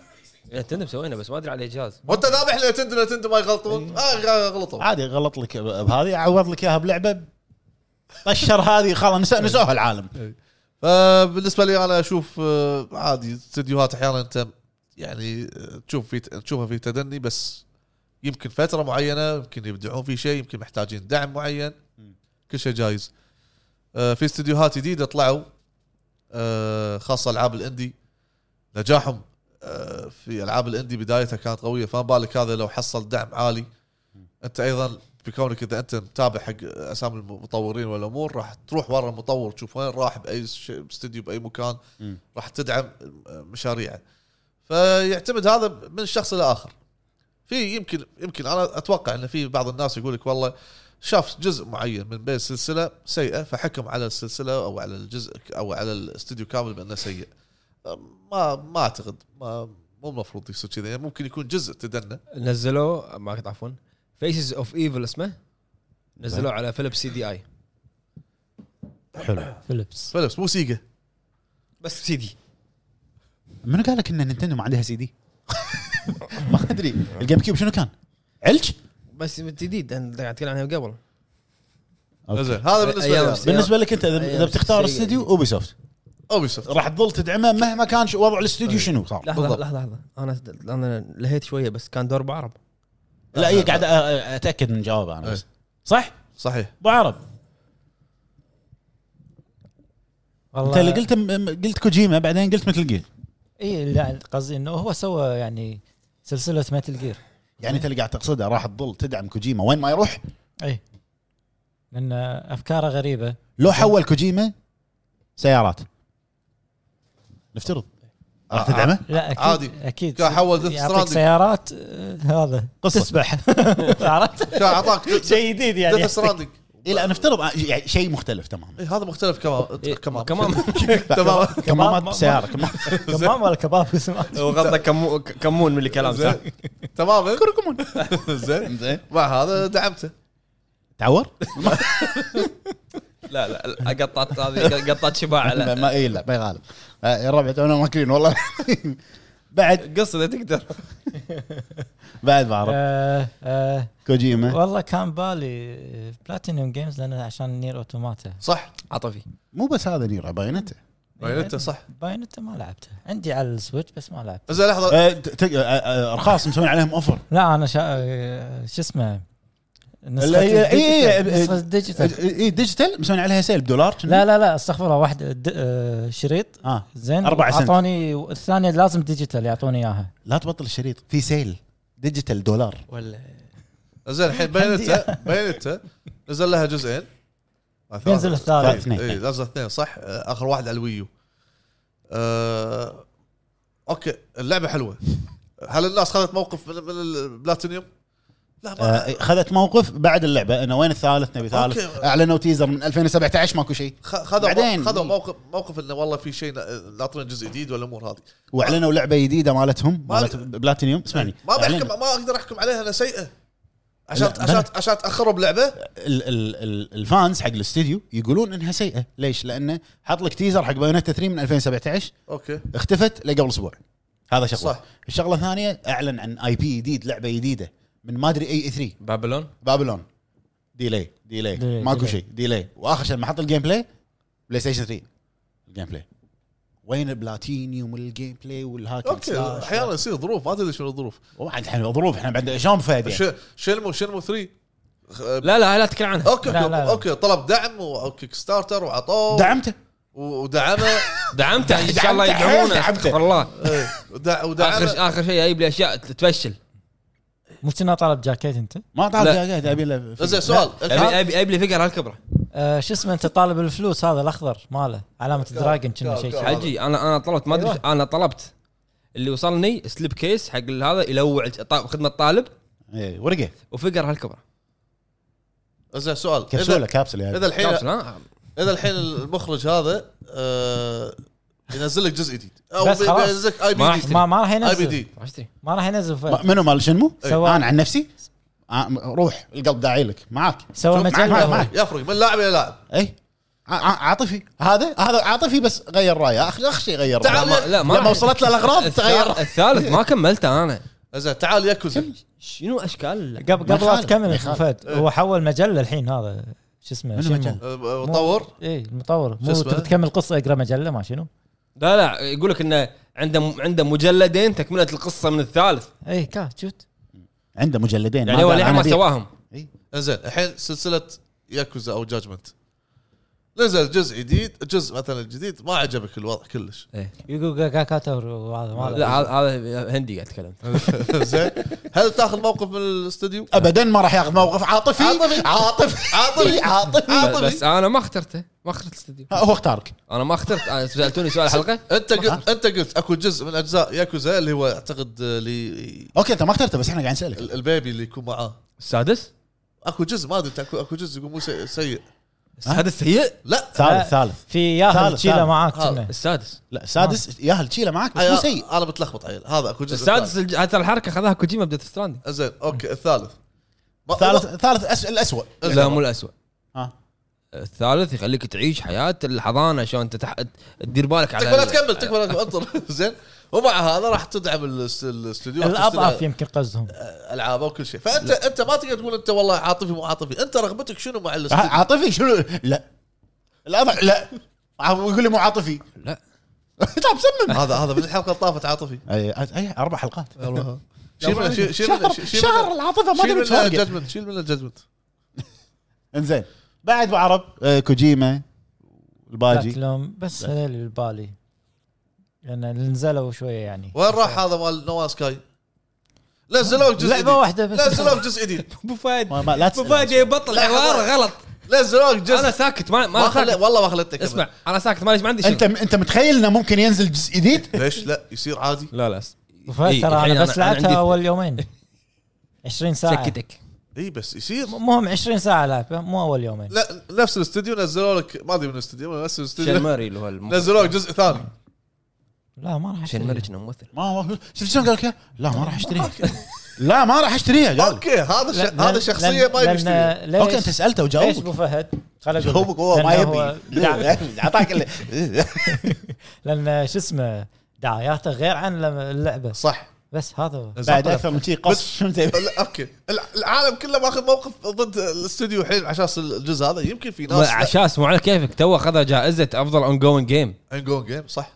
Speaker 1: نتندو مسوينا إيه، بس ما ادري على اي جهاز
Speaker 4: وانت ذابح نتندو نتندو ما يغلطون اه غلطوا
Speaker 3: عادي غلط لك ب- بهذه اعوض لك اياها بلعبه طشر هذه خلاص نسو- نسوها العالم
Speaker 4: فبالنسبه لي انا اشوف آه، عادي استديوهات احيانا انت يعني آه، تشوف في تشوفها في تدني بس يمكن فتره معينه يمكن يبدعون في شيء يمكن محتاجين دعم معين كل شيء جايز آه، في استديوهات جديده طلعوا آه، خاصه العاب الاندي نجاحهم آه، في العاب الاندي بدايتها كانت قويه فما بالك هذا لو حصل دعم عالي انت ايضا بكونك اذا انت متابع حق اسامي المطورين والامور راح تروح ورا المطور تشوف وين راح باي ش- استوديو باي مكان
Speaker 3: مم.
Speaker 4: راح تدعم مشاريعه فيعتمد هذا من شخص لاخر في يمكن يمكن انا اتوقع ان في بعض الناس يقول لك والله شاف جزء معين من بين سلسله سيئه فحكم على السلسله او على الجزء او على الاستوديو كامل بانه سيء ما ما اعتقد ما مو المفروض يصير كذا يعني ممكن يكون جزء تدنى
Speaker 1: نزلوه ما كنت عفوا فيسز اوف ايفل اسمه نزلوه على فيلب سي دي اي
Speaker 3: حلو
Speaker 2: فيلبس
Speaker 4: فلبس مو سيجا
Speaker 1: بس سي دي
Speaker 3: منو قال لك ان نينتندو ما عندها سي دي؟ ما ادري الجيم كيوب شنو كان؟ علج؟
Speaker 1: بس جديد انا قاعد اتكلم عنها قبل
Speaker 3: أوكي.
Speaker 4: زين هذا بالنسبه
Speaker 1: أيام
Speaker 4: لي
Speaker 1: السيارة.
Speaker 3: بالنسبه لك انت اذا
Speaker 1: أيام
Speaker 3: إذا بتختار
Speaker 1: سيئة.
Speaker 3: استوديو اوبي سوفت
Speaker 4: اوبي سوفت
Speaker 3: راح تظل تدعمه مهما كان شو- وضع الاستوديو شنو صار
Speaker 1: لحظه
Speaker 4: بالضبط.
Speaker 1: لحظه لحظه انا انا لهيت شويه بس كان دور بعرب
Speaker 3: لا هي قاعد أ- أ- اتاكد من جوابها انا بس صح؟
Speaker 4: صحيح
Speaker 3: ابو عرب
Speaker 2: والله
Speaker 3: انت اللي قلت م- م- قلت كوجيما بعدين قلت مثل جير
Speaker 2: اي إيه، لا قصدي انه هو سوى يعني سلسله متل جير
Speaker 3: يعني انت اللي قاعد تقصده راح تظل تدعم كوجيما وين ما يروح
Speaker 2: اي لان افكاره غريبه
Speaker 3: لو حول كوجيما سيارات نفترض راح تدعمه؟
Speaker 2: لا اكيد
Speaker 4: عادي.
Speaker 2: اكيد
Speaker 4: كان حول Death
Speaker 2: يعطيك
Speaker 4: Stranding.
Speaker 2: سيارات آه، هذا
Speaker 3: قصة.
Speaker 2: تسبح عرفت
Speaker 4: كان اعطاك
Speaker 2: شيء جديد يعني
Speaker 4: ديث ستراندنج
Speaker 3: إيه لا نفترض آه، يعني شيء مختلف تماما
Speaker 4: إيه هذا مختلف كمان كمان
Speaker 1: كمان
Speaker 4: تمام
Speaker 3: كمامات
Speaker 2: ما-
Speaker 3: بسياره كمامات
Speaker 2: كمام ولا كباب اسمه
Speaker 1: وغطى كمو- كمون من الكلام صح؟
Speaker 4: زين. تمام
Speaker 3: كركمون
Speaker 4: زين
Speaker 3: زين
Speaker 4: مع هذا دعمته
Speaker 3: تعور؟
Speaker 1: لا لا لا، قطعت هذه قطعت شباع
Speaker 3: ما
Speaker 1: على
Speaker 3: ما اي لا ما يغالب آه، الربع تونا ماكلين والله بعد
Speaker 1: قص اذا تقدر
Speaker 3: بعد ما اعرف
Speaker 2: آه، آه،
Speaker 3: كوجيما
Speaker 2: والله كان بالي بلاتينيوم جيمز لان عشان نير اوتوماتا
Speaker 4: صح
Speaker 1: عاطفي
Speaker 3: مو بس هذا نير باينته
Speaker 4: انت صح
Speaker 2: باينتا ما لعبته عندي على السويتش بس ما لعبته
Speaker 4: زين لحظه
Speaker 3: آه، ت- ت- آه، آه، ارخاص مسوين عليهم اوفر
Speaker 2: لا انا شا... آه، شو اسمه
Speaker 3: لا،
Speaker 2: نسخة
Speaker 3: هي- هي- هي-
Speaker 2: الديجيتال نسخة
Speaker 3: آه،
Speaker 2: الديجيتال
Speaker 3: اي ديجيتال مسوين عليها سيل بدولار
Speaker 2: لا لا لا استغفر الله واحد د- آه، شريط
Speaker 3: اه
Speaker 2: زين
Speaker 3: أربعة سنت. طيب.
Speaker 2: اعطوني الثانيه لازم ديجيتال يعطوني اياها
Speaker 3: لا تبطل الشريط في سيل ديجيتال دولار
Speaker 1: ولا
Speaker 4: زين الحين بينته بينته نزل لها جزئين
Speaker 2: بينزل الثالث
Speaker 3: اثنين.
Speaker 4: اي نزل اثنين صح آه، اخر واحد على الويو آه، اوكي اللعبه حلوه هل الناس خذت موقف من من البلاتينيوم؟ لا ما
Speaker 3: آه، خذت موقف بعد اللعبه انه وين الثالث نبي ثالث
Speaker 4: أوكي.
Speaker 3: اعلنوا تيزر من 2017 ماكو شيء
Speaker 4: خ- خذوا
Speaker 3: بعدين.
Speaker 4: مو- خذوا موقف موقف انه والله في شيء ن- ناطرين جزء جديد والامور هذه
Speaker 3: واعلنوا لعبه جديده مالتهم
Speaker 4: ما-
Speaker 3: مالت بلاتينيوم اسمعني
Speaker 4: ما
Speaker 3: أعلنوا.
Speaker 2: يعني
Speaker 4: بحكم ما اقدر احكم عليها انها سيئه عشان
Speaker 3: لا،
Speaker 4: عشان
Speaker 3: بلى.
Speaker 4: عشان تاخروا بلعبه
Speaker 3: ال- ال- ال- الفانز حق الاستديو يقولون انها سيئه ليش؟ لانه حط لك تيزر حق بايونيتا 3 من 2017
Speaker 4: اوكي
Speaker 3: اختفت لقبل اسبوع هذا شغله
Speaker 4: صح.
Speaker 3: صح. الشغله الثانيه اعلن عن اي بي جديد لعبه جديده من ما ادري اي 3
Speaker 1: بابلون
Speaker 3: بابلون ديلي ديلي
Speaker 2: ديلي،
Speaker 3: ماكو
Speaker 2: ديلي.
Speaker 3: شيء ديلي واخر شيء لما حط الجيم بلاي بلاي ستيشن 3 الجيم بلاي وين البلاتينيوم والجيم بلاي والهاك
Speaker 4: اوكي احيانا يصير ظروف ما تدري شنو الظروف
Speaker 3: وبعد احنا ظروف احنا بعد شلون فهد يعني؟
Speaker 4: ش- شنمو شنمو 3 خ-
Speaker 1: لا لا لا تتكلم عنها
Speaker 4: اوكي
Speaker 2: لا، لا، لا.
Speaker 4: اوكي طلب دعم وكيك ستارتر وعطوه
Speaker 3: دعمته
Speaker 4: و- ودعمه
Speaker 1: دعمته ان شاء الله
Speaker 3: دعمته،
Speaker 1: يدعمونه
Speaker 3: دعمته.
Speaker 1: استغفر الله
Speaker 4: إيه، ودع- ودعمه
Speaker 1: اخر اخر شيء جايب لي اشياء تفشل
Speaker 3: طيب.
Speaker 2: مو كنا طالب جاكيت انت؟
Speaker 3: ما طالب
Speaker 1: لا.
Speaker 3: جاكيت ابي له
Speaker 4: زين سؤال
Speaker 1: ابي
Speaker 4: الحين-
Speaker 1: ابي, أبي لي فقر هالكبره
Speaker 2: آه، شو اسمه انت طالب الفلوس هذا الاخضر ماله علامه دراجون كنا شيء
Speaker 4: كار.
Speaker 1: حجي انا انا طلبت ما ادري
Speaker 2: أيوة.
Speaker 1: انا طلبت اللي وصلني سليب كيس حق هذا يلوع الط- خدمه الطالب
Speaker 3: إيه، ورقه
Speaker 1: وفقر هالكبره
Speaker 4: زين سؤال
Speaker 3: كبسوله
Speaker 4: اذا
Speaker 3: كابسوله يعني.
Speaker 4: اذا الحين
Speaker 1: كابسل، ها؟
Speaker 4: اذا الحين المخرج هذا آه، ينزل لك جزء جديد او
Speaker 2: بس
Speaker 4: بي-
Speaker 2: خلاص.
Speaker 4: بينزل لك اي
Speaker 1: ما راح
Speaker 4: بي دي
Speaker 2: ما ما راح
Speaker 4: اي بي
Speaker 2: ينزل
Speaker 4: دي
Speaker 1: راح اشتري
Speaker 2: ما راح ينزل
Speaker 3: ما-
Speaker 2: فهد.
Speaker 3: منو مال شنمو؟
Speaker 2: سوى-
Speaker 3: انا عن نفسي آه، روح القلب داعي لك معاك
Speaker 2: سوى
Speaker 3: شوف،
Speaker 2: مجال
Speaker 3: معاك
Speaker 2: له.
Speaker 3: معاك
Speaker 4: يفرق من لاعب الى لاعب
Speaker 3: اي ع- ع- عاطفي هذا هذا عاطفي بس غير رايه اخ اخ شيء غير
Speaker 4: تعال.
Speaker 3: رايه
Speaker 1: ما- لا ما
Speaker 3: لما
Speaker 1: راح-
Speaker 3: وصلت له الاغراض
Speaker 1: الثالث-
Speaker 3: تغير.
Speaker 1: الثالث ما كملته انا
Speaker 4: زين تعال ياكوزا
Speaker 1: شنو اشكال
Speaker 2: قبل قبل
Speaker 3: ما
Speaker 2: لا
Speaker 3: يخالف، ما
Speaker 2: تكمل
Speaker 3: يخالف.
Speaker 2: فهد هو حول مجله الحين هذا شو اسمه
Speaker 3: منو
Speaker 2: شنو؟
Speaker 3: مجلة؟
Speaker 4: آه،
Speaker 2: مو-
Speaker 4: طور
Speaker 2: اي المطور مو
Speaker 4: اسمه؟
Speaker 2: تبي تكمل قصه اقرا مجله ما شنو
Speaker 1: لا لا يقول لك انه عنده عنده مجلدين تكمله القصه من الثالث
Speaker 2: اي إيه، كا شفت
Speaker 3: عنده مجلدين
Speaker 1: يعني هو
Speaker 3: قال
Speaker 1: الحين
Speaker 3: أنا
Speaker 1: ما
Speaker 3: بيه.
Speaker 1: سواهم
Speaker 4: زين الحين سلسله ياكوزا او جاجمنت نزل جزء جديد جزء مثلا جديد ما عجبك الوضع كلش
Speaker 2: يقول كاكاتور وهذا ما
Speaker 1: لا هذا هذا هندي قاعد يتكلم
Speaker 4: زين هل تاخذ موقف من الاستوديو؟
Speaker 3: ابدا ما راح ياخذ موقف عاطفي
Speaker 4: عاطفي.
Speaker 3: عاطفي
Speaker 4: عاطفي.
Speaker 3: عاطفي
Speaker 4: عاطفي.
Speaker 1: بس انا ما اخترته ما اخترت الاستديو
Speaker 3: هو اختارك
Speaker 1: انا ما اخترت أنا سالتوني سؤال الحلقه
Speaker 4: انت قلت انت قلت اكو جزء من اجزاء ياكوزا اللي هو اعتقد آه، لي
Speaker 3: اوكي انت ما اخترته بس احنا قاعد نسالك
Speaker 4: ال- البيبي اللي يكون معاه
Speaker 1: السادس
Speaker 4: اكو جزء ما ادري اكو اكو جزء يقول مو سيء, سيء.
Speaker 1: السادس سيء
Speaker 4: لا
Speaker 2: لا.
Speaker 3: ثالث ثالث
Speaker 2: في ياهل
Speaker 3: ثالث،
Speaker 2: تشيله
Speaker 3: ثالث.
Speaker 2: معاك
Speaker 4: هذا.
Speaker 2: كنا.
Speaker 1: السادس
Speaker 3: لا سادس ياهل تشيله معاك بس مو
Speaker 4: أي-
Speaker 3: سيء
Speaker 4: انا متلخبط عيل هذا اكو جزء
Speaker 1: السادس الج- حتى الحركه خذاها كوجيما بديث ستراندنج
Speaker 4: ثالث. زين اوكي الثالث ما-
Speaker 3: ثالث
Speaker 4: ما-
Speaker 3: ثالث أس... الاسوء
Speaker 4: إيه.
Speaker 1: لا مو الاسوء
Speaker 3: ها.
Speaker 1: الثالث يخليك تعيش حياه الحضانه شلون انت تح... تدير بالك على
Speaker 4: تكفى لا
Speaker 1: ال-
Speaker 4: تكمل تكفى لا تكمل، انطر زين ومع هذا راح تدعم الاس- الاستوديو راح
Speaker 2: الاضعف
Speaker 4: تستدعم
Speaker 2: يمكن قصدهم
Speaker 4: العابه وكل شيء فانت انت ما تقدر تقول انت والله عاطفي مو عاطفي انت رغبتك شنو مع
Speaker 3: ع-
Speaker 4: الاستوديو
Speaker 3: عاطفي شنو لا الأضع... لا عم يقول لي مو عاطفي
Speaker 1: لا
Speaker 3: طب سمم
Speaker 4: هذا هذا من الحلقه اللي طافت عاطفي
Speaker 3: اي أي- اربع حلقات
Speaker 4: والله. شيل منه- شيل- شيل منه-
Speaker 3: شهر
Speaker 4: شيل منه-
Speaker 3: شهر العاطفه ما
Speaker 4: شيل
Speaker 3: يعني. تبي
Speaker 4: منه
Speaker 3: تفرق
Speaker 4: الججمنت شيل منه الججمنت
Speaker 3: انزين بعد ابو عرب آه، كوجيما الباجي
Speaker 2: بلاتلوم بس
Speaker 4: طيب.
Speaker 2: هذول اللي ببالي لان اللي نزلوا شويه يعني
Speaker 4: وين راح هذا مال نوا سكاي؟ نزلوك جزء
Speaker 2: لعبه
Speaker 4: جديد
Speaker 2: واحده بس
Speaker 4: نزلوك جزء جديد
Speaker 1: ابو فهد
Speaker 3: ما- ما- لا
Speaker 1: ابو
Speaker 3: تسأل.
Speaker 1: فهد يبطل
Speaker 4: لا،
Speaker 1: حوار
Speaker 4: خلاص.
Speaker 1: غلط
Speaker 4: نزلوك جزء
Speaker 1: انا ساكت ما
Speaker 4: ما
Speaker 1: ما
Speaker 4: خلي
Speaker 1: ساكت
Speaker 4: والله ما خليتك
Speaker 1: اسمع انا ساكت ما ليش ما عندي شغل
Speaker 3: انت انت متخيل انه ممكن ينزل جزء جديد
Speaker 4: ليش لا يصير عادي
Speaker 1: لا لا
Speaker 2: وفهد
Speaker 1: إيه،
Speaker 2: ترى انا بس لعبتها اول يومين 20 ساعه
Speaker 1: سكتك
Speaker 4: اي بس يصير
Speaker 2: مهم 20 ساعه لعبه مو اول يومين
Speaker 4: لا نفس الاستوديو نزلوا لك ما ادري من الاستوديو ولا نفس
Speaker 1: شين
Speaker 4: الاستوديو
Speaker 1: ماري اللي هو الم-
Speaker 4: نزلوا لك جزء ثاني
Speaker 2: لا ما راح
Speaker 1: شين
Speaker 2: أشتري.
Speaker 1: ماري كنا ممثل
Speaker 3: ما ما- شفت شلون قال لك لا ما راح اشتريها لا ما راح اشتريها قال
Speaker 4: اوكي هذا ش...
Speaker 2: لأن-
Speaker 4: هذا شخصيه
Speaker 2: لأن-
Speaker 4: ما يبي يشتريها
Speaker 2: لأن- ليش-
Speaker 3: اوكي انت سالته
Speaker 2: ليش ابو
Speaker 3: وجاوبك
Speaker 2: فهد؟ خل أقول لك.
Speaker 3: جاوبك هو ما
Speaker 2: لأن هو دع-
Speaker 3: يبي اعطاك ال-
Speaker 2: لان شو اسمه دعاياته غير عن لما- اللعبه
Speaker 4: صح
Speaker 2: بس هذا هو
Speaker 3: بعد
Speaker 4: طيب.
Speaker 3: اكثر من شي قص شنو تبي
Speaker 4: لا، اوكي الع- العالم كله ماخذ موقف ضد الاستوديو الحين عشان الجزء هذا يمكن في ناس
Speaker 1: عشاس مو على كيفك تو اخذها جائزه افضل اون جوينج جيم
Speaker 4: انجون جيم صح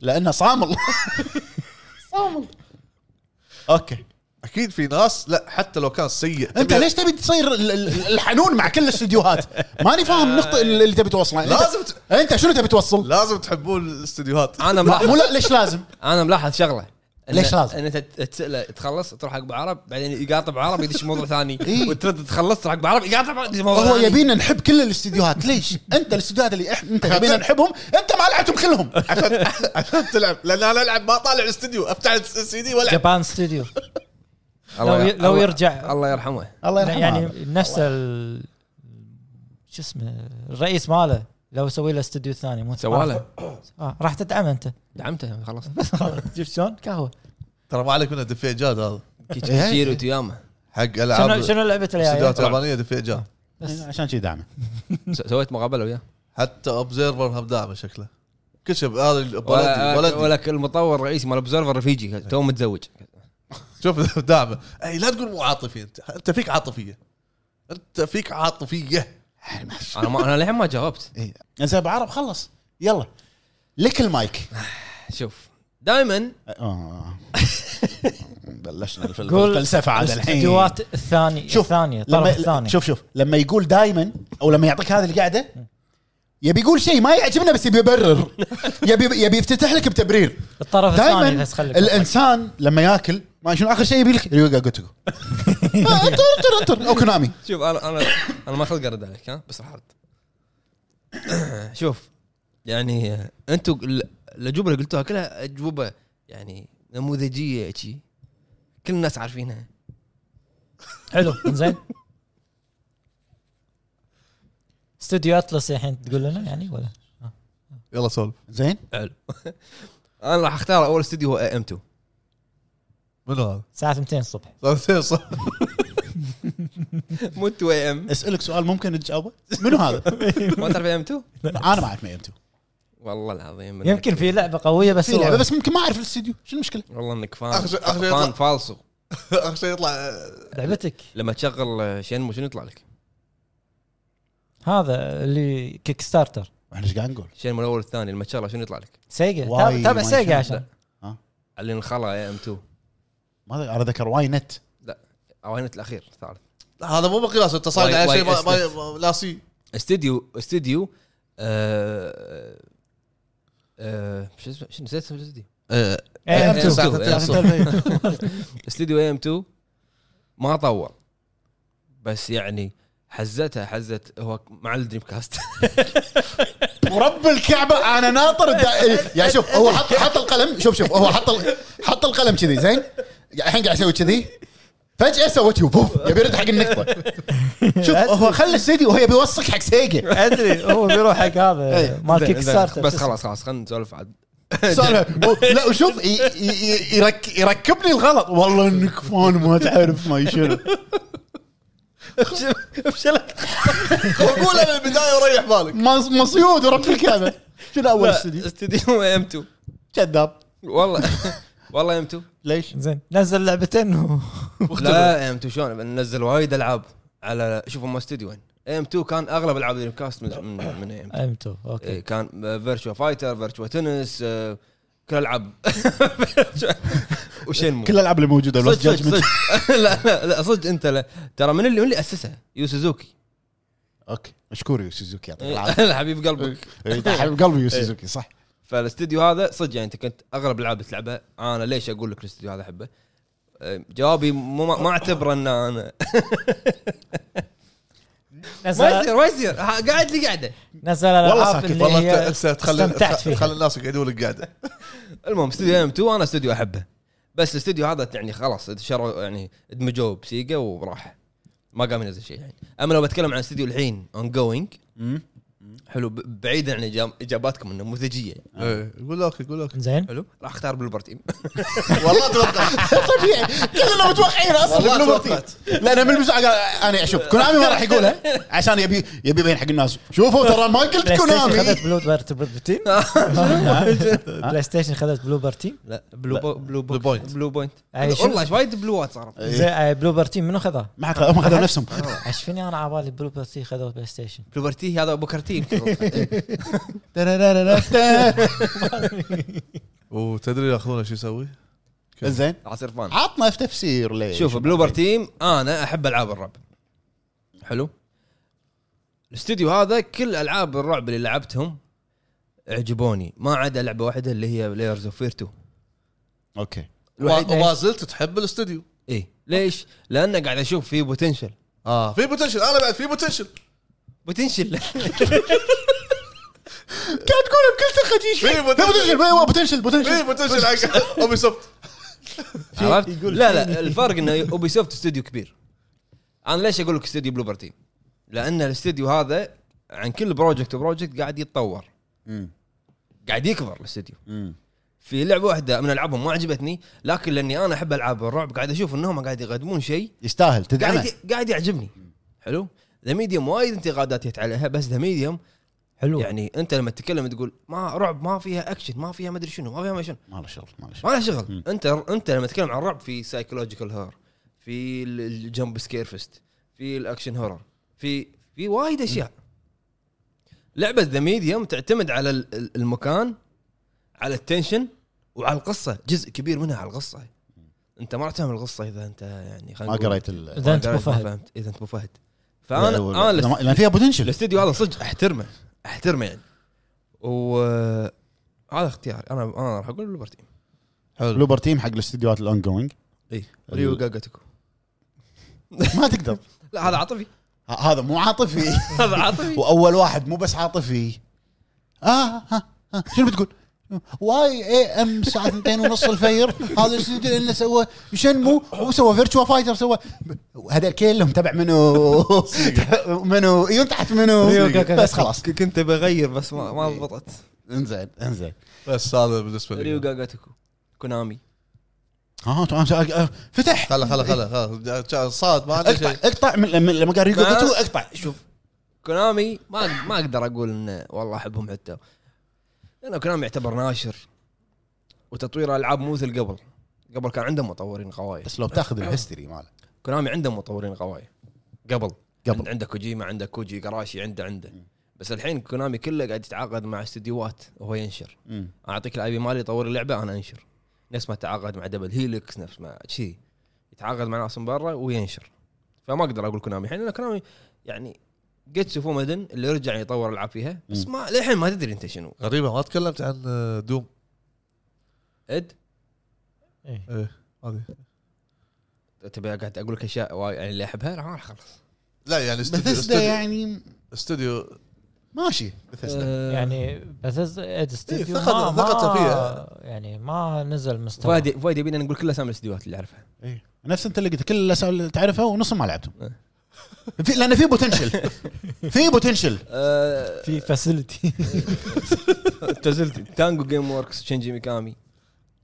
Speaker 3: لانه صامل صامل اوكي
Speaker 4: اكيد في ناس لا حتى لو كان سيء
Speaker 3: انت ليش تبي تصير ال- ال- الحنون مع كل الاستديوهات؟ ماني فاهم النقطه اللي تبي توصلها أنت-
Speaker 4: لازم ت...
Speaker 3: انت شنو تبي توصل؟
Speaker 4: لازم تحبون الاستديوهات
Speaker 1: انا
Speaker 3: لا مو
Speaker 1: ملاحظ
Speaker 3: لا ليش لازم؟
Speaker 1: انا ملاحظ شغله إن-
Speaker 3: ليش لازم؟
Speaker 1: ان انت تساله تخلص تروح حق ابو عرب بعدين يقاطع ابو عرب يدش موضوع ثاني
Speaker 3: إيه.
Speaker 1: وترد تخلص تروح حق ابو عرب يقاطع أبو عرب، يدش موضوع
Speaker 3: هو
Speaker 1: ثاني
Speaker 3: يبينا نحب كل الاستديوهات ليش؟ انت الاستديوهات اللي إح- انت يبينا نحبهم انت ما لعبتهم كلهم
Speaker 4: عشان عشان تلعب لان انا العب ما طالع الاستوديو افتح السي دي والعب
Speaker 2: جابان ستوديو لو ي- لو
Speaker 1: الله-
Speaker 2: يرجع
Speaker 1: الله يرحمه
Speaker 3: الله يرحمه
Speaker 2: يعني
Speaker 3: هذا.
Speaker 2: نفس ال شو اسمه الرئيس ماله لو اسوي له استوديو ثاني مو
Speaker 1: سواله
Speaker 2: آه راح تدعمه انت
Speaker 1: دعمته خلاص
Speaker 2: شوف شلون قهوه
Speaker 4: ترى ما عليك منه دفيع جاد هذا
Speaker 1: كيتشيرو وتياما
Speaker 4: حق
Speaker 2: شنو
Speaker 4: العاب
Speaker 2: شنو لعبه الجايه؟
Speaker 4: استديوهات يابانيه دفيع جاد
Speaker 2: بس.
Speaker 3: عشان شي دعمه
Speaker 1: س- سويت مقابله وياه
Speaker 4: حتى اوبزيرفر هم داعمه شكله كل شيء هذا ال-
Speaker 1: ولا-
Speaker 4: ولدي ولدي
Speaker 1: ولك المطور الرئيسي مال اوبزرفر رفيجي تو متزوج
Speaker 4: شوف داعمه اي لا تقول مو عاطفي انت انت فيك عاطفيه انت فيك عاطفيه
Speaker 1: انا ما انا للحين ما جاوبت
Speaker 3: إيه. زين ابو عرب خلص يلا لك المايك
Speaker 1: شوف دائما
Speaker 3: آه. بلشنا الفل-
Speaker 2: قول
Speaker 3: الفلسفه عاد الحين
Speaker 2: استديوهات الثاني
Speaker 3: شوف،
Speaker 2: الثانيه
Speaker 3: لما
Speaker 2: الطرف الثاني
Speaker 3: شوف شوف لما يقول دائما او لما يعطيك هذه القعده يبي يقول شيء ما يعجبنا بس يبي يبرر يبي يبي يفتتح لك بتبرير
Speaker 2: الطرف الثاني
Speaker 3: دائما
Speaker 2: بس خليك
Speaker 3: الانسان لما ياكل ما شنو اخر شيء يبي لك ريوغا جوتو انطر انطر انطر او كونامي
Speaker 1: شوف انا انا انا ما خلق ارد عليك ها بس راح ارد شوف يعني انتم ال- الاجوبه اللي قلتوها كلها اجوبه يعني نموذجيه شي كل الناس عارفينها
Speaker 2: حلو زين استوديو اتلس الحين تقول لنا يعني ولا
Speaker 4: يلا سولف
Speaker 3: زين
Speaker 1: حلو انا راح اختار اول استوديو هو ام 2
Speaker 4: منو هذا؟
Speaker 2: الساعه 200 الصبح
Speaker 4: صار- صار-
Speaker 1: مو 2 ام
Speaker 3: اسالك سؤال ممكن تجاوبه منو هذا؟
Speaker 1: ما تعرف ام 2
Speaker 3: انا ما اعرف مين انتو
Speaker 1: والله العظيم إنك-
Speaker 2: يمكن في لعبه قويه بس
Speaker 3: في لعبه
Speaker 2: هو-
Speaker 3: بس ممكن ما اعرف الاستديو شنو المشكله؟
Speaker 1: والله انك فان
Speaker 4: آخر شيء- آخر شيء
Speaker 1: فان
Speaker 4: يطلع.
Speaker 1: فالصو
Speaker 4: اخر شيء يطلع آه،
Speaker 2: لعبتك
Speaker 1: لما تشغل آه، شنمو شنو يطلع لك؟
Speaker 2: هذا اللي كيك ستارتر
Speaker 3: احنا ايش قاعد نقول؟
Speaker 1: شنمو الاول والثاني لما تشغله شنو يطلع لك؟
Speaker 2: سيجا
Speaker 3: واي
Speaker 2: تابع- تابع
Speaker 3: ما
Speaker 2: سيجا
Speaker 3: يشمل.
Speaker 2: عشان
Speaker 1: اللي انخلى ام 2
Speaker 3: ما أدري، انا ذكر واي نت
Speaker 1: او هنا الاخير الثالث
Speaker 4: هذا مو مقياس انت صايد
Speaker 1: واي-
Speaker 4: على شيء ما-
Speaker 1: واي
Speaker 4: ما
Speaker 1: أسلت.
Speaker 4: ما- لا سي
Speaker 1: استديو استديو آه، آه، شو اسمه شو نسيت اسم الاستديو
Speaker 2: إيه،
Speaker 1: أنتو.
Speaker 2: أنتو.
Speaker 1: أنتو. استديو ام 2 ما طور بس يعني حزتها حزت هو مع الدريم كاست
Speaker 3: ورب الكعبه انا ناطر الدا... يعني شوف هو حط حط القلم شوف شوف هو حط ال... حط القلم كذي زين يعني الحين قاعد يسوي كذي فجاه سوت يو بوف يبي يرد حق النقطه شوف هو خلى الاستديو وهو يبي يوثق حق سيجا
Speaker 2: ادري هو بيروح حق هذا
Speaker 3: إيه،
Speaker 2: مال
Speaker 1: زين،
Speaker 2: كيك
Speaker 1: زين،
Speaker 2: ستارتر
Speaker 1: بس خلاص خلاص خلينا نسولف عاد
Speaker 3: سؤالها و- لا وشوف ي... ي... ي- يرك... يركب لي الغلط والله انك فان ما تعرف ما شنو
Speaker 4: قولها من البدايه وريح بالك
Speaker 3: مص- مصيود ورب الكعبه شنو اول
Speaker 1: لا،
Speaker 3: استديو
Speaker 1: استديو ام 2
Speaker 3: كذاب
Speaker 1: والله والله ام 2
Speaker 3: ليش؟
Speaker 2: زين نزل لعبتين و-
Speaker 1: لا ام 2 شلون نزل وايد العاب على شوف هم استديوين ام 2 كان اغلب العاب دريم كاست من من من ام 2
Speaker 2: امتو
Speaker 1: إيه،
Speaker 2: اوكي
Speaker 1: كان فيرتشوا فايتر فيرتشوا تنس آه، كل العاب وشنمو
Speaker 3: كل الالعاب اللي موجوده
Speaker 1: صدق
Speaker 3: بلس
Speaker 1: صدق
Speaker 3: جادجمنت
Speaker 1: صدق. لا لا لا صدق انت لا ترى من اللي من اللي اسسها يو سوزوكي
Speaker 3: اوكي مشكور يو سوزوكي
Speaker 1: إيه.
Speaker 3: يعطيك العافيه
Speaker 1: حبيب قلبك
Speaker 3: إيه، حبيب قلبي يو سوزوكي صح
Speaker 1: فالاستديو هذا صدق يعني انت كنت اغلب العاب تلعبها انا ليش اقول لك الاستديو هذا احبه آه، جوابي مو ما ما اعتبره ان انا ما
Speaker 2: نزل
Speaker 1: يصير ما يصير ها، قاعد لي قاعده
Speaker 2: نزل
Speaker 3: والله
Speaker 2: الالعاب
Speaker 3: ساكت.
Speaker 2: اللي
Speaker 4: والله انت
Speaker 2: هي
Speaker 4: انت تخلي
Speaker 2: استمتعت فيها.
Speaker 4: تخلي الناس يقعدون لك قاعده
Speaker 1: المهم استوديو ام 2 انا استوديو احبه بس الاستوديو هذا يعني خلاص شروا يعني ادمجوه بسيجا وراح ما قام ينزل شيء يعني اما لو بتكلم عن استوديو الحين اون جوينج حلو ب- بعيدا عن إجاب- اجاباتكم النموذجيه
Speaker 4: إيه، قول اوكي قول اوكي
Speaker 2: زين
Speaker 1: حلو راح اختار بلوبر تيم
Speaker 4: والله توقعت
Speaker 3: طبيعي كلنا متوقعين اصلا
Speaker 4: والله
Speaker 3: بلوبر تيم
Speaker 4: توقعت.
Speaker 3: لان من المساعة انا اشوف كونامي ما راح يقولها عشان يبي يبي يبين حق الناس شوفوا ترى ما قلت
Speaker 2: بلاي ستيشن خذت
Speaker 3: كونامي
Speaker 2: بلو بارت- بلو تيم بلاي ستيشن خذت بلو بار تيم
Speaker 1: لا بلو بو بلو بو
Speaker 4: بلو بوينت.
Speaker 1: بلو بوينت
Speaker 2: أي شو؟
Speaker 1: والله وايد بلوات صارت
Speaker 4: إيه.
Speaker 2: زين، آه، بلو بار تيم منو خذاه؟
Speaker 3: ما حد هم خذوا نفسهم
Speaker 2: ايش فيني انا على بالي بلو بار تيم خذوا بلاي ستيشن
Speaker 1: بلوبر تي هذا بوكرتي إيه.
Speaker 4: وتدري ياخذونه شو يسوي؟
Speaker 3: زين
Speaker 1: عصير فان
Speaker 3: عطنا في تفسير ليش
Speaker 1: شوف بلوبر تيم انا احب العاب الرعب حلو الاستوديو هذا كل العاب الرعب اللي لعبتهم عجبوني ما عدا لعبه واحده اللي هي لايرز اوف فير 2
Speaker 3: اوكي
Speaker 1: الوحيد-
Speaker 4: وما زلت تحب الاستوديو
Speaker 1: اي إيه. ليش؟ لان قاعد اشوف فيه بوتنشل
Speaker 4: اه في بوتنشل انا بعد في بوتنشل
Speaker 1: بوتنشل
Speaker 3: قاعد تقول بكل ثقه جيش
Speaker 4: في بوتنشل.
Speaker 3: بوتنشل بوتنشل
Speaker 4: في
Speaker 3: بوتنشل
Speaker 4: بوتنشل حق اوبي سوفت
Speaker 5: في-
Speaker 1: عرفت؟
Speaker 5: يقول
Speaker 1: لا لا
Speaker 5: فيني.
Speaker 1: الفرق انه اوبي سوفت استوديو كبير انا ليش اقول لك استوديو بلوبر تيم؟ لان الاستوديو هذا عن كل بروجكت وبروجكت قاعد يتطور
Speaker 3: مم.
Speaker 1: قاعد يكبر الاستوديو
Speaker 3: مم.
Speaker 1: في لعبه واحده من العابهم ما عجبتني لكن لاني انا احب العاب الرعب قاعد اشوف انهم قاعد يقدمون شيء
Speaker 3: يستاهل تدعمه
Speaker 1: قاعد قاعد يعجبني حلو ذا ميديوم وايد انتقادات جت عليها بس ذا ميديوم
Speaker 2: حلو يعني
Speaker 1: يعني انت لما تتكلم تقول ما رعب ما فيها اكشن ما فيها مدري شنو ما فيها ما شنو
Speaker 3: ما له شغل ما له شغل
Speaker 1: ما له شغل
Speaker 3: مم.
Speaker 1: انت انت لما تتكلم عن الرعب في سايكولوجيكال هورر في ال- الجمب سكير فيست في الاكشن هورر في في وايد اشياء لعبه ذا ميديوم تعتمد على ال- ال- المكان على التنشن وعلى القصه جزء كبير منها على القصه انت ما راح تفهم القصه اذا انت يعني خلينا
Speaker 3: ما
Speaker 1: نقول-
Speaker 3: قريت ال-
Speaker 2: اذا انت
Speaker 1: ما
Speaker 2: ابو
Speaker 1: قريت، ما
Speaker 2: فهد
Speaker 1: فهمت اذا انت ابو فهد فانا انا الاست-
Speaker 3: لان فيها بوتنشل
Speaker 1: الاستديو هذا صدق احترمه احترمه يعني و هذا اختياري انا انا راح اقول بلوبر تيم
Speaker 4: حلو
Speaker 3: بلوبر تيم حق الاستديوهات الاون جوينج
Speaker 1: اي
Speaker 3: ال-
Speaker 1: إيه. ريو جاجاتكو
Speaker 3: ما تقدر
Speaker 1: لا هذا عاطفي
Speaker 3: ه- هذا مو عاطفي
Speaker 1: هذا عاطفي
Speaker 3: واول واحد مو بس عاطفي اه ها ها شنو بتقول؟ واي إيه، اي ام الساعه 2 ونص الفير هذا الاستوديو اللي سوى شنمو وسوى فيرتشوا فايتر سوى هذا كلهم تبع منو منو ايون تحت منو بس خلاص
Speaker 1: ك- كنت بغير بس ما ما ضبطت
Speaker 3: انزين انزين
Speaker 4: بس هذا بالنسبه
Speaker 1: ريو
Speaker 4: لي
Speaker 1: جاجاتكو كونامي
Speaker 3: ها تعال- تعال- آه، فتح
Speaker 4: خلا خلا خلا خلا جا- صاد ما عنده
Speaker 3: اقطع
Speaker 4: شيء
Speaker 3: اقطع من لما- لما قال ريجو
Speaker 1: ما-
Speaker 3: جوتو اقطع
Speaker 1: شوف كونامي ما ما اقدر اقول انه والله احبهم حتى لانه كونامي يعتبر ناشر وتطوير العاب مو مثل قبل قبل كان عندهم مطورين قوايا
Speaker 3: بس لو بتاخذ الهيستوري ماله
Speaker 1: كونامي عندهم مطورين قوايا قبل قبل
Speaker 3: قبل
Speaker 1: عندك كوجيما عندك كوجي قراشي عنده عنده بس الحين كونامي كله قاعد يتعاقد مع استديوهات وهو ينشر
Speaker 3: مم.
Speaker 1: اعطيك الاي بي مالي طور اللعبه انا انشر نفس ما تعاقد مع دبل هيلكس نفس ما شي يتعاقد مع ناس من برا وينشر فما اقدر اقول كونامي الحين لان كونامي يعني جيتسو فومدن اللي رجع يطور العاب فيها بس
Speaker 3: مم.
Speaker 1: ما للحين ما تدري انت شنو
Speaker 4: غريبه ما تكلمت عن آه، دوم
Speaker 1: اد
Speaker 2: إيه.
Speaker 4: هذه
Speaker 1: تبي قاعد اقول لك اشياء وايد يعني اللي احبها لا ما راح اخلص
Speaker 4: لا يعني استوديو
Speaker 3: بثسدا
Speaker 4: استوديو,
Speaker 3: يعني
Speaker 4: استوديو
Speaker 3: ماشي بثسدا
Speaker 4: آه.
Speaker 1: أه،
Speaker 2: يعني بس اد استوديو
Speaker 4: ثقة-
Speaker 2: ما- ما-
Speaker 4: ثقته إيه، فيها.
Speaker 2: يعني ما نزل مستوى
Speaker 1: فؤاد فؤاد يبينا نقول كل اسامي الاستديوهات اللي اعرفها
Speaker 3: إيه. نفس انت اللي قلت كل الاسامي اللي تعرفها ونصهم ما لعبتهم
Speaker 1: إيه.
Speaker 3: في لان في بوتنشل في بوتنشل
Speaker 1: أه،
Speaker 2: في فاسيلتي
Speaker 1: تزلت تانجو جيم وركس شينجي ميكامي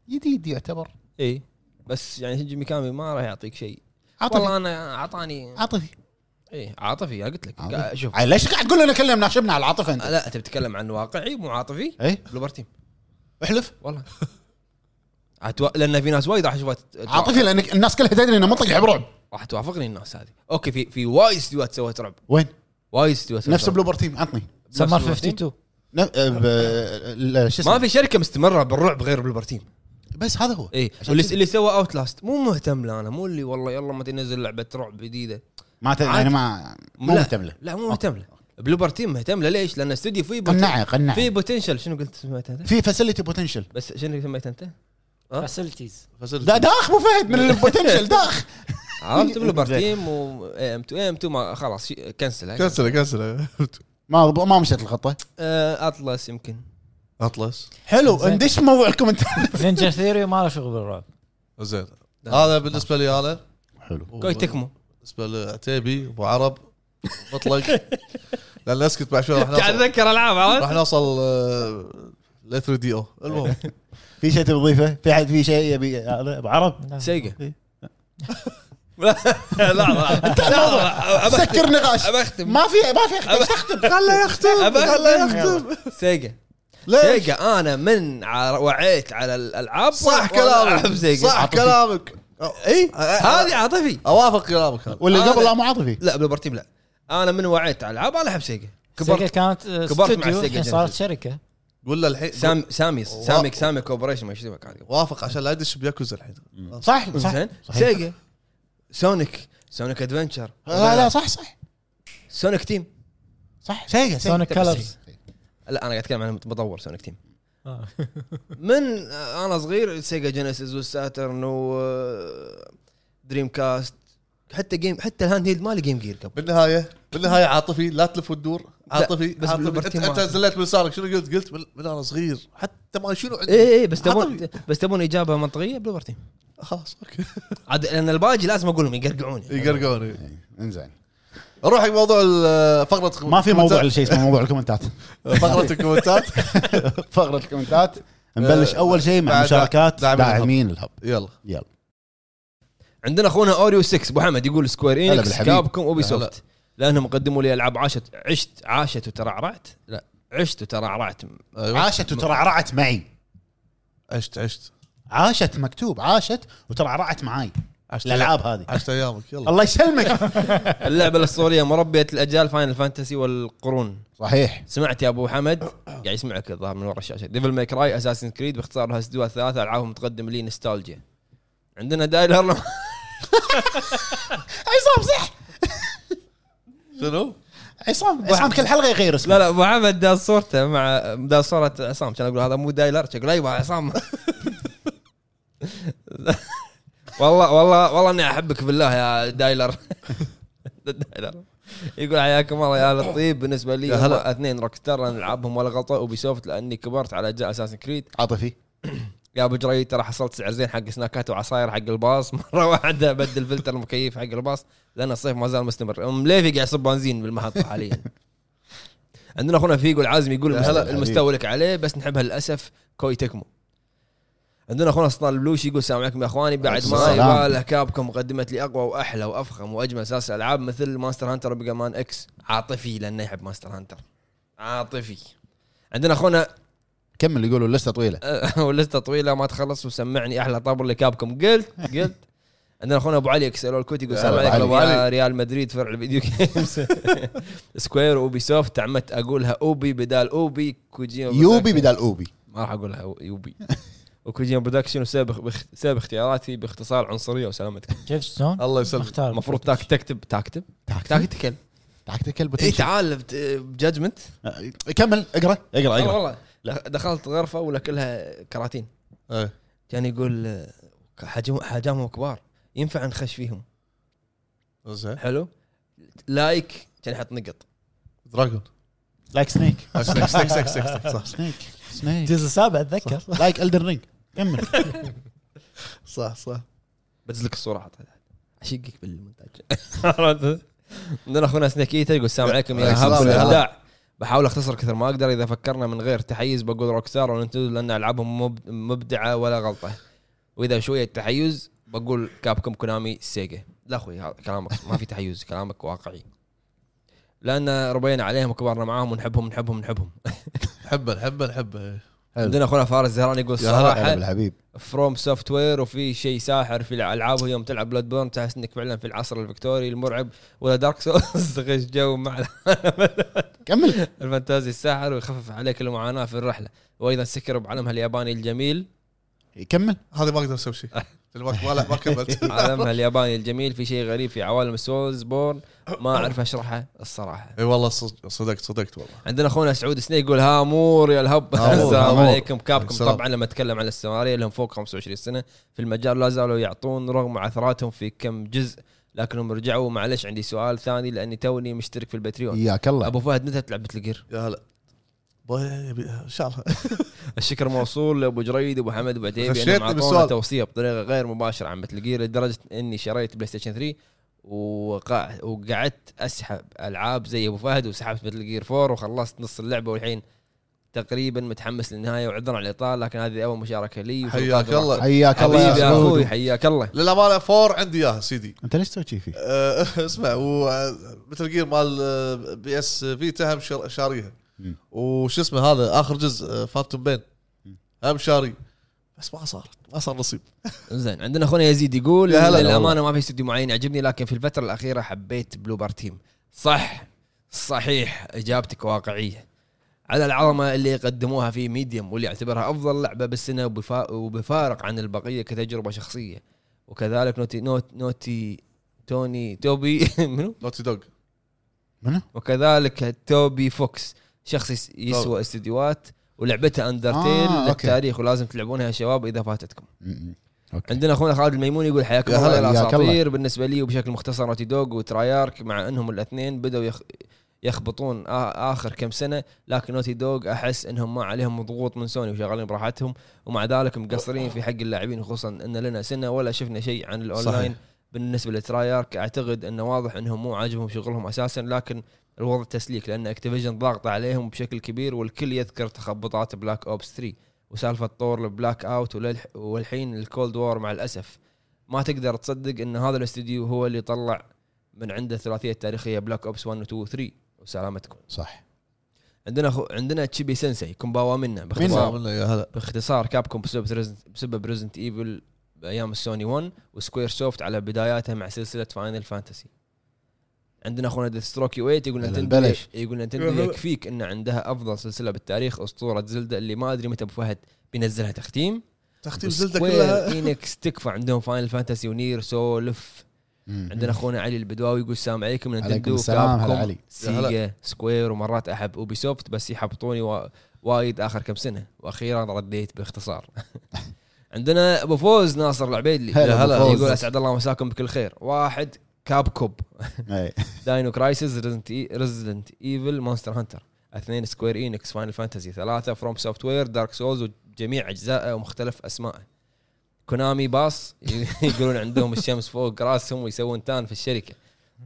Speaker 3: جديد يعتبر
Speaker 1: اي بس يعني شينجي ميكامي ما راح يعطيك شيء
Speaker 3: عاطفي
Speaker 1: والله انا اعطاني
Speaker 3: عاطفي
Speaker 1: ايه عاطفي أنا قلت لك
Speaker 3: عاطفي.
Speaker 1: قا- شوف
Speaker 3: عاد ليش قاعد تقول لنا كلمنا شبنا على العاطفه انت
Speaker 1: آه، لا انت بتتكلم عن واقعي مو عاطفي
Speaker 3: اي
Speaker 1: بلوبر تيم
Speaker 3: احلف
Speaker 1: والله عتو... لان في ناس وايد راح اشوفها تت-
Speaker 3: عاطفي لانك الناس كلها تدري ان منطق يحب رعب
Speaker 1: راح توافقني الناس هذه اوكي في في وايد استديوهات سوت رعب
Speaker 3: وين
Speaker 1: وايد استديوهات
Speaker 3: نفس
Speaker 1: بلوبر
Speaker 3: بلوبر تيم عطني
Speaker 2: سمر
Speaker 1: نفس الوقت.
Speaker 2: 52
Speaker 3: ن- آه، ب- آه، لا، شو
Speaker 1: ما
Speaker 3: اسمه
Speaker 1: في شركه مستمره بالرعب غير بلوبر تيم
Speaker 3: بس هذا هو
Speaker 1: اي
Speaker 3: إيه، عشان
Speaker 1: اللي,
Speaker 3: كذا.
Speaker 1: اللي سوى اوت لاست مو مهتم لانا مو اللي والله يلا ما تنزل لعبه رعب جديده
Speaker 3: ما ت- يعني ما مو
Speaker 1: لا.
Speaker 3: مهتم له
Speaker 1: لا مو مهتم له بلوبر تيم مهتم له ليش؟ لان استوديو فيه بوتن-
Speaker 3: قنعه قنعه
Speaker 1: فيه بوتنشل شنو قلت سميته انت؟
Speaker 3: في فاسيلتي بوتنشل
Speaker 1: بس شنو سميته
Speaker 3: إيه،
Speaker 1: انت؟ ها؟
Speaker 2: فاسيلتيز
Speaker 3: دا- داخ مو فهد من البوتنشل داخ
Speaker 1: عرفت بلوبر
Speaker 3: زين.
Speaker 1: تيم و ام 2 ام 2 ما خلاص شي- كنسل
Speaker 4: كنسله كنسله
Speaker 3: ما ما مشت الخطه
Speaker 1: آه، اطلس يمكن
Speaker 4: اطلس
Speaker 3: حلو
Speaker 2: زين.
Speaker 3: ندش موضوعكم انت
Speaker 2: نينجا ثيري ما له شغل بالرعب
Speaker 4: زين
Speaker 1: لا.
Speaker 4: هذا بالنسبه لي انا
Speaker 3: حلو
Speaker 1: كوي تكمو
Speaker 4: بالنسبه لعتيبي ابو عرب مطلق لان اسكت بعد شوي راح
Speaker 1: قاعد
Speaker 4: نوصل
Speaker 1: اتذكر العاب عرفت؟
Speaker 4: راح نوصل ل 3 دي او المهم
Speaker 3: في شيء تضيفه في حد في شيء يبي هذا ابو عرب
Speaker 2: لا.
Speaker 1: سيجا
Speaker 3: إيه.
Speaker 1: لا لا لا أبى-
Speaker 3: سكر نقاش
Speaker 1: ابى اختم
Speaker 3: ما في ما في اختم تختم خله يختم
Speaker 1: أبى
Speaker 4: خليه
Speaker 1: أختم.
Speaker 4: يختم
Speaker 1: سيجا
Speaker 4: ليش؟
Speaker 1: سيجا انا من ع- وعيت على الالعاب
Speaker 4: صح
Speaker 1: وأنا ألعب
Speaker 4: كلامك
Speaker 1: سيجا
Speaker 4: صح
Speaker 3: عاطفي.
Speaker 4: كلامك
Speaker 1: اي إيه؟ هذه عاطفي
Speaker 4: اوافق كلامك هذا
Speaker 3: واللي
Speaker 1: هذا-
Speaker 3: قبل لا مو عاطفي
Speaker 1: لا بلوبر تيم لا انا من وعيت على العاب انا العب سيجا
Speaker 2: سيجا
Speaker 1: كبرت
Speaker 2: كانت
Speaker 1: كبرت مع
Speaker 2: استوديو
Speaker 1: سيجا
Speaker 2: الحين
Speaker 1: جينيسيس.
Speaker 2: صارت شركه
Speaker 4: ولا الحين
Speaker 1: سام سامي سامي سامي كوبريشن ما يشتمك عادي
Speaker 4: وافق عشان لا ادش بياكوزا الحين
Speaker 3: صح صح
Speaker 1: زين
Speaker 3: صحيح.
Speaker 1: سيجا سونيك سونيك ادفنشر
Speaker 3: لا لا صح صح
Speaker 1: سونيك تيم
Speaker 3: صح سيجا
Speaker 2: سونيك كلرز
Speaker 1: لا انا قاعد اتكلم عن مطور سونيك تيم
Speaker 2: Ah.
Speaker 1: من انا صغير سيجا جينيسيس والساترن و دريم كاست حتى جيم حتى الهاند هيلد مالي جيم جير قبل
Speaker 4: بالنهايه بالنهايه عاطفي لا تلف وتدور عاطفي
Speaker 1: بس
Speaker 4: بس عاطفي
Speaker 1: بالبرتين
Speaker 4: انت,
Speaker 1: ما
Speaker 4: انت
Speaker 1: أعرف.
Speaker 4: زلت من سارك شنو قلت؟ قلت من, من انا صغير حتى ما يشيلوا عندي
Speaker 1: اي
Speaker 3: إيه.
Speaker 1: اي إيه، بس تبون
Speaker 4: عطني.
Speaker 1: بس تبون اجابه منطقيه بلوبر تيم
Speaker 4: خلاص اوكي
Speaker 1: عاد لان الباقي لازم اقول لهم يقرقعوني
Speaker 4: يقرقوني
Speaker 3: إي، انزين
Speaker 4: نروح حق موضوع ال- فقره
Speaker 3: ما في موضوع شيء اسمه موضوع الكومنتات
Speaker 4: فقره الكومنتات
Speaker 3: فقره الكومنتات نبلش اول شيء مع
Speaker 4: بعد-
Speaker 3: مشاركات
Speaker 4: داعمين الهب.
Speaker 3: داعمين الهب
Speaker 4: يلا
Speaker 3: يلا
Speaker 1: عندنا اخونا اوريو 6 ابو حمد يقول سكوير
Speaker 3: هلا
Speaker 1: انكس
Speaker 3: بالحبيب.
Speaker 1: كابكم اوبي
Speaker 4: هلا.
Speaker 1: سوفت لانهم قدموا لي العاب عاشت عشت عاشت وترعرعت لا عشت وترعرعت
Speaker 4: أيوة.
Speaker 3: عاشت وترعرعت معي
Speaker 4: عشت عشت
Speaker 3: عاشت مكتوب عاشت وترعرعت معاي
Speaker 4: عشت
Speaker 3: الالعاب هذه
Speaker 4: عشت ايامك يلا
Speaker 3: الله يسلمك
Speaker 1: اللعبه الاسطوريه مربيه الاجيال فاينل فانتسي والقرون
Speaker 3: صحيح
Speaker 1: سمعت يا ابو حمد قاعد يسمعك الظاهر من ورا الشاشه ديفل ماي كراي اساسن كريد باختصار هالسدوا الثلاثه العابهم تقدم لي نستالجيا عندنا دايلر
Speaker 3: عصام صح
Speaker 4: شنو؟
Speaker 3: عصام عصام كل حلقه يغير اسمه
Speaker 1: لا لا ابو حمد دا صورته مع دا صوره عصام كان اقول هذا مو دايلر اقول ايوه عصام والله والله والله اني احبك بالله يا دايلر دايلر يقول حياكم الله يا لطيف بالنسبه لي
Speaker 4: يا هلا.
Speaker 1: هلا اثنين روك ستار لان العابهم ولا غلطه وبيسوفت لاني كبرت على اجزاء اساسن كريد
Speaker 3: عاطفي
Speaker 1: يا ابو جري ترى حصلت سعر زين حق سناكات وعصاير حق الباص مره واحده بدل فلتر المكيف حق الباص لان الصيف ما زال مستمر ام ليفي قاعد يصب بنزين بالمحطه حاليا عندنا اخونا فيجو العازم يقول
Speaker 4: يا
Speaker 1: المست-
Speaker 4: هلا
Speaker 1: المستوى لك عليه بس نحبها للاسف كوي تكمو عندنا اخونا سلطان البلوشي يقول السلام عليكم يا اخواني بعد ما
Speaker 3: السلام.
Speaker 1: يباله كابكم قدمت لي اقوى واحلى وافخم واجمل سلاسل العاب مثل ماستر هانتر وبيجا مان اكس عاطفي لانه يحب ماستر هانتر عاطفي عندنا اخونا
Speaker 3: كمل يقولوا لسته طويله
Speaker 1: واللسته طويله ما تخلص وسمعني احلى طبل لكابكم قلت قلت عندنا اخونا ابو علي اكسل الكوت يقول
Speaker 4: يا
Speaker 1: السلام
Speaker 3: هلا أبو
Speaker 1: عليكم
Speaker 4: علي.
Speaker 1: يا ريال مدريد فرع الفيديو جيمز سكوير اوبي سوفت تعمدت اقولها اوبي بدال اوبي كوجيما
Speaker 3: يوبي
Speaker 1: برودكشن.
Speaker 3: بدل اوبي
Speaker 1: ما راح اقولها أو- يوبي وكوجيما برودكشن وسبب بخ- سبب اختياراتي باختصار عنصريه وسلامتك
Speaker 2: شفت شلون؟
Speaker 4: الله يسلمك
Speaker 2: مختار
Speaker 1: المفروض تاك تكتب تكتب تاكتيكال
Speaker 3: تاكتيكال
Speaker 1: اي
Speaker 3: بوتنشل.
Speaker 1: تعال بت- بججمنت
Speaker 3: آه، كمل اقرا اقرا
Speaker 4: أيوة.
Speaker 1: والله
Speaker 3: اقرا
Speaker 1: والله. دخلت غرفه ولا كلها كراتين
Speaker 4: إيه.
Speaker 1: كان يقول آه، حجم حجمهم كبار ينفع نخش فيهم
Speaker 4: زين
Speaker 1: حلو لايك كان يحط نقط
Speaker 4: دراجون
Speaker 3: لايك سنيك
Speaker 4: سنيك سنيك سنيك سنيك صح
Speaker 3: سنيك سنيك
Speaker 2: الجزء السابع اتذكر
Speaker 3: لايك الدر رينج كمل
Speaker 4: صح صح
Speaker 1: بدز لك الصوره حطها اشقك بالمونتاج عرفت؟ عندنا اخونا سناكيتا يقول السلام عليكم يا
Speaker 4: عليك
Speaker 1: هب
Speaker 4: السلام يا هلا.
Speaker 1: الابداع بحاول اختصر كثر ما اقدر اذا فكرنا من غير تحيز بقول روكستار وننتدو لان العابهم مب- مبدعه ولا غلطه واذا شويه تحيز بقول كابكم كونامي سيجا لا اخوي هذا كلامك ما في تحيز كلامك واقعي لان ربينا عليهم وكبرنا معاهم ونحبهم نحبهم نحبهم
Speaker 4: نحبه نحبه نحبه إيه.
Speaker 3: حلو.
Speaker 1: عندنا اخونا فارس زهران يقول
Speaker 4: يا هلا.
Speaker 1: صراحه
Speaker 3: الحبيب
Speaker 1: فروم سوفت وير وفي شيء ساحر في الالعاب يوم تلعب بلاد بورن تحس انك فعلا في العصر الفكتوري المرعب ولا دارك سولز تغش جو مع
Speaker 3: كمل
Speaker 1: الفانتازي الساحر ويخفف عليك المعاناه في الرحله وايضا سكر بعلمها الياباني الجميل
Speaker 3: كمل
Speaker 4: هذه ما اقدر اسوي شيء ما ما- ما كملت
Speaker 1: عالمها الياباني الجميل في شيء غريب في عوالم السولز بورن ما اعرف اشرحه الصراحه
Speaker 4: اي والله صد- صدقت صدقت والله
Speaker 1: عندنا اخونا سعود سني يقول هامور يا الهب
Speaker 4: هامور،
Speaker 1: السلام
Speaker 4: هامور.
Speaker 1: عليكم كابكم
Speaker 4: السلام.
Speaker 1: طبعا لما اتكلم عن الاستمراريه لهم فوق 25 سنه في المجال لا زالوا يعطون رغم عثراتهم في كم جزء لكنهم رجعوا معلش عندي سؤال ثاني لاني توني مشترك في البتريون
Speaker 3: اياك الله
Speaker 1: ابو فهد متى تلعب بتلقير
Speaker 4: يا هلا باي- ان شاء الله
Speaker 1: الشكر موصول لابو جريد ابو حمد ابو عتيبي
Speaker 4: خشيت
Speaker 1: انهم اعطونا
Speaker 4: بالسؤال.
Speaker 1: توصيه بطريقه غير مباشره عن بتلقير لدرجه اني شريت بلاي ستيشن 3 وقع وقعدت اسحب العاب زي ابو فهد وسحبت مثل جير 4 وخلصت نص اللعبه والحين تقريبا متحمس للنهايه وعذرا على الاطاله لكن هذه اول مشاركه لي
Speaker 4: حياك الله.
Speaker 3: حياك الله
Speaker 1: حبيبي يا اخوي
Speaker 3: سعود
Speaker 1: حياك الله
Speaker 4: للامانه فور عندي اياها سيدي
Speaker 3: انت ليش تسوي شي فيه؟
Speaker 4: أه، اسمع ومثل جير مال أه، بي اس فيتا هم شر- شاريها
Speaker 3: مم.
Speaker 4: وش اسمه هذا اخر جزء أه، فانتوم بين هم شاري بس ما صار ما صار نصيب
Speaker 1: زين عندنا اخونا يزيد يقول
Speaker 4: يا هلا
Speaker 1: للامانه ما في استوديو معين يعجبني لكن في الفتره الاخيره حبيت بلوبر تيم صح صحيح اجابتك واقعيه على العظمه اللي قدموها في ميديوم واللي اعتبرها افضل لعبه بالسنه وبفا- وبفارق عن البقيه كتجربه شخصيه وكذلك نوتي نوت نوتي توني توبي منو
Speaker 4: نوتي دوغ
Speaker 3: منو؟
Speaker 1: وكذلك توبي فوكس شخص يس- يسوى استديوهات ولعبتها اندرتيل
Speaker 3: آه،
Speaker 1: آه،
Speaker 3: أوكي.
Speaker 1: للتاريخ ولازم تلعبونها يا شباب اذا فاتتكم
Speaker 3: م-م. اوكي
Speaker 1: عندنا اخونا خالد الميمون يقول حياكم
Speaker 3: يا
Speaker 1: الله
Speaker 3: هلا،
Speaker 1: يا
Speaker 3: حياك
Speaker 1: اساطير بالنسبه لي وبشكل مختصر نوتي دوغ وترايارك مع انهم الاثنين بداوا يخ... يخبطون آ- اخر كم سنه لكن نوتي دوغ احس انهم ما عليهم ضغوط من سوني وشغالين براحتهم ومع ذلك مقصرين في حق اللاعبين خصوصا ان لنا سنه ولا شفنا شيء عن الاونلاين
Speaker 4: صحيح.
Speaker 1: بالنسبه للترايارك اعتقد انه واضح انهم مو عاجبهم شغلهم اساسا لكن الوضع تسليك لان اكتيفيجن ضاغطه عليهم بشكل كبير والكل يذكر تخبطات بلاك اوبس 3 وسالفه طور البلاك اوت وللح- والحين الكولد وور مع الاسف ما تقدر تصدق ان هذا الاستوديو هو اللي طلع من عنده الثلاثيه التاريخيه بلاك اوبس 1 و 2 و 3 وسلامتكم
Speaker 3: صح
Speaker 1: عندنا خو... عندنا تشيبي سensei كومباوا منا
Speaker 4: صار
Speaker 1: باختصار
Speaker 4: منه يا هلا
Speaker 1: باختصار كابكوم بسبب ريزنت... بسبب ريزنت ايفل بايام السوني 1 وسكوير سوفت على بداياتها مع سلسله فاينل فانتسي عندنا اخونا ديستروك يو 8 يقول
Speaker 3: يلا
Speaker 1: نتندو
Speaker 3: نبلش.
Speaker 1: يقول نتندو يكفيك ان عندها افضل سلسله بالتاريخ اسطوره زلدة اللي ما ادري متى ابو فهد بينزلها تختيم
Speaker 4: تختيم زلده
Speaker 1: وسكوير
Speaker 4: كلها
Speaker 1: اينكس تكفى عندهم فاينل فانتسي ونير سولف عندنا اخونا علي البدواوي يقول السلام عليكم من
Speaker 3: عليكم
Speaker 1: نتندو
Speaker 3: السلام، هلا
Speaker 1: كابكوم،
Speaker 3: علي.
Speaker 1: سيجا سكوير ومرات احب اوبي سوفت بس يحبطوني وا- وايد اخر كم سنه واخيرا رديت باختصار عندنا ابو فوز ناصر العبيدلي
Speaker 3: هلا
Speaker 1: يا
Speaker 3: أبو فوز.
Speaker 1: يقول اسعد الله مساكم بكل خير واحد كابكوب
Speaker 3: إيه.
Speaker 1: داينو كرايسز ريزدنت ايفل مونستر هانتر اثنين سكوير انكس فاينل فانتسي ثلاثه فروم سوفت وير دارك سولز وجميع اجزائه ومختلف اسمائه كونامي باص يقولون عندهم الشمس فوق راسهم ويسوون تان في الشركه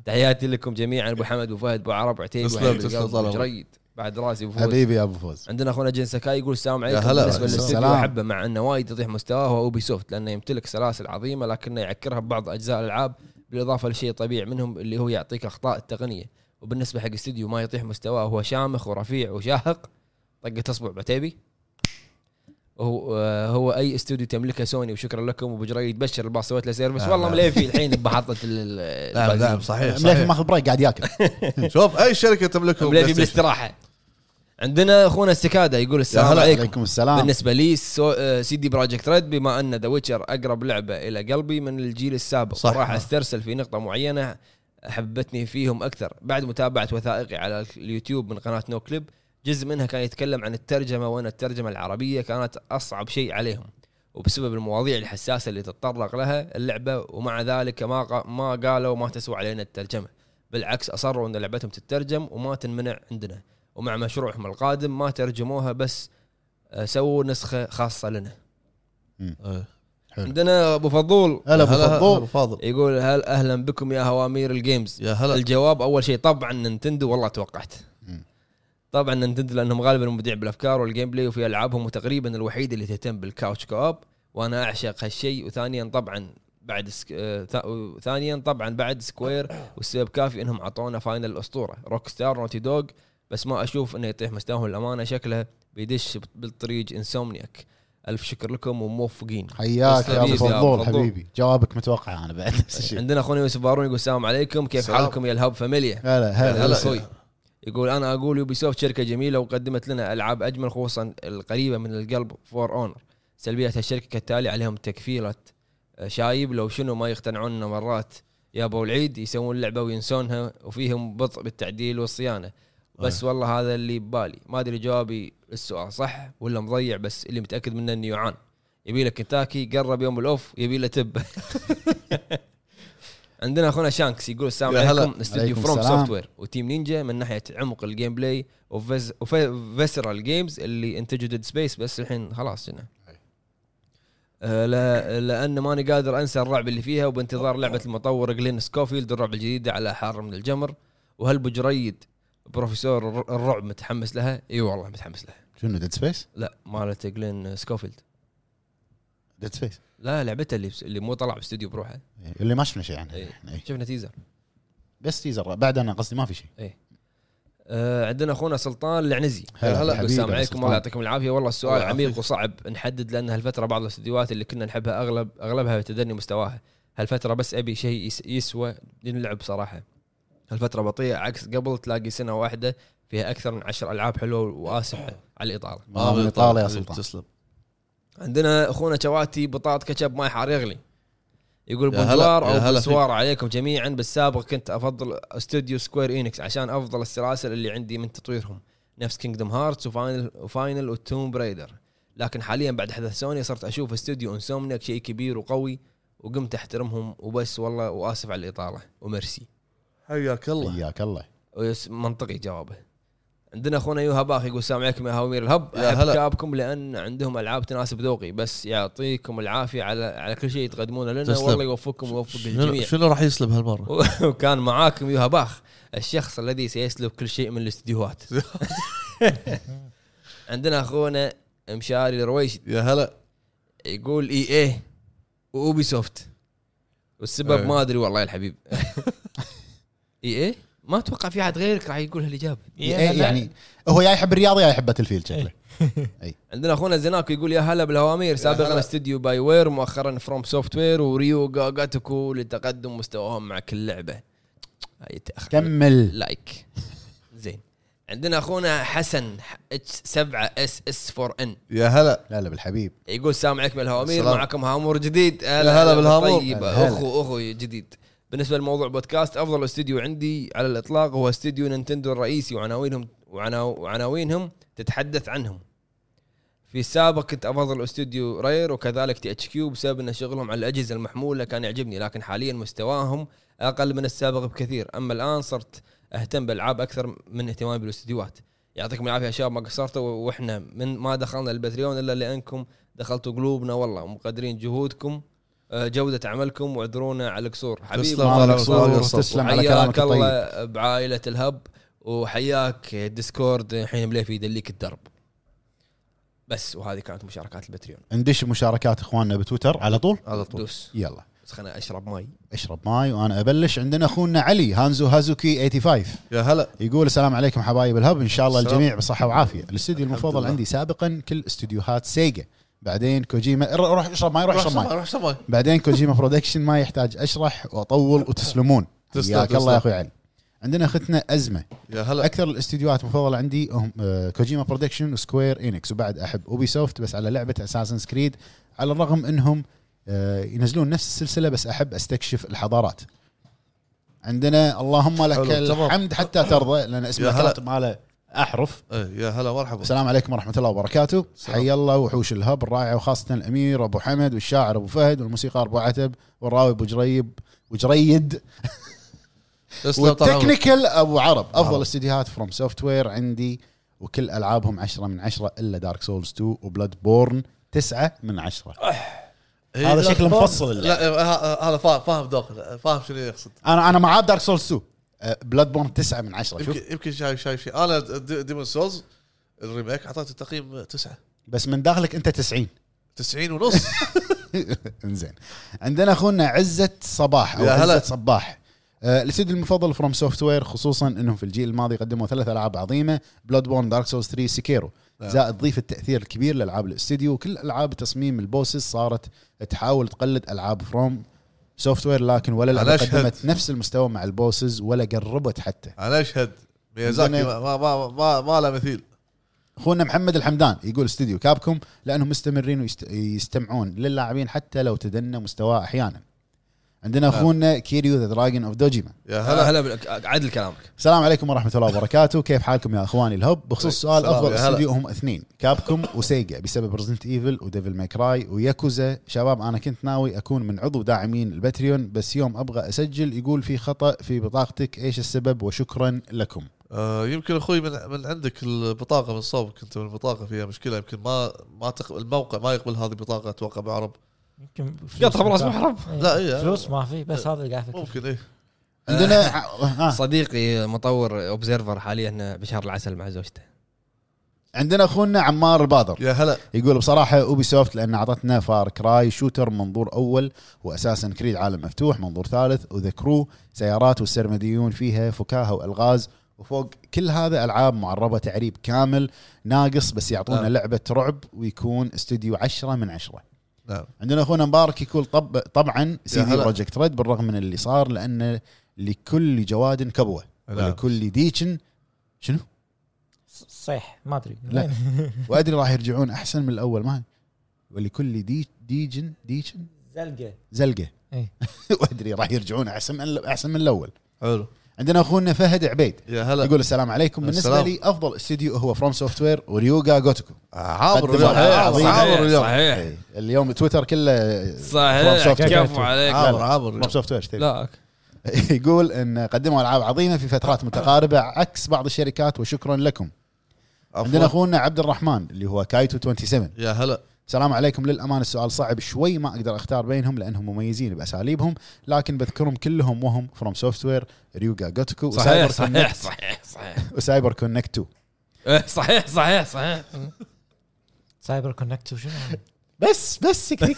Speaker 1: تحياتي لكم جميعا ابو حمد ابو فهد ابو عرب عتيبي
Speaker 4: تسلم،
Speaker 1: وعلي
Speaker 4: تسلم
Speaker 1: القلب،
Speaker 4: طال
Speaker 1: أبو
Speaker 4: عمرك.
Speaker 1: جريد بعد راسي ابو فهد
Speaker 3: حبيبي يا ابو فوز
Speaker 1: عندنا اخونا جين سكاي يقول السلام عليكم
Speaker 4: هلا.
Speaker 1: بالنسبه للاستوديو
Speaker 3: السلام.
Speaker 1: احبه مع انه وايد يطيح مستواه هو اوبي سوفت لانه يمتلك سلاسل عظيمه لكنه يعكرها ببعض اجزاء الالعاب بالاضافه لشيء طبيعي منهم اللي هو يعطيك اخطاء التقنيه وبالنسبه حق استوديو ما يطيح مستواه هو شامخ ورفيع وشاهق طقه اصبع بعتيبي هو آه، هو اي استوديو تملكه سوني وشكرا لكم وابو جريد بشر الباص سويت له سيرفس
Speaker 4: نعم،
Speaker 1: والله
Speaker 4: نعم.
Speaker 1: مليفي الحين بمحطه
Speaker 4: نعم نعم
Speaker 1: البنزين
Speaker 4: صحيح
Speaker 3: مليفي
Speaker 4: صحيح
Speaker 3: ماخذ بريك قاعد ياكل
Speaker 4: شوف اي شركه تملكهم
Speaker 1: مليفي بالاستراحه عندنا اخونا السكاده يقول السلام
Speaker 3: هلا.
Speaker 1: عليكم
Speaker 3: عليكم السلام
Speaker 1: بالنسبه لي سو... آه، سي دي بروجكت ريد بما ان ذا ويتشر اقرب لعبه الى قلبي من الجيل السابق
Speaker 4: صح.
Speaker 1: صح راح استرسل في نقطه معينه حبتني فيهم اكثر بعد متابعه وثائقي على اليوتيوب من قناه نو كليب جزء منها كان يتكلم عن الترجمه وان الترجمه العربيه كانت اصعب شيء عليهم وبسبب المواضيع الحساسه اللي تتطرق لها اللعبه ومع ذلك ما قا- ما قالوا ما تسوى علينا الترجمه بالعكس اصروا ان لعبتهم تترجم وما تنمنع عندنا ومع مشروعهم القادم ما ترجموها بس آه، سووا نسخه خاصه لنا
Speaker 4: إيه.
Speaker 3: حلو.
Speaker 1: عندنا ابو فضول
Speaker 3: هلا ابو
Speaker 4: هلا هلا،
Speaker 3: فضول
Speaker 4: ابو فاضل
Speaker 1: يقول هل اهلا بكم يا هوامير الجيمز
Speaker 4: يا هلا
Speaker 1: الجواب اول شيء طبعا نينتندو والله توقعت
Speaker 3: مم.
Speaker 1: طبعا نينتندو لانهم غالبا مبدع بالافكار والجيم بلاي وفي العابهم وتقريبا الوحيده اللي تهتم بالكاوتش كوب وانا اعشق هالشيء وثانيا طبعا بعد سك... آه، ثا- وثانيا طبعا بعد سكوير والسبب كافي انهم اعطونا فاينل الاسطوره روك ستار نوتي دوغ بس ما اشوف انه يطيح مستواهم الامانه شكله بيدش بالطريق انسومنياك الف شكر لكم وموفقين
Speaker 3: حياك يا ابو
Speaker 1: حبيبي يا أبو
Speaker 3: فضول
Speaker 1: فضول.
Speaker 3: حبيبي جوابك متوقع انا بعد نفس الشيء
Speaker 1: عندنا اخونا يوسف بارون يقول السلام عليكم كيف
Speaker 4: سلام.
Speaker 1: حالكم يا الهب فاميليا
Speaker 3: هلا هلا
Speaker 1: يعني هلا
Speaker 4: هلا.
Speaker 1: اخوي يقول انا اقول يوبي سوفت شركه جميله وقدمت لنا العاب اجمل خصوصا القريبه من القلب فور اونر سلبيه هالشركه كالتالي عليهم تكفيله شايب لو شنو ما يقتنعوننا مرات يا ابو العيد يسوون لعبه وينسونها وفيهم بطء بالتعديل والصيانه بس
Speaker 4: آه.
Speaker 1: والله هذا اللي ببالي ما ادري جوابي السؤال صح ولا مضيع بس اللي متاكد منه انه يعان يبي له كنتاكي قرب يوم الاوف يبي له تب عندنا اخونا شانكس يقول السلام
Speaker 4: يا هلا.
Speaker 1: عليكم استوديو
Speaker 3: عليكم
Speaker 1: فروم
Speaker 3: السلام.
Speaker 1: سوفت وير وتيم نينجا من ناحيه عمق الجيم بلاي وفيز- وفيسرال جيمز اللي انتجوا ديد سبيس بس الحين خلاص هنا آه، لا لان ماني قادر انسى الرعب اللي فيها وبانتظار لعبه المطور جلين سكوفيلد الرعب الجديده على حار من الجمر وهل بجريد بروفيسور الر- الرعب متحمس لها؟ اي والله متحمس لها
Speaker 3: شنو ديد سبيس؟
Speaker 1: لا مالت جلين سكوفيلد
Speaker 3: ديد سبيس
Speaker 1: لا لعبتها اللي بس اللي مو طلع باستوديو بروحه
Speaker 3: اللي ما شفنا شيء عنها
Speaker 1: إيه.
Speaker 3: إحنا، إيه.
Speaker 1: شفنا تيزر
Speaker 3: بس تيزر بعد انا قصدي ما في شيء
Speaker 1: آه عندنا اخونا سلطان العنزي
Speaker 3: هلا
Speaker 1: هلا
Speaker 3: حبيبي
Speaker 1: السلام
Speaker 3: يا
Speaker 1: عليكم
Speaker 3: سلطان.
Speaker 1: الله يعطيكم العافيه والله السؤال
Speaker 4: الله
Speaker 1: عميق
Speaker 4: يعافيك.
Speaker 1: وصعب نحدد لان هالفتره بعض الاستديوهات اللي كنا نحبها اغلب اغلبها يتدني مستواها هالفتره بس ابي شيء يس- يسوى نلعب صراحه هالفتره بطيئه عكس قبل تلاقي سنه واحده فيها اكثر من عشر العاب حلوه واسعه على الاطاله
Speaker 4: آه،
Speaker 3: ما من طالع يا سلطان
Speaker 4: طيب، تسلم
Speaker 1: عندنا اخونا شواتي بطاط كاتشب ماي حار يغلي يقول
Speaker 4: يا هلا-
Speaker 1: بونجوار
Speaker 4: يا هلا
Speaker 1: او
Speaker 4: فيك.
Speaker 1: بسوار عليكم جميعا بالسابق كنت افضل استوديو سكوير انكس عشان افضل السلاسل اللي عندي من تطويرهم نفس كينجدم هارتس وفاينل وفاينل وتوم برايدر لكن حاليا بعد حدث سوني صرت اشوف استوديو انسومنيك شيء كبير وقوي وقمت احترمهم وبس والله واسف على الاطاله وميرسي
Speaker 4: حياك الله
Speaker 3: حياك الله
Speaker 1: ويس- منطقي جوابه عندنا اخونا يوها باخ يقول السلام عليكم يا هاومير الهب
Speaker 4: يا
Speaker 1: احب
Speaker 4: هلا.
Speaker 1: شابكم لان عندهم العاب تناسب ذوقي بس يعطيكم العافيه على على كل شيء تقدمونه لنا
Speaker 4: تسلم.
Speaker 1: والله يوفقكم ويوفق
Speaker 4: شنو,
Speaker 1: الجميع
Speaker 4: شنو راح يسلب هالمره؟
Speaker 1: وكان معاكم يوها باخ الشخص الذي سيسلب كل شيء من الاستديوهات عندنا اخونا مشاري الرويشد
Speaker 4: يا هلا
Speaker 1: يقول اي اي واوبي سوفت والسبب
Speaker 4: إيه.
Speaker 1: ما ادري والله يا الحبيب اي اي ما اتوقع في احد غيرك راح يقول هالاجابه
Speaker 3: إيه، يعني هو يا يحب الرياضه يا يحب باتل فيلد شكله
Speaker 1: عندنا اخونا زناكو يقول يا هلا بالهوامير سابقا
Speaker 4: هلا.
Speaker 1: استوديو باي وير مؤخرا فروم سوفت وير وريو جاجاتوكو لتقدم مستواهم مع كل لعبه هاي تأخر
Speaker 3: كمل
Speaker 1: لايك زين عندنا اخونا حسن اتش 7 اس اس 4 ان
Speaker 4: يا هلا
Speaker 3: لا لا بالحبيب
Speaker 1: يقول السلام عليكم يا الهوامير
Speaker 4: السلام.
Speaker 1: معكم هامور جديد
Speaker 4: هلا بالهامور.
Speaker 1: طيبة
Speaker 3: هلا.
Speaker 1: اخو اخو جديد بالنسبه لموضوع بودكاست افضل استوديو عندي على الاطلاق هو استوديو نينتندو الرئيسي وعناوينهم وعنا- وعناوينهم تتحدث عنهم في السابق كنت افضل استوديو رير وكذلك تي اتش كيو بسبب ان شغلهم على الاجهزه المحموله كان يعجبني لكن حاليا مستواهم اقل من السابق بكثير اما الان صرت اهتم بالالعاب اكثر من اهتمامي بالاستديوهات يعطيكم العافيه يا شباب ما قصرتوا واحنا من ما دخلنا البتريون الا لانكم دخلتوا قلوبنا والله ومقدرين جهودكم آه، جوده عملك واعذرونا على القصور حبيبي
Speaker 4: تسلم على القصور.
Speaker 3: تسلم على
Speaker 1: حياك
Speaker 3: كلامك الطيب
Speaker 1: الله بعائله الهب وحياك ديسكورد الحين مليفي يدليك الدرب بس وهذه كانت مشاركات البتريون
Speaker 3: ندش مشاركات اخواننا بتويتر على طول
Speaker 4: على طول
Speaker 1: دوس
Speaker 3: يلا
Speaker 1: بس خلنا اشرب مي
Speaker 3: اشرب ماي وانا ابلش عندنا اخونا علي هانزو هازوكي 85
Speaker 4: يا هلا
Speaker 3: يقول السلام عليكم حبايب الهب ان شاء الله
Speaker 4: السلام.
Speaker 3: الجميع بصحه وعافيه الاستديو
Speaker 4: الحمد
Speaker 3: المفضل
Speaker 4: لله.
Speaker 3: عندي سابقا كل استديوهات سيجا بعدين كوجيما ر- روح اشرب ماي روح اشرب ماي
Speaker 4: روح اشرب ماي
Speaker 3: بعدين كوجيما برودكشن ما يحتاج اشرح واطول وتسلمون
Speaker 4: تسلم،
Speaker 3: حياك
Speaker 4: تسلم.
Speaker 3: الله يا اخوي علي عندنا اختنا ازمه
Speaker 4: يا هلا
Speaker 3: اكثر الاستديوهات المفضله عندي هم آه، كوجيما برودكشن وسكوير انكس وبعد احب اوبي سوفت بس على لعبه اساسن سكريد على الرغم انهم آه، ينزلون نفس السلسله بس احب استكشف الحضارات عندنا اللهم لك
Speaker 4: حلو، تمام.
Speaker 3: الحمد حتى ترضى لان اسم
Speaker 4: يا هلا.
Speaker 3: الكاتب ماله احرف
Speaker 4: إيه، يا هلا مرحبا
Speaker 3: السلام عليكم ورحمه الله وبركاته
Speaker 4: السلام.
Speaker 3: حي الله وحوش الهب الرائعه وخاصه الامير ابو حمد والشاعر ابو فهد والموسيقار ابو عتب والراوي ابو جريب وجريد
Speaker 4: تسلم طال عمرك.
Speaker 3: والتكنيكال ابو عرب
Speaker 4: عرب.
Speaker 3: افضل استديوهات فروم سوفت وير عندي وكل العابهم 10 من 10 الا دارك سولز 2 وبلاد بورن 9 من 10
Speaker 4: إيه،
Speaker 3: هذا
Speaker 4: لا،
Speaker 3: شكله
Speaker 4: فاهم.
Speaker 3: مفصل اللعب.
Speaker 4: لا إيه، ه- هذا فاهم فاهم دوق فاهم شنو يقصد
Speaker 3: انا انا معاه دارك سولز 2 بلاد بورن 9 أه، من 10 شوف
Speaker 4: يمكن يمكن شايف شايف شيء انا ديمون سولز الريميك اعطيته تقييم تسعة
Speaker 3: بس من داخلك انت 90
Speaker 4: 90 ونص
Speaker 3: انزين عندنا اخونا عزه صباح او
Speaker 4: يا هلا.
Speaker 3: عزه صباح آه، الاستديو المفضل فروم سوفت وير خصوصا انهم في الجيل الماضي قدموا ثلاث العاب عظيمه بلاد بورن دارك سولز 3 سكيرو
Speaker 4: نعم.
Speaker 3: زائد ضيف التاثير الكبير لالعاب الاستديو وكل العاب تصميم البوسز صارت تحاول تقلد العاب فروم سوفت وير لكن ولا لعبه
Speaker 4: أنا أشهد.
Speaker 3: قدمت نفس المستوى مع البوسز ولا قربت حتى
Speaker 4: انا اشهد ميازاكي
Speaker 3: عندنا-
Speaker 4: ما ما ما, ما, ما له مثيل
Speaker 3: اخونا محمد الحمدان يقول استديو كابكم لانهم مستمرين ويستمعون للاعبين حتى لو تدنى مستواه احيانا عندنا اخونا كيريو ذا دراجون اوف دوجيما
Speaker 4: يا
Speaker 1: هلا
Speaker 4: هلا
Speaker 1: آه، هلا بال- عدل كلامك
Speaker 3: السلام عليكم ورحمه الله وبركاته كيف حالكم يا اخواني الهب بخصوص سؤال
Speaker 4: السلام،
Speaker 3: افضل
Speaker 4: يا هلا.
Speaker 3: استديو هم اثنين كابكم وسيجا بسبب ريزنت ايفل وديفل ماكراي وياكوزا شباب انا كنت ناوي اكون من عضو داعمين الباتريون بس يوم ابغى اسجل يقول في خطا في بطاقتك ايش السبب وشكرا لكم
Speaker 4: آه يمكن اخوي من من عندك البطاقه من صوب كنت من البطاقه فيها مشكله يمكن ما ما تقبل الموقع ما يقبل هذه البطاقه اتوقع بعرب
Speaker 2: يمكن فلوس
Speaker 1: قطها براس
Speaker 2: ما-
Speaker 1: محرم
Speaker 2: إيه،
Speaker 4: لا، إيه.
Speaker 2: فلوس ما في بس هذا اللي قاعد أفكر.
Speaker 4: ممكن ايه
Speaker 3: عندنا آه.
Speaker 1: صديقي مطور اوبزرفر حاليا بشهر العسل مع زوجته
Speaker 3: عندنا اخونا عمار البادر
Speaker 4: يا هلا
Speaker 3: يقول بصراحه اوبي سوفت لان اعطتنا فار كراي شوتر منظور اول واساسا كريد عالم مفتوح منظور ثالث وذا كرو سيارات والسرمديون فيها فكاهه والغاز وفوق كل هذا العاب معربه تعريب كامل ناقص بس يعطونا
Speaker 4: نعم.
Speaker 3: لعبه رعب ويكون استديو عشرة من عشرة
Speaker 4: نعم
Speaker 3: عندنا اخونا مبارك يقول طب طبعا سي دي
Speaker 4: هلا.
Speaker 3: بروجكت ريد بالرغم من اللي صار لان لكل جواد كبوه
Speaker 4: نعم.
Speaker 3: ولكل ديتشن شنو؟
Speaker 2: ص- صيح ما ادري
Speaker 3: لا. وادري راح يرجعون احسن من الاول ما ولكل دي ديجن ديجن
Speaker 2: زلقه
Speaker 3: زلقه
Speaker 2: إيه.
Speaker 3: وادري راح يرجعون احسن من احسن من الاول
Speaker 4: حلو
Speaker 3: عندنا اخونا فهد عبيد
Speaker 4: يا هلا
Speaker 3: يقول السلام عليكم بالنسبه
Speaker 4: السلام.
Speaker 3: لي افضل استديو هو فروم سوفت وير وريوغا جوتوكو
Speaker 1: آه،
Speaker 4: عابر
Speaker 3: قدم
Speaker 4: اليوم
Speaker 3: ألعاب
Speaker 4: عابر
Speaker 3: عظيمة.
Speaker 4: عابر اليوم
Speaker 1: صحيح
Speaker 3: إيه، اليوم تويتر كله
Speaker 1: صحيح
Speaker 3: From آه. Software.
Speaker 1: كفو عليك
Speaker 4: عابر
Speaker 3: لا.
Speaker 4: عابر
Speaker 3: فروم سوفت وير
Speaker 1: لا
Speaker 3: يقول ان قدموا العاب عظيمه في فترات متقاربه عكس بعض الشركات وشكرا لكم عندنا
Speaker 4: عفوا
Speaker 3: اخونا عبد الرحمن اللي هو كايتو 27
Speaker 4: يا هلا
Speaker 3: السلام عليكم للأمانة السؤال صعب شوي ما أقدر أختار بينهم لأنهم مميزين بأساليبهم لكن بذكرهم كلهم وهم فروم سوفتوير ريوغا جوتكو
Speaker 1: صحيح
Speaker 3: وسايبر
Speaker 1: صحيح
Speaker 3: كونكت
Speaker 1: صحيح صحيح
Speaker 3: وسايبر كونكت 2
Speaker 1: إيه، صحيح صحيح صحيح
Speaker 2: سايبر كونكت وشنو هذا؟
Speaker 3: بس بس يكفيك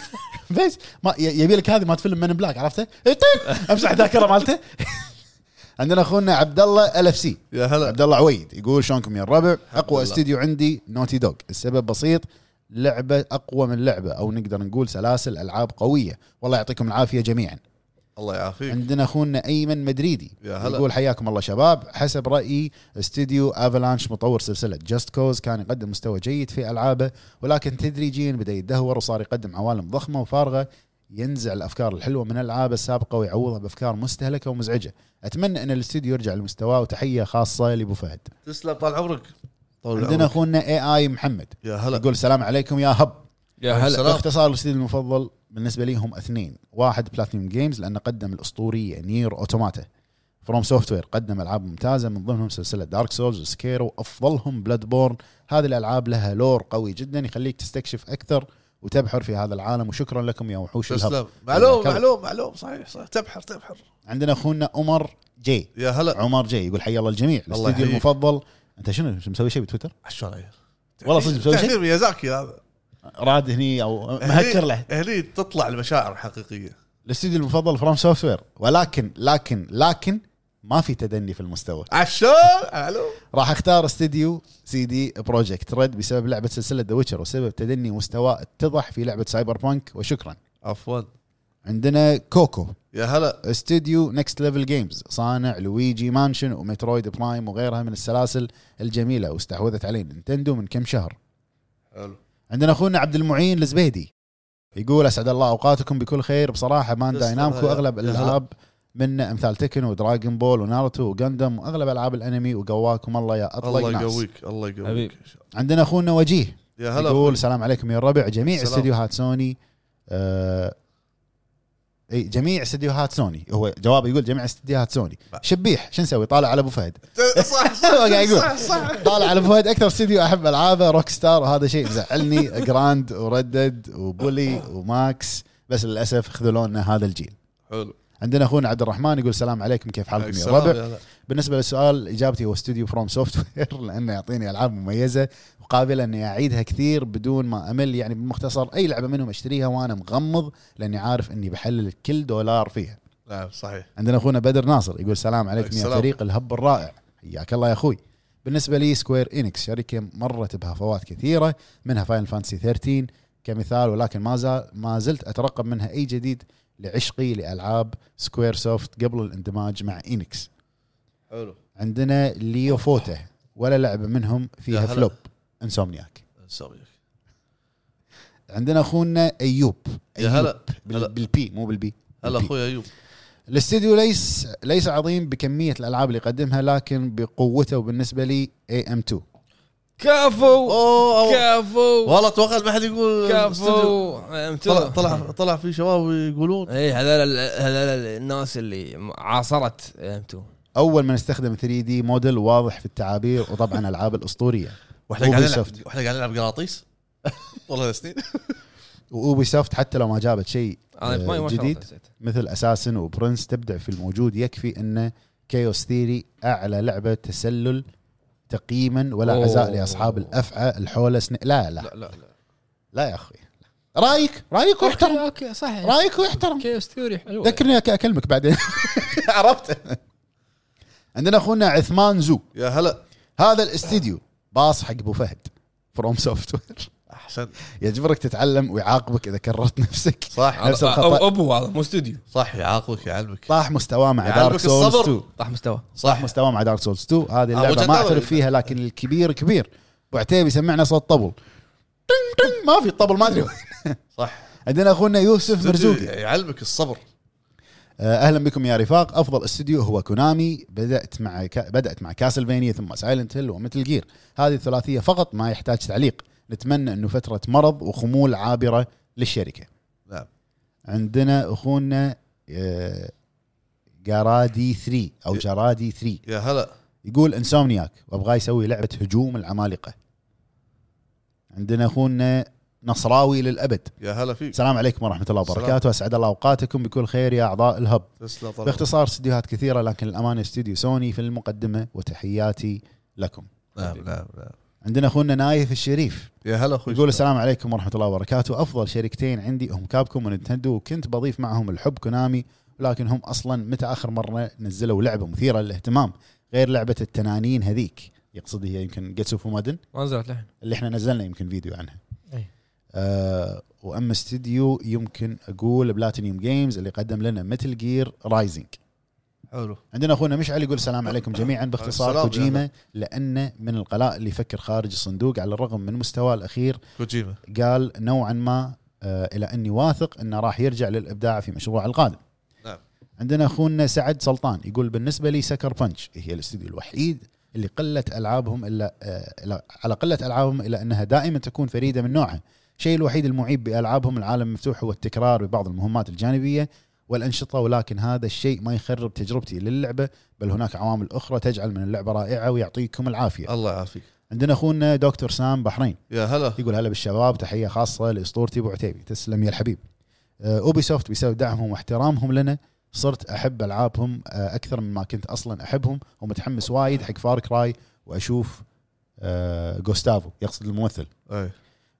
Speaker 3: بس ما ي- يبي لك هذه مالت فيلم من بلاك عرفته؟ طيب، امسح الذاكره مالته عندنا اخونا عبد الله ال اف سي
Speaker 4: يا هلا
Speaker 3: عبد الله عويد يقول شلونكم يا الربع اقوى
Speaker 4: الله.
Speaker 3: استديو عندي نوتي دوغ السبب بسيط لعبه اقوى من لعبه او نقدر نقول سلاسل العاب قويه والله يعطيكم العافيه جميعا
Speaker 4: الله يعافيك
Speaker 3: عندنا اخونا ايمن مدريدي
Speaker 4: يا هلا.
Speaker 3: يقول حياكم الله شباب حسب رايي استديو افالانش مطور سلسله جاست كوز كان يقدم مستوى جيد في العابه ولكن تدريجيا بدا يدهور وصار يقدم عوالم ضخمه وفارغه ينزع الافكار الحلوه من العابه السابقه ويعوضها بافكار مستهلكه ومزعجه اتمنى ان الاستديو يرجع لمستواه وتحيه خاصه لابو فهد
Speaker 4: تسلم طال عمرك طال
Speaker 3: عندنا
Speaker 4: عمرك
Speaker 3: اخونا اي اي محمد
Speaker 4: يا هلا
Speaker 3: يقول السلام عليكم يا هب
Speaker 1: يا
Speaker 4: هلا.
Speaker 1: هلا
Speaker 4: سلام.
Speaker 3: باختصار الاستديو المفضل بالنسبه لي هم اثنين واحد بلاتينيوم جيمز لانه قدم الاسطوريه نير اوتوماتا فروم سوفت وير قدم العاب ممتازه من ضمنهم سلسله دارك سولز وسكيرو وافضلهم بلاد بورن هذه الالعاب لها لور قوي جدا يخليك تستكشف اكثر وتبحر في هذا العالم وشكرا لكم يا وحوش الهب
Speaker 4: تسلم معلوم
Speaker 3: كمل.
Speaker 4: معلوم معلوم صحيح صحيح تبحر تبحر
Speaker 3: عندنا اخونا عمر جي
Speaker 4: يا هلا
Speaker 3: عمر جي يقول حيا الله الجميع
Speaker 4: الله
Speaker 3: الاستديو
Speaker 4: يحييك.
Speaker 3: المفضل انت شنو مسوي شيء بتويتر؟
Speaker 4: شلون أيه؟
Speaker 3: والله صدق مسوي شيء
Speaker 4: تأثير ميازاكي هذا
Speaker 3: راد هني او مهكر له
Speaker 4: هني تطلع المشاعر الحقيقيه
Speaker 3: الاستديو المفضل فروم سوفت وير ولكن لكن لكن ما في تدني في المستوى
Speaker 4: عشان معلوم
Speaker 3: راح اختار استديو سي دي بروجكت ريد بسبب لعبه سلسله ذا ويتشر وسبب تدني مستوى اتضح في لعبه سايبر بانك وشكرا
Speaker 4: عفوا
Speaker 3: عندنا كوكو
Speaker 4: يا هلا
Speaker 3: استديو نكست ليفل جيمز صانع لويجي مانشن ومترويد برايم وغيرها من السلاسل الجميله واستحوذت عليه نينتندو من كم شهر
Speaker 4: حلو
Speaker 3: عندنا اخونا عبد المعين الزبيدي يقول اسعد الله اوقاتكم بكل خير بصراحه مان
Speaker 4: تسلم
Speaker 3: داينامكو
Speaker 4: يا-
Speaker 3: اغلب
Speaker 4: يا هلا.
Speaker 3: الالعاب من امثال تكن ودراجون بول وناروتو وغندم واغلب العاب الانمي وقواكم الله يا اطلق
Speaker 4: الله
Speaker 3: ناس
Speaker 4: يقويك الله يقويك
Speaker 1: حبيب.
Speaker 3: عندنا اخونا وجيه
Speaker 4: يا هلا
Speaker 3: يقول السلام عليكم يا الربع جميع
Speaker 4: سلام.
Speaker 3: استديوهات سوني آه اي جميع استديوهات سوني هو جوابه يقول جميع استديوهات سوني شبيح شو نسوي طالع على ابو فهد
Speaker 4: صح صح
Speaker 3: هو قاعد يقول.
Speaker 4: صح صح
Speaker 3: طالع على فهد اكثر استديو احب العابه روك ستار وهذا شيء مزعلني جراند وردد وبولي وماكس بس للاسف خذلونا هذا الجيل
Speaker 4: حلو
Speaker 3: عندنا اخونا عبد الرحمن يقول السلام عليكم كيف حالكم يا
Speaker 4: السلام
Speaker 3: ربع
Speaker 4: يا هلا.
Speaker 3: بالنسبه للسؤال اجابتي هو استوديو فروم سوفت وير لانه يعطيني العاب مميزه وقابله اني اعيدها كثير بدون ما امل يعني بالمختصر اي لعبه منهم اشتريها وانا مغمض لاني عارف اني بحلل كل دولار فيها
Speaker 4: نعم صحيح
Speaker 3: عندنا اخونا بدر ناصر يقول السلام عليكم يا
Speaker 4: السلام.
Speaker 3: فريق الهب الرائع حياك الله يا اخوي بالنسبه لي سكوير انكس شركه مرت بهفوات كثيره منها فاينل فانتسي 13 كمثال ولكن ما زال ما زلت اترقب منها اي جديد لعشقي لالعاب سكوير سوفت قبل الاندماج مع انكس
Speaker 4: حلو
Speaker 3: عندنا ليو فوتا ولا لعبه منهم
Speaker 4: يا
Speaker 3: فيها
Speaker 4: هلا.
Speaker 3: فلوب انسومنياك
Speaker 4: نسويك
Speaker 3: عندنا اخونا ايوب
Speaker 4: يا هلا
Speaker 3: بال-
Speaker 4: هلا.
Speaker 3: بالبي مو بالبي
Speaker 4: هلا
Speaker 3: بالبي.
Speaker 4: اخوي ايوب
Speaker 3: الاستديو ليس ليس عظيم بكميه الالعاب اللي يقدمها لكن بقوته وبالنسبه لي اي ام 2
Speaker 1: كفو
Speaker 4: اوه
Speaker 1: كفو
Speaker 4: والله توقعت ما حد يقول استوديو.
Speaker 1: كفو إيه،
Speaker 4: طلع
Speaker 1: أمتوه.
Speaker 4: طلع طلع في شباب يقولون
Speaker 1: اي إيه، هذول ال- هذول الناس اللي عاصرت إيه، امتو
Speaker 3: اول من استخدم 3 دي موديل واضح في التعابير وطبعا العاب الاسطوريه
Speaker 4: واحنا قاعدين
Speaker 3: Ubisoft.
Speaker 4: نلعب واحنا قاعدين نلعب قراطيس والله سنين
Speaker 3: واوبي سوفت حتى لو ما جابت شيء
Speaker 1: انا
Speaker 3: آه،
Speaker 1: ما- ما
Speaker 3: جديد.
Speaker 1: شرحت نسيت.
Speaker 3: مثل اساسن وبرنس تبدع في الموجود يكفي ان كيوس ثيري اعلى لعبه تسلل تقييما ولا
Speaker 1: أوه.
Speaker 3: عزاء لاصحاب الافعى الحوله سن... لا لا
Speaker 1: لا لا لا
Speaker 3: لا يا اخوي رايك رايك واحترم
Speaker 1: اوكي صحيح
Speaker 3: رايك واحترم
Speaker 1: كيوس ثيوري حلوه
Speaker 3: ذكرني أك- اكلمك بعدين عرفت عندنا اخونا عثمان زو
Speaker 4: يا هلا
Speaker 3: هذا الاستديو باص حق ابو فهد فروم سوفت وير
Speaker 4: احسن
Speaker 3: يجبرك تتعلم ويعاقبك اذا كررت نفسك
Speaker 4: صح
Speaker 3: نفس
Speaker 1: هذا-
Speaker 3: الخطأ.
Speaker 1: أو- ابو هذا مو استوديو
Speaker 4: صح يعاقبك يعلمك
Speaker 3: طاح مستواه مع
Speaker 4: يعلمك
Speaker 3: دارك سولز
Speaker 4: الصبر.
Speaker 3: 2
Speaker 1: طاح مستوى
Speaker 4: صح
Speaker 3: مستواه مع دارك سولز 2 هذه اللعبه ما
Speaker 4: متدرج.
Speaker 3: اعترف فيها لكن الكبير كبير ابو عتيبي سمعنا صوت طبل طن طن ما في طبل ما ادري وين.
Speaker 4: صح
Speaker 3: عندنا اخونا يوسف مرزوقي
Speaker 4: يعلمك الصبر
Speaker 3: آه، اهلا بكم يا رفاق افضل استوديو هو كونامي بدات مع كا بدات مع كاسلفينيا ثم سايلنت هيل ومتل جير هذه الثلاثيه فقط ما يحتاج تعليق نتمنى انه فتره مرض وخمول عابره للشركه
Speaker 4: نعم
Speaker 3: آه، عندنا اخونا جرادي 3 او جرادي 3
Speaker 4: يا هلا
Speaker 3: يقول انسومنياك وابغاه يسوي لعبه هجوم العمالقه عندنا اخونا نصراوي للابد
Speaker 4: يا هلا فيك
Speaker 3: السلام عليكم ورحمه الله
Speaker 4: السلام.
Speaker 3: وبركاته اسعد الله اوقاتكم بكل خير يا اعضاء الهب
Speaker 4: تسلم طلع.
Speaker 3: باختصار استديوهات كثيره لكن الامانه استديو سوني في المقدمه وتحياتي لكم
Speaker 4: نعم نعم نعم
Speaker 3: عندنا اخونا نايف الشريف
Speaker 4: يا هلا اخوي
Speaker 3: يقول السلام عليكم ورحمه الله وبركاته افضل شركتين عندي هم كابكوم ونتندو وكنت بضيف معهم الحب كونامي ولكن هم اصلا متى اخر مره نزلوا لعبه مثيره للاهتمام غير لعبه التنانين هذيك يقصد هي يمكن جيتسو فومادن
Speaker 1: ما نزلت لحن
Speaker 3: اللي احنا نزلنا يمكن فيديو عنها
Speaker 2: أي.
Speaker 3: آه واما استديو يمكن اقول بلاتينيوم جيمز اللي قدم لنا متل جير رايزنج
Speaker 4: حلو
Speaker 3: عندنا اخونا مشعل يقول السلام عليكم جميعا باختصار
Speaker 4: السلام يا
Speaker 3: كوجيما لانه من القلاء اللي يفكر خارج الصندوق على الرغم من مستواه الاخير
Speaker 4: كوجيما
Speaker 3: قال نوعا ما آه، الى اني واثق انه راح يرجع للابداع في مشروعه القادم.
Speaker 4: نعم.
Speaker 3: عندنا اخونا سعد سلطان يقول بالنسبه لي سكر بنش هي الاستوديو الوحيد اللي قله العابهم الا آه، إلا- على قله العابهم الا انها دائما تكون فريده من نوعها. الشيء الوحيد المعيب بالعابهم العالم المفتوح هو التكرار ببعض المهمات الجانبيه والانشطه ولكن هذا الشيء ما يخرب تجربتي للعبه بل هناك عوامل اخرى تجعل من اللعبه رائعه ويعطيكم العافيه.
Speaker 4: الله يعافيك
Speaker 3: عندنا اخونا دكتور سام بحرين
Speaker 4: يا هلا
Speaker 3: يقول هلا بالشباب تحيه خاصه لاسطورتي ابو عتيبي تسلم يا الحبيب اوبي سوفت بسبب دعمهم واحترامهم لنا صرت احب العابهم آه، اكثر مما كنت اصلا احبهم ومتحمس وايد حق فار كراي واشوف آه، جوستافو يقصد الممثل
Speaker 4: اي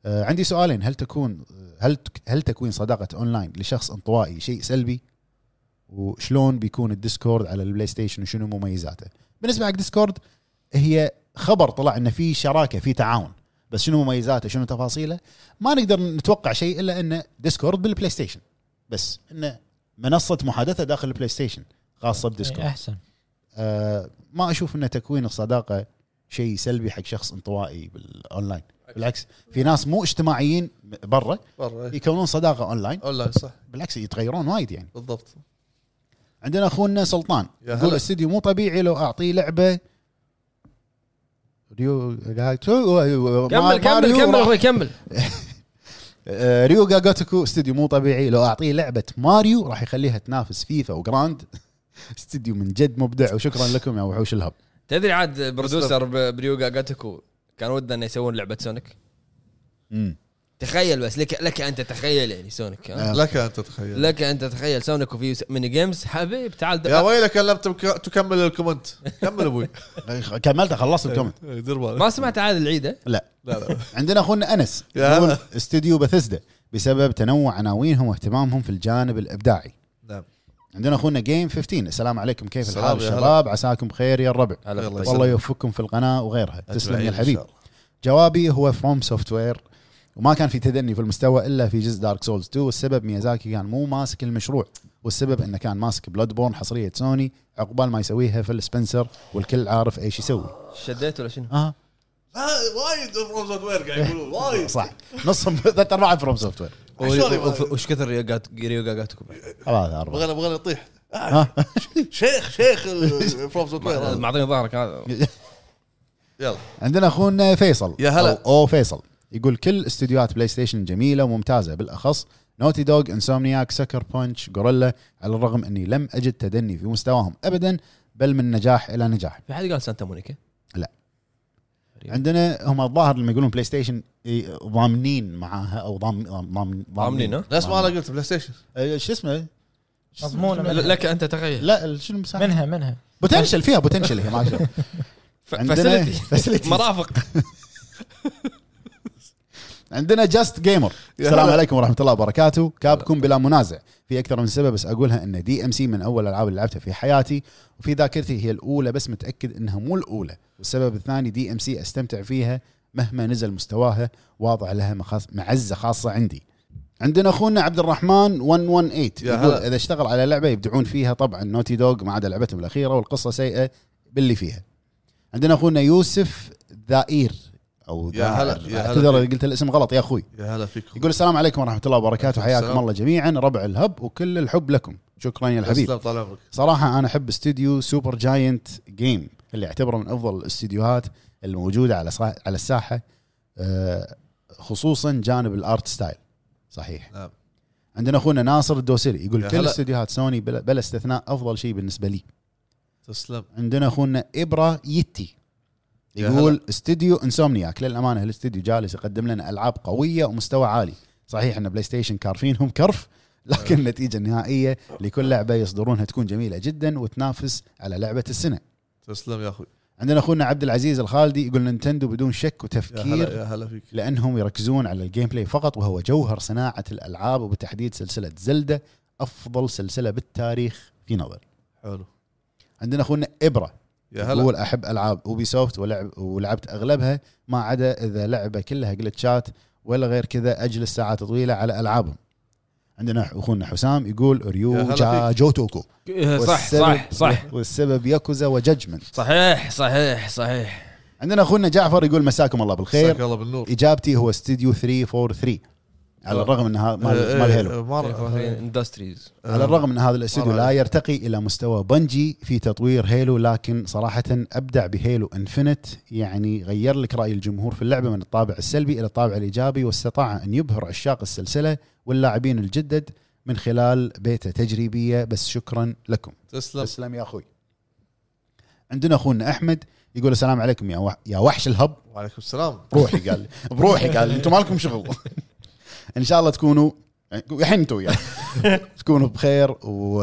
Speaker 3: آه، عندي سؤالين هل تكون هل هل تكوين صداقه اونلاين لشخص انطوائي شيء سلبي وشلون بيكون الديسكورد على البلاي ستيشن وشنو مميزاته بالنسبه حق ديسكورد هي خبر طلع ان في شراكه في تعاون بس شنو مميزاته شنو تفاصيله ما نقدر نتوقع شيء الا انه ديسكورد بالبلاي ستيشن بس انه منصه محادثه داخل البلاي ستيشن خاصه
Speaker 2: إيه،
Speaker 3: بديسكورد
Speaker 2: احسن
Speaker 3: آه ما اشوف ان تكوين الصداقه شيء سلبي حق شخص انطوائي بالاونلاين بالعكس في ناس مو اجتماعيين برا
Speaker 4: برا إي.
Speaker 3: يكونون صداقه اونلاين
Speaker 4: اونلاين صح
Speaker 3: بالعكس يتغيرون وايد يعني
Speaker 4: بالضبط
Speaker 3: عندنا اخونا سلطان
Speaker 4: يا
Speaker 3: يقول
Speaker 4: هلا.
Speaker 3: الاستديو مو طبيعي لو اعطيه لعبه ريو
Speaker 1: كمل كمل كمل اخوي كمل
Speaker 3: آه، ريوغا جوتكو استوديو مو طبيعي لو اعطيه لعبه ماريو راح يخليها تنافس فيفا وجراند استوديو من جد مبدع وشكرا لكم يا وحوش الهب
Speaker 1: تدري عاد برودوسر ب- بريوغا جاتكو كان ودنا انه يسوون لعبه سونيك تخيل بس لك لك ان تتخيل يعني سونيك ها؟
Speaker 3: آه.
Speaker 4: لك ان تتخيل
Speaker 1: لك ان تتخيل سونيك وفي س- ميني جيمز حبيب تعال
Speaker 4: يا
Speaker 1: دق-
Speaker 4: ويلك ان لم تك- تكمل الكومنت كمل ابوي
Speaker 3: كملتها خلصت الكومنت
Speaker 4: إي، دير بالك
Speaker 1: ما سمعت عاد العيده
Speaker 3: لا
Speaker 4: إيه، لا لا
Speaker 3: عندنا اخونا انس
Speaker 4: يا
Speaker 3: يقول
Speaker 4: هلا.
Speaker 3: استوديو بثزدا بسبب تنوع عناوينهم واهتمامهم في الجانب الابداعي
Speaker 4: نعم
Speaker 3: عندنا اخونا جيم 15 السلام عليكم كيف
Speaker 4: السلام
Speaker 3: الحال
Speaker 4: يا
Speaker 3: الشباب عساكم بخير يا الربع
Speaker 1: هلا
Speaker 4: يلا
Speaker 1: بالطيب.
Speaker 4: يسلمك.
Speaker 3: والله يوفقكم في القناه وغيرها تسلم
Speaker 4: أجمعين
Speaker 3: يا
Speaker 4: إن
Speaker 3: الحبيب
Speaker 4: شاء الله.
Speaker 3: جوابي هو فروم سوفت وير وما كان في تدني في المستوى الا في جزء دارك سولز 2 والسبب ميازاكي كان مو ماسك المشروع والسبب انه كان ماسك بلاد بورن حصريه سوني عقبال ما يسويها في السبنسر والكل عارف ايش يسوي
Speaker 1: شديت ولا شنو؟
Speaker 3: اه
Speaker 4: لا، وايد فروم سوفت وير قاعد يقولون وايد
Speaker 3: صح نصهم ثلاث ارباع فروم سوفت وير
Speaker 4: عشان يبغى-
Speaker 1: وش كثر ريوغا- ريوغا جاتكو
Speaker 3: خلاص اربعه
Speaker 4: بغينا بغينا يطيح
Speaker 3: ها؟
Speaker 4: شيخ شيخ ال- فروم سوفت وير هذا.
Speaker 1: معطيني ظهرك هذا
Speaker 4: يلا
Speaker 3: عندنا اخونا فيصل
Speaker 4: يا هلا.
Speaker 3: او أو فيصل يقول كل استديوهات بلاي ستيشن جميله وممتازه بالاخص نوتي دوغ انسومنياك سكر بونش غوريلا على الرغم اني لم اجد تدني في مستواهم ابدا بل من نجاح الى نجاح
Speaker 1: في حد قال سانتا مونيكا؟
Speaker 3: عندنا هم الظاهر لما يقولون بلاي ستيشن إي، ضامنين معاها او ضام ضام- ضام
Speaker 1: ضامنين، ها؟
Speaker 4: نفس ما انا قلت بلاي ستيشن
Speaker 3: أه، شو اسمه؟ شو اسمه؟
Speaker 2: مضمونة منها.
Speaker 1: لك ان تتخيل
Speaker 3: لا ال- شنو مساحة؟
Speaker 2: منها منها
Speaker 3: بوتنشل فيها بوتنشل هي ما أدري. عندنا
Speaker 1: فاسيلتي
Speaker 3: facilities.
Speaker 1: مرافق
Speaker 3: عندنا جاست جيمر
Speaker 4: يا
Speaker 3: السلام
Speaker 4: هلا.
Speaker 3: عليكم ورحمه الله وبركاته كابكم بلا منازع في اكثر من سبب بس اقولها ان دي ام سي من اول الالعاب اللي لعبتها في حياتي وفي ذاكرتي هي الاولى بس متاكد انها مو الاولى والسبب الثاني دي ام سي استمتع فيها مهما نزل مستواها واضع لها مخاص... معزه خاصه عندي عندنا اخونا عبد الرحمن 118
Speaker 4: يا
Speaker 3: يقول
Speaker 4: هلا.
Speaker 3: اذا اشتغل على لعبه يبدعون فيها طبعا نوتي دوغ ما عدا لعبتهم الاخيره والقصه سيئه باللي فيها عندنا اخونا يوسف ذائير او
Speaker 4: يا هلا،
Speaker 3: ذائر.
Speaker 4: يا هلا.
Speaker 3: اعتذر إذا قلت الاسم غلط يا اخوي
Speaker 4: يا هلا فيكم
Speaker 3: يقول السلام عليكم ورحمه الله وبركاته حياكم
Speaker 4: السلام.
Speaker 3: الله جميعا ربع الهب وكل الحب لكم شكرا يا الحبيب
Speaker 4: تسلم طال عمرك
Speaker 3: صراحه انا احب استوديو سوبر جاينت جيم اللي اعتبره من افضل الاستديوهات الموجوده على صح... على الساحه آه، خصوصا جانب الارت ستايل صحيح
Speaker 4: نعم.
Speaker 3: عندنا اخونا ناصر الدوسري يقول
Speaker 4: يا
Speaker 3: كل
Speaker 4: هلا.
Speaker 3: استديوهات سوني بلا, بلا استثناء افضل شيء بالنسبه لي
Speaker 4: تسلم
Speaker 3: عندنا اخونا ابرا يتي
Speaker 4: يا
Speaker 3: يقول استديو انسومنياك للامانه الاستديو جالس يقدم لنا العاب قويه ومستوى عالي صحيح ان بلاي ستيشن كارفينهم كرف لكن
Speaker 4: آه.
Speaker 3: النتيجه النهائيه لكل لعبه يصدرونها تكون جميله جدا وتنافس على لعبه السنه
Speaker 4: تسلم يا اخوي
Speaker 3: عندنا اخونا عبد العزيز الخالدي يقول نينتندو بدون شك
Speaker 4: يا هلا
Speaker 3: وتفكير
Speaker 4: يا هلا فيك
Speaker 3: لانهم يركزون على الجيم بلاي فقط وهو جوهر صناعه الالعاب وبالتحديد سلسله زلده افضل سلسله بالتاريخ في نظري
Speaker 4: حلو
Speaker 3: عندنا اخونا ابره
Speaker 4: يا هلا
Speaker 3: يقول احب العاب اوبي سوفت ولعب ولعبت اغلبها ما عدا اذا لعبه كلها جلتشات ولا غير كذا اجلس ساعات طويله على العابهم عندنا اخونا حسام يقول
Speaker 4: يا
Speaker 3: ريو
Speaker 4: هلا
Speaker 3: جا
Speaker 4: فيك.
Speaker 3: جوتوكو
Speaker 1: صح صح
Speaker 3: والسبب-
Speaker 1: صح
Speaker 3: والسبب ياكوزا وججمنت
Speaker 1: صحيح صحيح صحيح
Speaker 3: عندنا اخونا جعفر يقول مساكم الله بالخير
Speaker 4: مساك الله بالنور
Speaker 3: اجابتي هو استديو 343 على
Speaker 4: آه.
Speaker 3: الرغم ان هذا
Speaker 4: آه،
Speaker 3: مال
Speaker 4: آه،
Speaker 3: مال هيلو
Speaker 4: آه، مار- آه،
Speaker 1: اندستريز
Speaker 3: على الرغم من هذا الاستوديو
Speaker 4: مرة
Speaker 3: لا
Speaker 4: عليك.
Speaker 3: يرتقي الى مستوى بنجي في تطوير هيلو لكن صراحه ابدع بهيلو انفنت يعني غير لك راي الجمهور في اللعبه من الطابع السلبي الى الطابع الايجابي واستطاع ان يبهر عشاق السلسله واللاعبين الجدد من خلال بيتا تجريبيه بس شكرا لكم
Speaker 4: تسلم
Speaker 3: تسلم يا اخوي عندنا اخونا احمد يقول السلام عليكم يا وح- يا وحش الهب
Speaker 4: وعليكم السلام
Speaker 3: بروحي قال لي بروحي قال لي انتم مالكم شغل ان شاء الله تكونوا الحين انتم وياي تكونوا بخير و...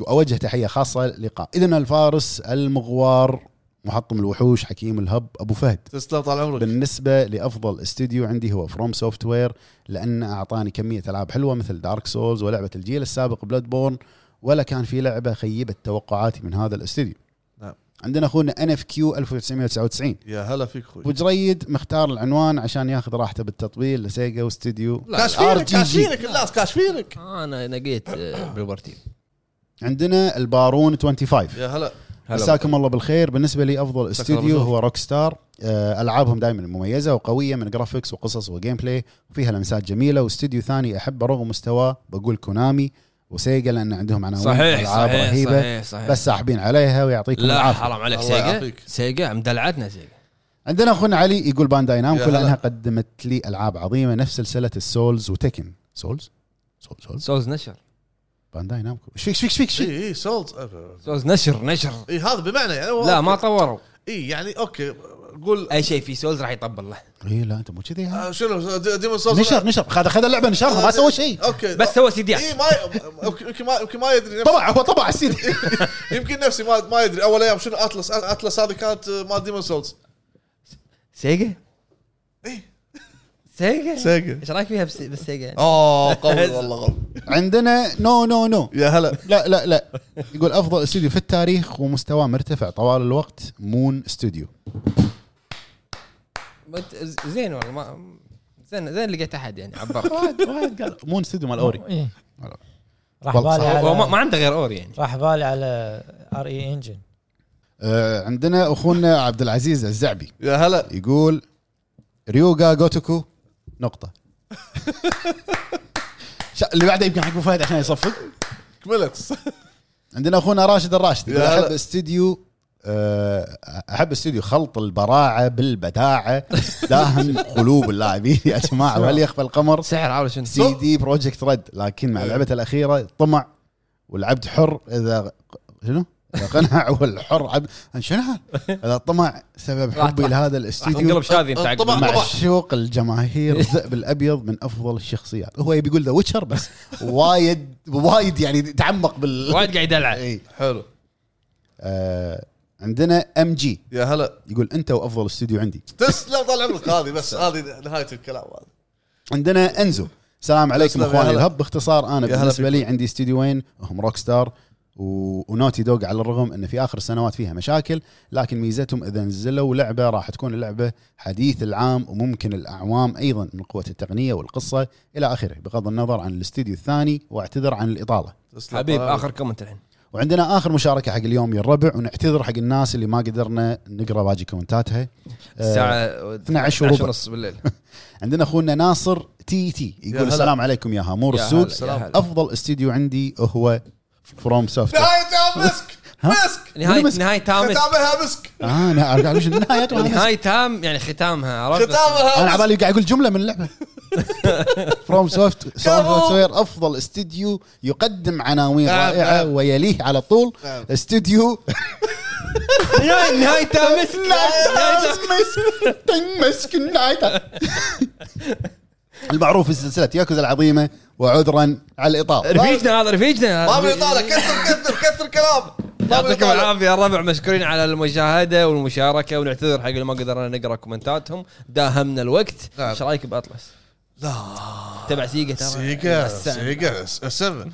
Speaker 3: واوجه تحيه خاصه لقاء اذن الفارس المغوار محطم الوحوش حكيم الهب ابو فهد
Speaker 4: تسلم طال عمرك
Speaker 3: بالنسبه لافضل استديو عندي هو فروم سوفت وير لان اعطاني كميه العاب حلوه مثل دارك سولز ولعبه الجيل السابق بلاد بورن ولا كان في لعبه خيبت توقعاتي من هذا الاستديو
Speaker 4: نعم.
Speaker 3: عندنا اخونا ان اف كيو 1999
Speaker 4: يا هلا فيك اخوي
Speaker 3: ابو جريد مختار العنوان عشان ياخذ راحته بالتطويل لسيجا واستديو
Speaker 4: كاشفينك
Speaker 3: RGG.
Speaker 4: كاشفينك الناس كاشفينك
Speaker 1: انا نقيت آه، بلوبرتي
Speaker 3: عندنا البارون 25
Speaker 4: يا هلا
Speaker 1: هلا
Speaker 3: مساكم الله بالخير بالنسبه لي افضل استديو
Speaker 4: بالخير.
Speaker 3: هو آه، روك ستار العابهم دائما مميزه وقويه من جرافيكس وقصص وجيم بلاي وفيها لمسات جميله واستديو ثاني احبه رغم مستواه بقول كونامي وسيجا لان عندهم عناوين
Speaker 1: صحيح
Speaker 3: العاب
Speaker 1: صحيح
Speaker 3: رهيبه
Speaker 1: صحيح صحيح
Speaker 3: بس ساحبين عليها ويعطيكم
Speaker 1: لا
Speaker 3: العافيه
Speaker 1: حرام عليك
Speaker 4: الله
Speaker 1: سيجا
Speaker 4: يعافيك.
Speaker 1: سيجا مدلعتنا سيجا
Speaker 3: عندنا اخونا علي يقول بانداي
Speaker 4: يا
Speaker 3: نامكو
Speaker 4: هلا.
Speaker 3: لانها قدمت لي العاب عظيمه نفس سلسله السولز وتكن سولز سولز سولز
Speaker 1: سولز نشر
Speaker 3: بانداي نامكو ايش فيك ايش فيك ايش فيك إيش فيك
Speaker 4: اي اي سولز آه،
Speaker 1: سولز نشر نشر
Speaker 4: اي هذا بمعنى يعني هو
Speaker 1: لا ما
Speaker 4: أوكي.
Speaker 1: طوروا
Speaker 4: اي يعني اوكي قول
Speaker 1: اي شيء في سولز راح يطبل له
Speaker 3: اي لا انت مو كذي يعني.
Speaker 4: آه، شنو دي- ديمون سولز
Speaker 3: نشر نشر خذ خذ اللعبه نشرها ما
Speaker 4: آه،
Speaker 3: سوى شيء
Speaker 4: اوكي
Speaker 1: بس سوى سيديات
Speaker 4: اي ما يمكن يمكن ما يمكن ما يدري نفسي
Speaker 3: طبع هو طبع السيدي
Speaker 4: يمكن نفسي ما ما يدري اول ايام شنو اتلس اتلس هذه كانت آه، مال ديمون سولز
Speaker 1: سيجا
Speaker 4: إيه.
Speaker 1: سيجا
Speaker 4: سيجا
Speaker 1: ايش رايك فيها بس- بالسيجا
Speaker 4: اوه آه، قوي والله قوي
Speaker 3: عندنا نو نو نو
Speaker 4: يا هلا
Speaker 3: لا لا لا يقول افضل استوديو في التاريخ ومستواه مرتفع طوال الوقت مون استوديو
Speaker 1: بت- زين والله ما زين زين لقيت احد يعني عبرك
Speaker 3: مون استوديو مال اوري
Speaker 2: إيه.
Speaker 3: والله.
Speaker 2: راح
Speaker 3: والله
Speaker 2: بالي
Speaker 3: صح.
Speaker 1: هو ما, ما
Speaker 2: على
Speaker 1: عنده غير اوري يعني
Speaker 2: راح بالي على ار اي انجن
Speaker 3: آه عندنا اخونا عبد العزيز الزعبي
Speaker 4: يا هلا
Speaker 3: يقول ريوغا جوتوكو نقطه شا- اللي بعده يمكن حق أبو فهد عشان يصفق
Speaker 4: كملت
Speaker 3: عندنا اخونا راشد الراشد يقول
Speaker 4: يا هلا.
Speaker 3: احب استديو آه، احب استديو خلط البراعه بالبداعه داهم قلوب اللاعبين يا جماعه وهل يخفى القمر
Speaker 1: سعر عارف شنو
Speaker 3: سي دي بروجكت ريد لكن مع
Speaker 4: إيه.
Speaker 3: لعبته الاخيره طمع والعبد حر اذا شنو؟ إذا قنع والحر عبد شنو هذا؟ اذا طمع سبب
Speaker 1: راح-
Speaker 3: حبي لهذا
Speaker 1: راح
Speaker 3: الاستديو
Speaker 1: تنقلب شاذي انت عقب.
Speaker 4: آه، طبعاً.
Speaker 3: مع شوق الجماهير الذئب الابيض من افضل الشخصيات هو يبي يقول ذا ويتشر بس وايد وايد يعني تعمق بال إيه.
Speaker 1: وايد قاعد يدلع
Speaker 3: إي.
Speaker 4: حلو
Speaker 3: آه، عندنا ام جي
Speaker 4: يا هلا
Speaker 3: يقول انت وافضل استوديو عندي
Speaker 4: تسلم طال عمرك هذه بس هذه نهايه الكلام هذا
Speaker 3: عندنا انزو السلام عليكم
Speaker 4: تسلم يا
Speaker 3: اخواني
Speaker 4: هلا.
Speaker 3: الهب باختصار انا
Speaker 4: يا هلا
Speaker 3: بالنسبه
Speaker 4: فيكم.
Speaker 3: لي عندي استديوين هم روك ستار و... ونوتي دوغ على الرغم ان في اخر السنوات فيها مشاكل لكن ميزتهم اذا نزلوا لعبه راح تكون اللعبه حديث العام وممكن الاعوام ايضا من قوه التقنيه والقصه الى اخره بغض النظر عن الاستديو الثاني واعتذر عن الاطاله
Speaker 4: تسلم آه.
Speaker 1: حبيب
Speaker 4: طال عمرك.
Speaker 1: اخر كومنت الحين
Speaker 3: وعندنا اخر مشاركه حق اليوم يا الربع ونعتذر حق الناس اللي ما قدرنا نقرا باقي كومنتاتها آه،
Speaker 1: الساعه
Speaker 3: 12 وربع.
Speaker 1: ونص بالليل
Speaker 3: عندنا اخونا ناصر تي تي يقول
Speaker 4: هلا.
Speaker 3: السلام عليكم يا هامور
Speaker 1: يا هلا،
Speaker 3: السوق
Speaker 1: يا
Speaker 4: سلام.
Speaker 1: هلا.
Speaker 3: افضل استديو عندي هو فروم سوفت
Speaker 4: نهايتها مسك مسك
Speaker 1: نهايه
Speaker 3: مسك؟
Speaker 1: نهايه تامس
Speaker 4: ختامها مسك
Speaker 3: اه انا قاعد اقول شنو نهايته أنا-
Speaker 1: نهايه تام يعني ختامها عرفت
Speaker 4: ختامها
Speaker 3: انا
Speaker 4: مسك.
Speaker 3: على بالي قاعد اقول جمله من اللعبه فروم سوفت سوفت وير افضل استديو يقدم عناوين
Speaker 4: نعم،
Speaker 3: رائعه
Speaker 4: نعم.
Speaker 3: ويليه على طول
Speaker 4: نعم.
Speaker 3: استديو
Speaker 1: نهاية تامس
Speaker 3: تنمسك النايت المعروف في سلسله ياكوزا العظيمه وعذرا على الاطار
Speaker 1: رفيجنا هذا رفيجنا
Speaker 4: طاب الاطاله كثر كثر كثر كلام طاب
Speaker 1: يعطيكم
Speaker 4: الإطالة.
Speaker 1: العافيه الربع مشكورين على المشاهده والمشاركه ونعتذر حق اللي ما قدرنا نقرا كومنتاتهم داهمنا الوقت
Speaker 4: نعم.
Speaker 1: ايش رايك باطلس؟
Speaker 4: لا
Speaker 1: تبع سيجا ترى
Speaker 4: سيجا
Speaker 1: السعر.
Speaker 4: سيجا سفن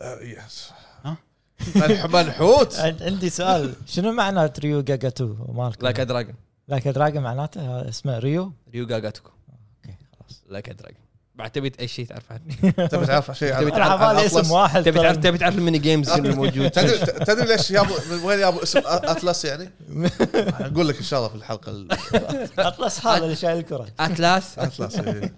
Speaker 4: آه، يس
Speaker 3: ها؟
Speaker 4: منح- منحوت
Speaker 2: عندي سؤال شنو معنى ريو جاجا 2 مالك
Speaker 1: لايك دراجون
Speaker 2: لكن دراجون معناته هذا اسمه ريو
Speaker 1: ريو جاجاتوكو
Speaker 2: اوكي خلاص
Speaker 1: لايك دراجون بعد تبي اي شيء تعرف عنه
Speaker 4: تبي تعرف شيء عن-
Speaker 2: انا على بالي
Speaker 4: أطلس؟
Speaker 2: اسم واحد
Speaker 1: تبي تعرف
Speaker 2: طلع-
Speaker 1: تبي تعرف الميني جيمز اللي موجود
Speaker 4: تدري تدري ليش يابو من وين يابو اسم أ- اتلس يعني؟ اقول لك ان شاء الله في الحلقه ال-
Speaker 2: اطلس هذا اللي شايل الكره
Speaker 1: اتلاس
Speaker 4: اتلس إيه.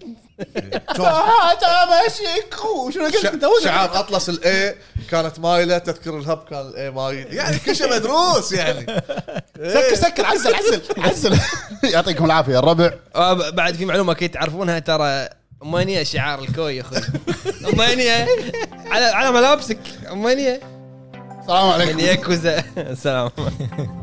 Speaker 3: هذا ماشي كرو. شنو قلت
Speaker 4: شع-
Speaker 3: أنت؟ وين-
Speaker 4: شعار اطلس الاي كانت مايله تذكر الهب كان الاي مايل يعني كل شيء مدروس يعني
Speaker 3: سكر سكر عزل عزل عزل يعطيكم العافيه الربع
Speaker 1: آه، ب- بعد في معلومه اكيد تعرفونها ترى امانيه شعار الكوي يا اخوي امانيه على على ملابسك امانيه
Speaker 3: السلام عليكم
Speaker 1: من ياكوزا سلام